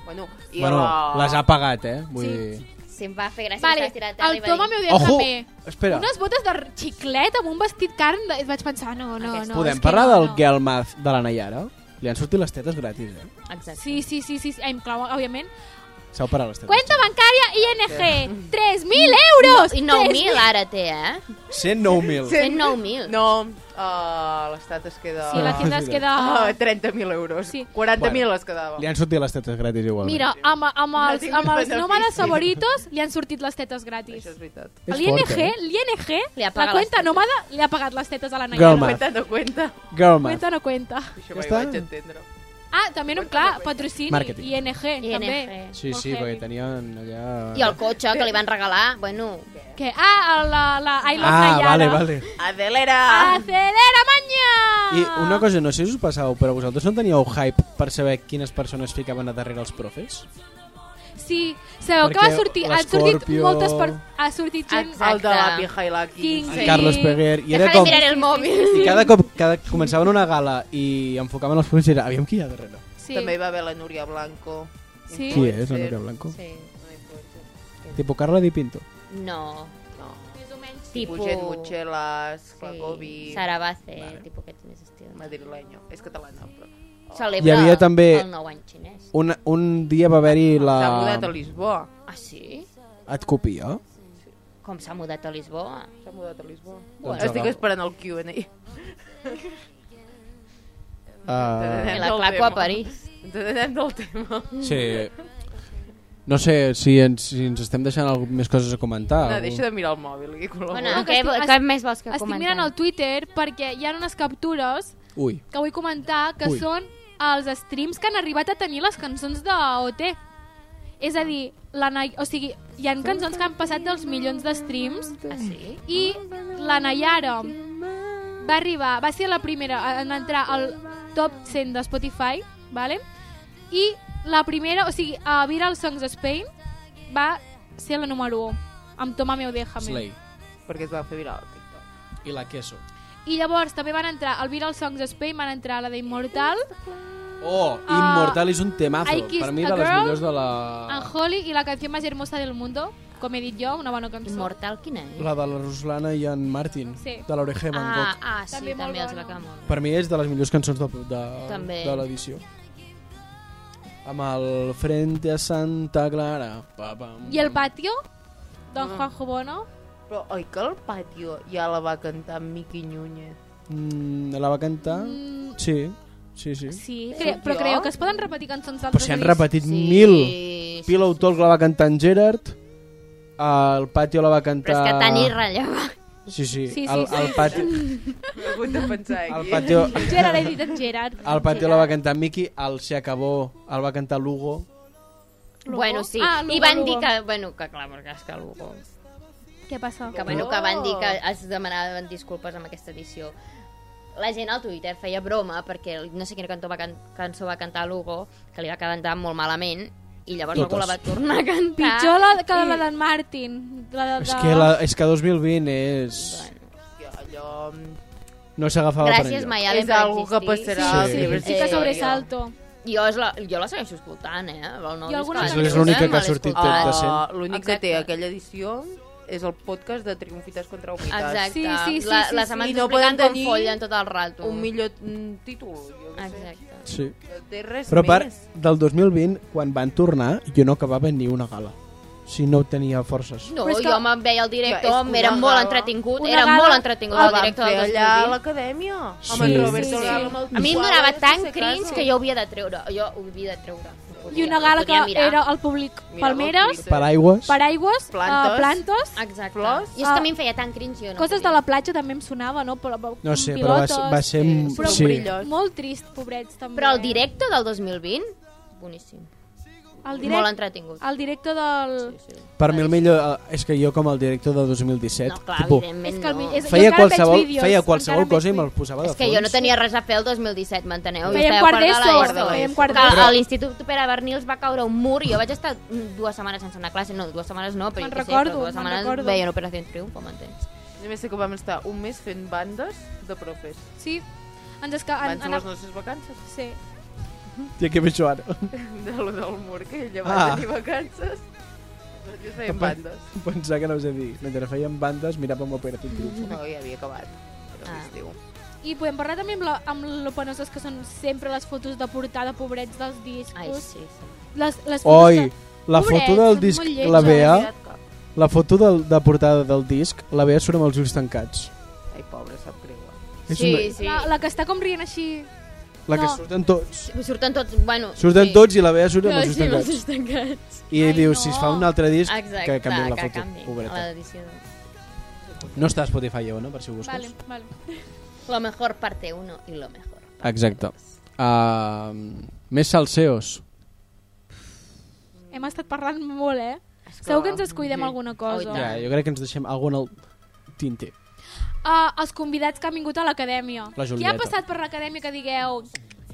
Bueno, i
Bueno,
la...
les ha pagat, eh? Vull
Sí.
dir...
Sí, em va fer gràcia
Vale,
vale. tirat terra
el
i va
Toma
dir...
m'ho
Ojo!
també.
Espera,
Unes botes de xiclet amb un vestit carn, de... vaig pensar, no, no,
Aquesta.
no. és
podem
que
parlar
no,
del
no.
Girl Math de la Nayara? Li han sortit les tetes gratis, eh?
Exacte.
Sí, sí, sí, sí, sí, em clau, òbviament.
S'ha operat les tetes.
Cuenta bancaria ING, 3.000 euros!
I
3.000.
9.000 ara té, eh?
109.000.
Té 9.000.
No, uh, l'estat es queda...
Sí, la
[laughs]
tienda es
Ah,
queda...
30.000 euros.
Sí.
40.000
Bueno.
les quedava.
Li han sortit les tetes gratis igual.
Mira, amb, amb
No
els,
tinc
amb els
benefici.
nòmades favoritos li han sortit les tetes gratis.
Això és veritat.
És
L'ING,
fort, eh?
l'ING,
Li ha pagat
la cuenta
les tetes.
nòmada li ha pagat les tetes a la Nayara.
Girl math.
Cuenta, no cuenta.
Girl Math.
Cuenta no cuenta.
Això
Ja
mai ho
està.
vaig entendre.
Ah, també, no, clar, patrocini,
Marketing.
ING, també.
ING.
Sí, sí,
Molt
perquè
heavy.
tenien allà...
I el cotxe que li van regalar, bueno...
Què? Ah, la, la I Love
Ah,
Nayara.
vale, vale.
Adelera!
Ah,
Acelera, manya!
I una cosa, no sé si us passàveu, però vosaltres no teníeu hype per saber quines persones ficaven a darrere els profes?
Sí, sabeu que
Perquè
va sortir, han sortit
l'Escorpio-
moltes per... Ha sortit gent...
Exacte.
El de la pija i la
King.
King.
Sí.
Carlos Peguer. I era
Déjale
com...
mirar el mòbil.
I cada cop cada, començaven una gala i enfocaven els profes i era, aviam qui hi ha darrere.
Sí.
També hi va haver la Núria Blanco.
Sí.
Qui és la
Influencer.
Núria Blanco?
Sí.
Una influencer.
Tipo Carla Di Pinto.
No.
No.
Més o menys.
Tipo...
Puget Muchelas, Clacovi,
Sí. Sarabate, tipo aquest més estil.
madrileño. És catalana, però...
Celebra
Hi havia també-
el nou any xinès.
Un, un dia va haver-hi
S'ha mudat
la...
a Lisboa.
Ah, sí?
Et copia?
Com s'ha mudat a Lisboa?
S'ha mudat a Lisboa.
Doncs
Estic
agafo.
esperant el Q&A.
[laughs]
Ah,
la claco a París.
Ens anem del tema.
sí. No sé si ens, si ens estem deixant alg- més coses a comentar.
No,
o-
deixa de mirar el mòbil. Aquí, col·labora.
Bueno,
No, que
què,
estic-
què
estic-
més vols que
Estic
comentem?
mirant el Twitter perquè hi ha unes captures
Ui.
que vull comentar que
Ui.
són els streams que han arribat a tenir les cançons d'OT. És a dir, la Nay o sigui, hi han cançons que han passat dels milions de streams
Ah, sí?
i la Nayara va arribar, va ser la primera a- en entrar al top 100 de Spotify, vale? i la primera, o sigui, a Viral Songs Spain va ser la número 1 amb Toma meu déjame.
Slay.
Perquè es va fer viral. el TikTok.
I la queso.
I llavors també van entrar al Viral Songs Spain, van entrar la d'Immortal,
Oh,
Ah,
Immortal és un temazo.
I Kissed
Per mi
a
de les
Girl
millors de la...
en Holly i la canció més hermosa del mundo, com he dit jo, una bona cançó.
Immortal, quina és?
La de la Ruslana i en Martin,
Sí.
de l'Oreja de Van Gogh.
Ah, ah, sí,
També
també,
molt
també els
bona.
la camo.
Per mi és de les millors cançons de, de,
També.
de l'edició. Amb el Frente a Santa Clara. Pa, pam.
I el patio, d'en Juanjo Bono,
Però oi que el patio ja la va cantar Miqui Núñez?
Mm, la va cantar?
Mm.
Sí, sí, sí.
sí, cre
Sóc
però
jo?
creo que es poden repetir cançons d'altres
Però si han
discs.
repetit sí, mil. Pillow Talk la va cantar en Gerard. El Patio la va
Però
cantar...
és que tan irrellevant.
Sí, sí.
Sí, sí,
el,
sí.
el Patio,
M'he hagut de pensar
el
aquí.
patio,
[laughs] Gerard, he dit en Gerard.
el patio la va cantar Miki, el Se acabó el va cantar Lugo.
Lugo?
Bueno, sí.
Ah,
I
Lugo,
van
Lugo.
dir que, bueno, que clar, perquè és que Lugo...
Què passa?
Que, bueno, que van dir que
Oh.
es demanaven disculpes amb aquesta edició. La gent al Twitter feia broma perquè no sé quina cantó va can cançó va cantar Lugo, que li va cantar molt malament, i llavors
Totes.
algú la va tornar a cantar.
Pitjor la, que la d'en Martin. La de,
És
de-
que, la, és que 2020 és...
Que allò...
No s'agafava per
Gràcies,
enlloc.
Mayalen,
és
per
algo que
existir.
passarà.
Sí.
als
Sí.
llibres
Sí que
Eh,
sobresalto.
Jo, és la, jo la segueixo escoltant, eh? El nou
Jo alguna
disc Oh,
cançó
És l'única que ha
me
sortit
l'escolto.
tot
Ah,
de cent.
L'únic que té
Exacte.
aquella edició és el podcast de Triomfites contra Humitats.
Exacte.
Sí, sí, sí,
la,
sí,
les
sí.
amants
I no
explicant
poden
com
tenir
follen tot el rato.
Un millor mm, títol. Jo què sé.
Exacte.
Sí.
No té res
Però a part,
més.
del 2020, quan van tornar, jo no acabava ni una gala. Si no tenia forces.
No,
Però és
jo
que-
que... me'n veia el director,
Ja, és
ja, era
una
molt
gala.
entretingut,
Una
era
gala
molt entretingut
El
el
van
director
fer
del
allà a
2020.
l'acadèmia.
Sí.
Amb en Roberto
Sí, sí.
Galo, amb el
A mi em
Pascual,
donava
sense
tan
caso.
cringe que jo ho havia de treure. Jo ho havia de treure. No
I
podia,
una
no
gala que
podia mirar.
era el públic.
Mira,
Palmeres,
Sí.
Paraigües.
paraigües, plantos,
Plantos.
plantos
Exacte.
Flors.
I és Ah, que a mi em feia tan cringe. Jo no
Ah, coses de
podia.
la platja també em sonava, no? Però,
No sé, però va, ser- va ser...
sí.
Però
sí.
brillós.
Molt trist, pobrets, també.
Però el directe del 2020, boníssim.
eh? El
Molt
directe,
entretingut.
el directe del...
Sí, sí.
Per mi el millor... eh, És que jo com el director de 2017...
No, clar,
tipus,
evidentment
És que el
no.
vi- és- jo
feia
encara
qualsevol,
veig vídeos,
feia
encara
qualsevol
veig
cosa i
vídeos.
me'l posava de
És
fons.
que jo no tenia res a fer el 2017, m'enteneu? Jo
Fèiem
estava
quart
fora de
d'ESO,
l'ESO.
fèiem quart
Que
d'ESO.
A l'Institut Pere Bernils va caure un mur i jo vaig estar dues setmanes sense anar a classe. No, dues setmanes no, però
Me'n
jo què sé,
recordo,
però dues
me'n
setmanes
recordo.
veien Operació Triunfo, m'entens?
Només sé que vam estar un mes fent bandes de profes.
Sí. Ens esca...
Van
En,
ser
en,
les nostres vacances. [laughs]
sí.
Tia, què veig jo ara? [laughs]
De lo del mur, que ella va
Ah.
tenir vacances. Nosaltres fèiem
Apa.
bandes.
Pensava que no us he dit. Mentre feien bandes, miràvem Operatiu Triunfo.
No, ja havia acabat. Però
Ah.
l'estiu.
I podem parlar també amb, la, amb lo penoses que són sempre les fotos de portada, pobrets, dels discos.
Ai, sí, sí.
Les, les fotos
Oi,
que-
la
Pobrets,
foto del
són
disc,
molt lletjos.
la Bea,
Mirat que-
la foto del, de portada del disc, la Bea surt amb els ulls tancats.
Ai, pobre, sap greu. eh?
És
Sí,
una,
sí.
La, la que està com rient així...
la que
no.
surten tots.
Surten tots, bueno...
Surten
sí.
tots i la Bea surt amb
No,
els ulls
sí, amb els
tancats.
ulls tancats.
I
Ai,
diu,
no.
si es fa un altre disc,
Exacte,
que canvien la
que
foto.
canviïn
Pobreta.
a l'edició.
No està a Spotify, ja, no? Per si ho busques.
Vale, vale.
Lo mejor parte 1 i lo mejor.
Exacte. Uh, més salseos.
Hem estat parlant molt, eh?
Esclar.
Segur que ens descuidem alguna
Oh,
cosa.
i
Ja, jo crec que ens deixem algun al tinte.
Ah, els convidats que han vingut a l'acadèmia.
La
Qui ha
Julieta.
passat per l'acadèmia que digueu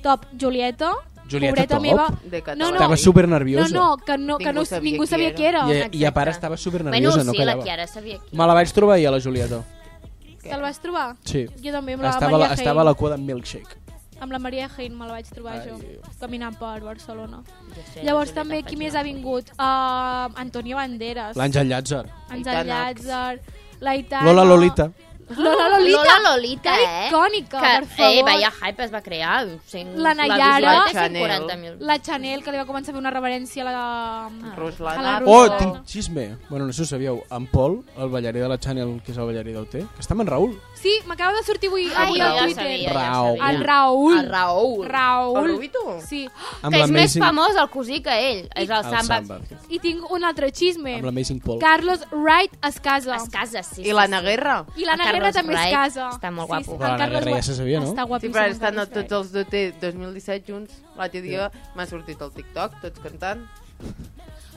top Julieta?
Julieta
Pobreta
top?
meva.
De català.
No, no.
Estava super nerviosa.
No, no, que, no, que
Ningú
no,
sabia
ningú
qui
sabia
era.
qui era.
I, I a
Exacte.
part estava super
Bueno,
nerviosa, no
sí, la
callava.
Chiara sabia qui.
Me la vaig trobar ahir a la Julieta.
Te'l vas trobar?
Sí.
Jo també amb la
Estava,
Maria
la, estava a
Hein.
la cua d'en Milkshake.
Amb la Maria Hein me la vaig trobar
Ai.
jo, caminant per Barcelona.
Jo sé,
Llavors
jo sé,
també,
faig
qui
una
més ha vingut? Uh, Antonio Banderas,
L'Àngel Llàtzer.
Àngel
Aitana.
Llàtzer, la Itana...
Lola Lolita.
Lola Lolita.
Lola Lolita,
Que
eh?
icònica, per
Eh,
favor.
vaya hype es va crear. Cent,
La Nayara.
La
La Chanel.
140.000.
La Chanel, que li va començar a fer una reverència a la...
Ruslana.
a la
Oh,
Ruslana.
tinc xisme. Bueno, no sé si ho sabíeu. En Pol, el ballarí de la Channel, que és el ballarí d'UT, que està amb en Raül.
Sí, m'acaba de sortir avui,
Ai,
avui
jo
a
ja
Twitter.
sabia, ja
Raúl.
sabia.
El Raül.
El Raül.
El
Raül.
Rubito?
Sí.
Amb
que és més
l'Amazing-
famós el cosí que ell. És el,
El
Sam
Sam
Ba-
Vázquez.
I tinc un altre xisme.
Amb l'Amazing Pol.
Carlos Wright es casa.
Es casa, sí.
I l'Anna Guerra?
I l'Anna Guerra
El Carlos
també es
Wright
casa.
està molt
Però
guapo.
el
l'Anna
Carlos
Guerra ja
Wright
se sabia, no?
Està
Sí,
guapíssim.
però
el
estan a
Carlos
tots els DT 2017 junts. L'altre dia m'ha sortit al TikTok, tots cantant.
Wright.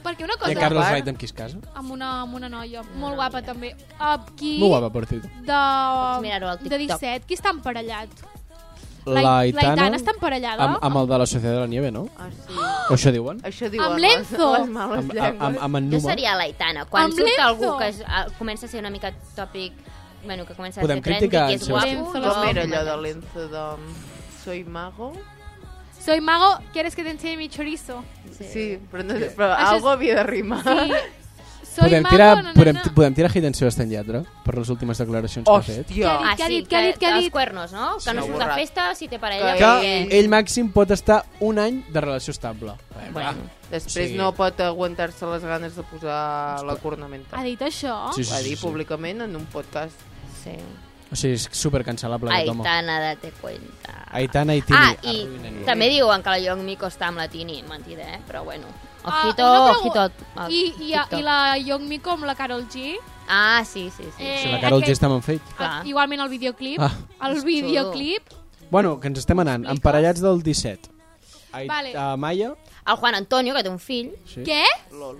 Perquè una
I en
cosa...
Carlos
Apa.
Wright amb qui es casa?
Amb una, amb una noia molt guapa, també. Up, qui...
Molt guapa, per cert.
De,
mirar-ho al
de
TikTok.
17. Qui està emparellat?
La, Itana,
la Itana està emparellada.
amb, amb el de la Sociedad de la Nieve, no?
Ah, sí.
O això diuen?
Això diuen
Amb
les-
l'Enzo.
les males
Amb, amb,
llengües.
amb, amb en
Jo
Numa.
seria l'Aitana. Quan
Amb
surt
l'Enzo.
algú que es, a, comença a ser una mica tòpic, bueno, que comença
Podem
a ser trendy,
criticar
que
en
és
Sebastià.
guapo...
L'Enzo,
Com
l'Enzo.
era allò de l'Enzo de... Soy mago?
Soy mago, ¿quieres que te enseñe mi [laughs] chorizo?
Sí, però, no, però
Això és-
algo havia de rimar.
Sí. Soy
Podem
mago,
tirar,
no, no,
podem,
no.
podem tirar hit en Sebastián Llatra per les últimes declaracions que ha fet.
Hòstia!
Què ha
Ah, sí,
dit,
que,
què ha dit, què ha dit?
els cuernos, no? Que no
Sí,
surts a
borrat.
festa si té parella.
Que-
perquè-
que ell màxim pot estar un any de relació estable.
Bueno,
Després
Sí.
no pot aguantar-se les ganes de posar la cornamenta.
Ha dit això?
Sí,
Ho
sí,
va
sí,
dir
sí.
públicament en un podcast.
sí.
O sigui, és supercancelable aquest home.
Aitana, date cuenta.
Aitana i Tini.
Ah, i
arruïnen-lo.
també diuen que la Young Miko està amb la Tini. Mentida, eh? Però bueno.
Ah,
Ojito,
una pregu-
ojito. al
I, i, a,
TikTok.
I la Youngmi com la Carol G?
Ah, sí, sí, sí.
Eh,
Si la Carol
aquest-
G està amb en Fate.
clar.
el- Igualment el videoclip.
Ah.
El videoclip.
Bueno, que ens estem anant.
Explica'ls.
Emparellats del 17. Ait
Vale.
a Maia.
El Juan Antonio, que té un fill.
Sí.
Què?
Lol.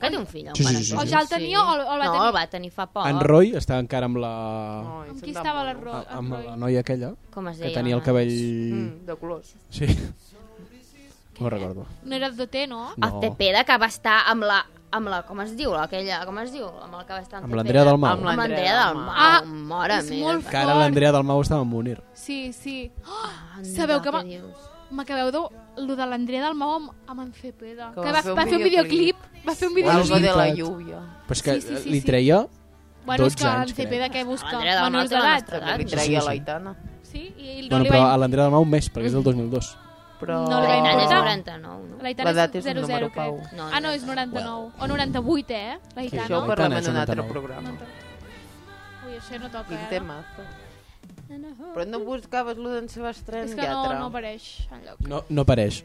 Que té un fill, el
Sí,
Juan
sí, sí,
Antonio.
sí. O
ja el tenia o el- o el va
no,
tenir?
el va tenir fa poc.
En Roy està encara amb la...
Ai,
Amb
són
qui
tan
estava la
monos.
Ro?
a- amb
el
la
Roy?
noia aquella
Com es deia?
que tenia el cabell...
Mm, de colors.
Sí. [laughs] No ho recordo.
No era DT, no?
El
No.
Tepeda, que va estar amb la... Amb la, com es diu, aquella, com es diu? Amb el que va estar
Amb l'Andrea del Mau.
Amb
Amb l'Andrea del Mau.
Ah,
mare
és
meva.
molt
Que ara l'Andrea del Mau estava amb Munir.
Sí, sí. [gasps] Oh,
Anda,
Sabeu que
què
va-
dius?
M'acabeu de... Lo de l'Andrea del Mau amb, amb en Cepeda.
Que
Que, va, va fer un videoclip. Va fer un videoclip.
Algo de la
Veritat.
lluvia.
Però és que
Sí, sí, sí,
li
sí.
treia...
Bueno,
12
és que
anys,
en Cepeda
crec.
què busca?
L'Andrea del Mau
Menors
té la
d'edat.
nostra
També li
Sí, sí,
traia
sí.
la Itana.
Sí, i no
Bueno,
li
però
va... Mm.
a l'Andrea del Mau més, perquè és del 2002.
Però...
No li va
L'Aitana és
importar.
99, no?
La Itana
L'edat
és
és un
00,
número
crec.
pau.
No,
Ah, no, és 99. O 98, eh? La
Sí,
Itana.
Això
no?
ho
per-
parlem
Itana,
en
això
un
no
altre
t'anava.
programa.
Ui, això no toca,
Quin
eh? no?
temazo. Però no buscaves lo d'en Sebastián
És que no,
Yatra.
no apareix enlloc.
No, no apareix.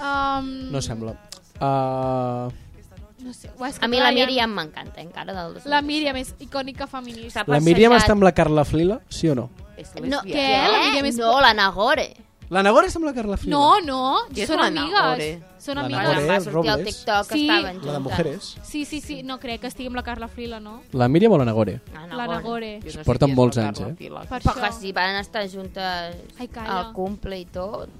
Um,
No sembla. Uh,
No sé. Uah, és que
A mi la
Brian-
Míriam m'encanta, eh, encara, del 2000.
La Míriam és icònica feminista.
S'ha
la Míriam
passejat-
està amb la Carla Flila, sí o no?
És
No,
lesbiana.
què?
La Míriam és-
No, la Nagore.
La Nagore està amb la Carla Flila?
No, no,
Qui és
són
la
amigues.
Nagore?
Són
La
amigues.
Nagore.
Quan va sortir al
Robles.
TikTok
Sí.
estaven juntes.
La de Mujeres.
Sí, sí, sí, no crec que estigui amb la Carla Frila, no?
La Míriam o la Nagore?
La
La Nagore.
Jo no sé
Porten
qui és
molts
la
anys,
Carla
eh?
Pilar.
Per
Però que
això.
si van estar juntes
Ai, calla.
al cumple i tot.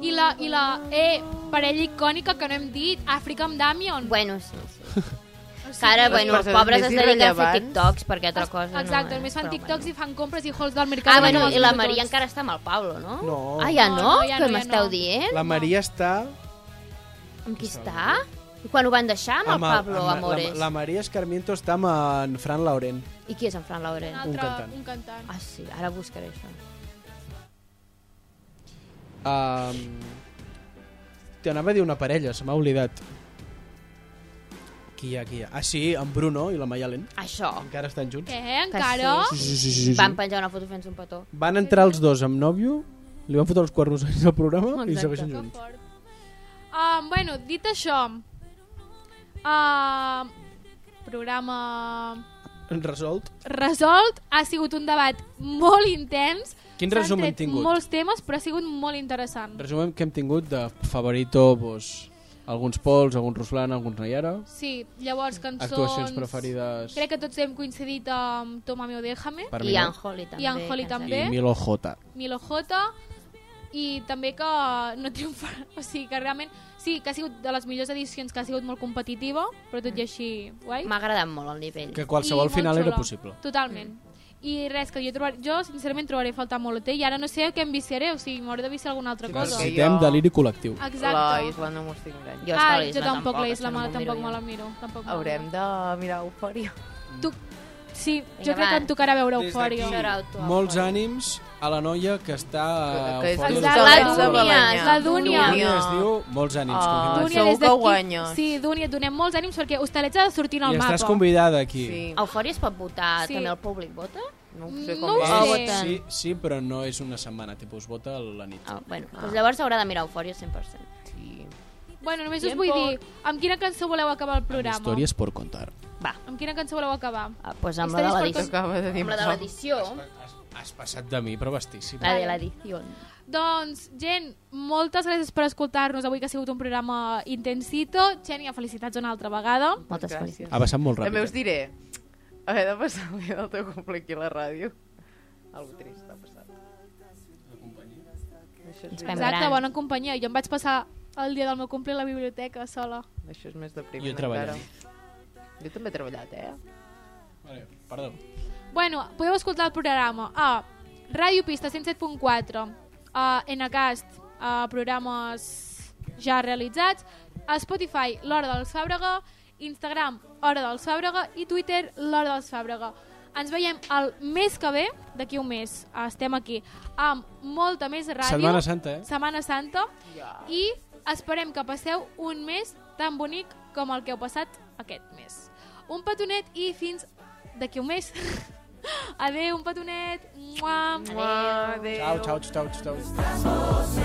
I la, i la eh, parella icònica que no hem dit, Àfrica amb Damion.
Bueno, sí, sí. Que ara,
Les
bueno, els
persones
pobres es
més
dediquen a fer
irrellevants.
TikToks perquè altra
Es-
cosa
Exacte,
no,
només fan
però
TikToks i
bueno.
fan compres i hauls del mercat.
Ah, bueno,
Tots,
i la
tots.
Maria encara està amb el Pablo, no?
No.
Ah, ja
No,
no?
no, ja
Què
no, ja
m'esteu
no.
dient?
La Maria està...
Amb qui està? I quan ho van deixar amb, el Pablo Amores?
La, la Maria Escarmiento està amb en Fran Laurent.
I qui és en Fran Lauren?
Un
Un
altre,
cantant.
un cantant.
Ah, sí, ara buscaré això.
Um, T'anava a dir una parella, se m'ha oblidat. Qui hi ha, qui hi ha? Ah, sí, en Bruno i la Mayalen.
Això.
Encara estan junts.
Què, eh, encara?
Sí, sí, sí, sí, sí.
Van penjar una foto fent un petó.
Van entrar els dos amb nòvio, li van fotre els cuernos al programa Exacte. i
Exacte.
segueixen
Que
junts.
fort. Um, bueno, dit això, um, programa
Resolt.
resolt. Ha sigut un debat molt intens.
Quin
S'han
resum hem
tret
tingut?
molts temes, però ha sigut molt interessant.
Resumem que hem tingut de favorito, pues, alguns pols, alguns Ruslan, alguns Nayara,
Sí, llavors cançons...
actuacions preferides
Crec que tots hem coincidit amb Toma Meo Déjame,
per
I
mi, no?
Anjoli també.
I Anjoli
que ens ha-
també.
i Milo J.
Milo J, i també que no triomfarà... [laughs] O sigui, que realment... Sí, que ha sigut de les millors edicions, que ha sigut molt competitiva,
Mm.
però tot i així, guai.
M'ha agradat molt el nivell.
Que
I
qualsevol
molt
final era
xula.
possible.
Totalment. I res, que jo, trobar, jo sincerament trobaré a faltar molt l'hotel i ara no sé què em viciaré, o sigui, m'hauré de viciar alguna altra
Sí,
cosa.
perquè-
Necessitem
jo-
deliri col·lectiu.
La
Exacte.
Isla no m'ho estic mirant.
Jo,
ah,
és que
jo tampoc la Isla
no
mala,
m'ho miro
tampoc
jo.
me la miro. Tampoc me la
Haurem
miro.
de mirar Eufòria.
Tu... Sí,
Vinga,
jo crec
va.
que em tocarà veure
Des d'aquí,
Eufòria.
molts ànims a la noia que està...
Que- que és
fora de
Exacte,
la
la
ciutat.
Dúnia, és la Dúnia.
Ah, Dúnia es diu molts ànims.
Ah,
confirmat.
Dúnia, Segur
des
que
d'aquí-
guanyes.
Sí, Dúnia, et donem molts ànims perquè Hostalets ha de sortir en el
I
mapa.
estàs convidada aquí.
Eufòria es pot
Sí.
votar, sí. també el públic vota?
No ho
sé com No ho va. sé.
Eh, Sí, sí, però no és una setmana, tipus vota a la nit.
Ah, bueno, doncs llavors haurà de mirar Eufòria 100%.
Sí.
Bueno, només us vull dir, amb quina cançó voleu acabar el programa?
Històries per contar.
Va,
Amb quina cançó voleu acabar?
ah, doncs amb la de
Històries per
l'edició.
contar.
Acaba de dir
Amb la de
Pau.
l'edició.
Has passat de mi, però bastíssim.
La de l'edició.
Doncs, gent, moltes gràcies per escoltar-nos avui, que ha sigut un programa intensito. Xènia, felicitats una altra vegada.
Moltes
Gràcies.
felicitats.
Ha passat molt
També
ràpid.
us
eh?
diré, haver de passar el dia del teu cumple aquí a la ràdio. Algo trist ha passat. Això és,
Ens
més,
fem
Exacte,
gran.
bona companyia. Jo em vaig passar el dia del meu cumple a la biblioteca sola.
això és més deprimant
Jo he treballat.
encara. Jo també he treballat, eh?
Vale, perdó.
Bueno, podeu escoltar el programa a Ràdio Pista 107.4, a Enacast, a programes ja realitzats, a Spotify, l'Hora dels Fàbrega, Instagram, Hora dels Fàbrega i Twitter, l'Hora dels Fàbrega. Ens veiem el mes que ve, d'aquí un mes, estem aquí, amb molta més ràdio.
Setmana Santa, eh?
Setmana Santa. I esperem que passeu un mes tan bonic com el que heu passat aquest mes. Un petonet i fins d'aquí un mes. [laughs] Adeu, un petonet. Mua.
Adéu.
Ciao, ciao, ciao, ciao.
Las voces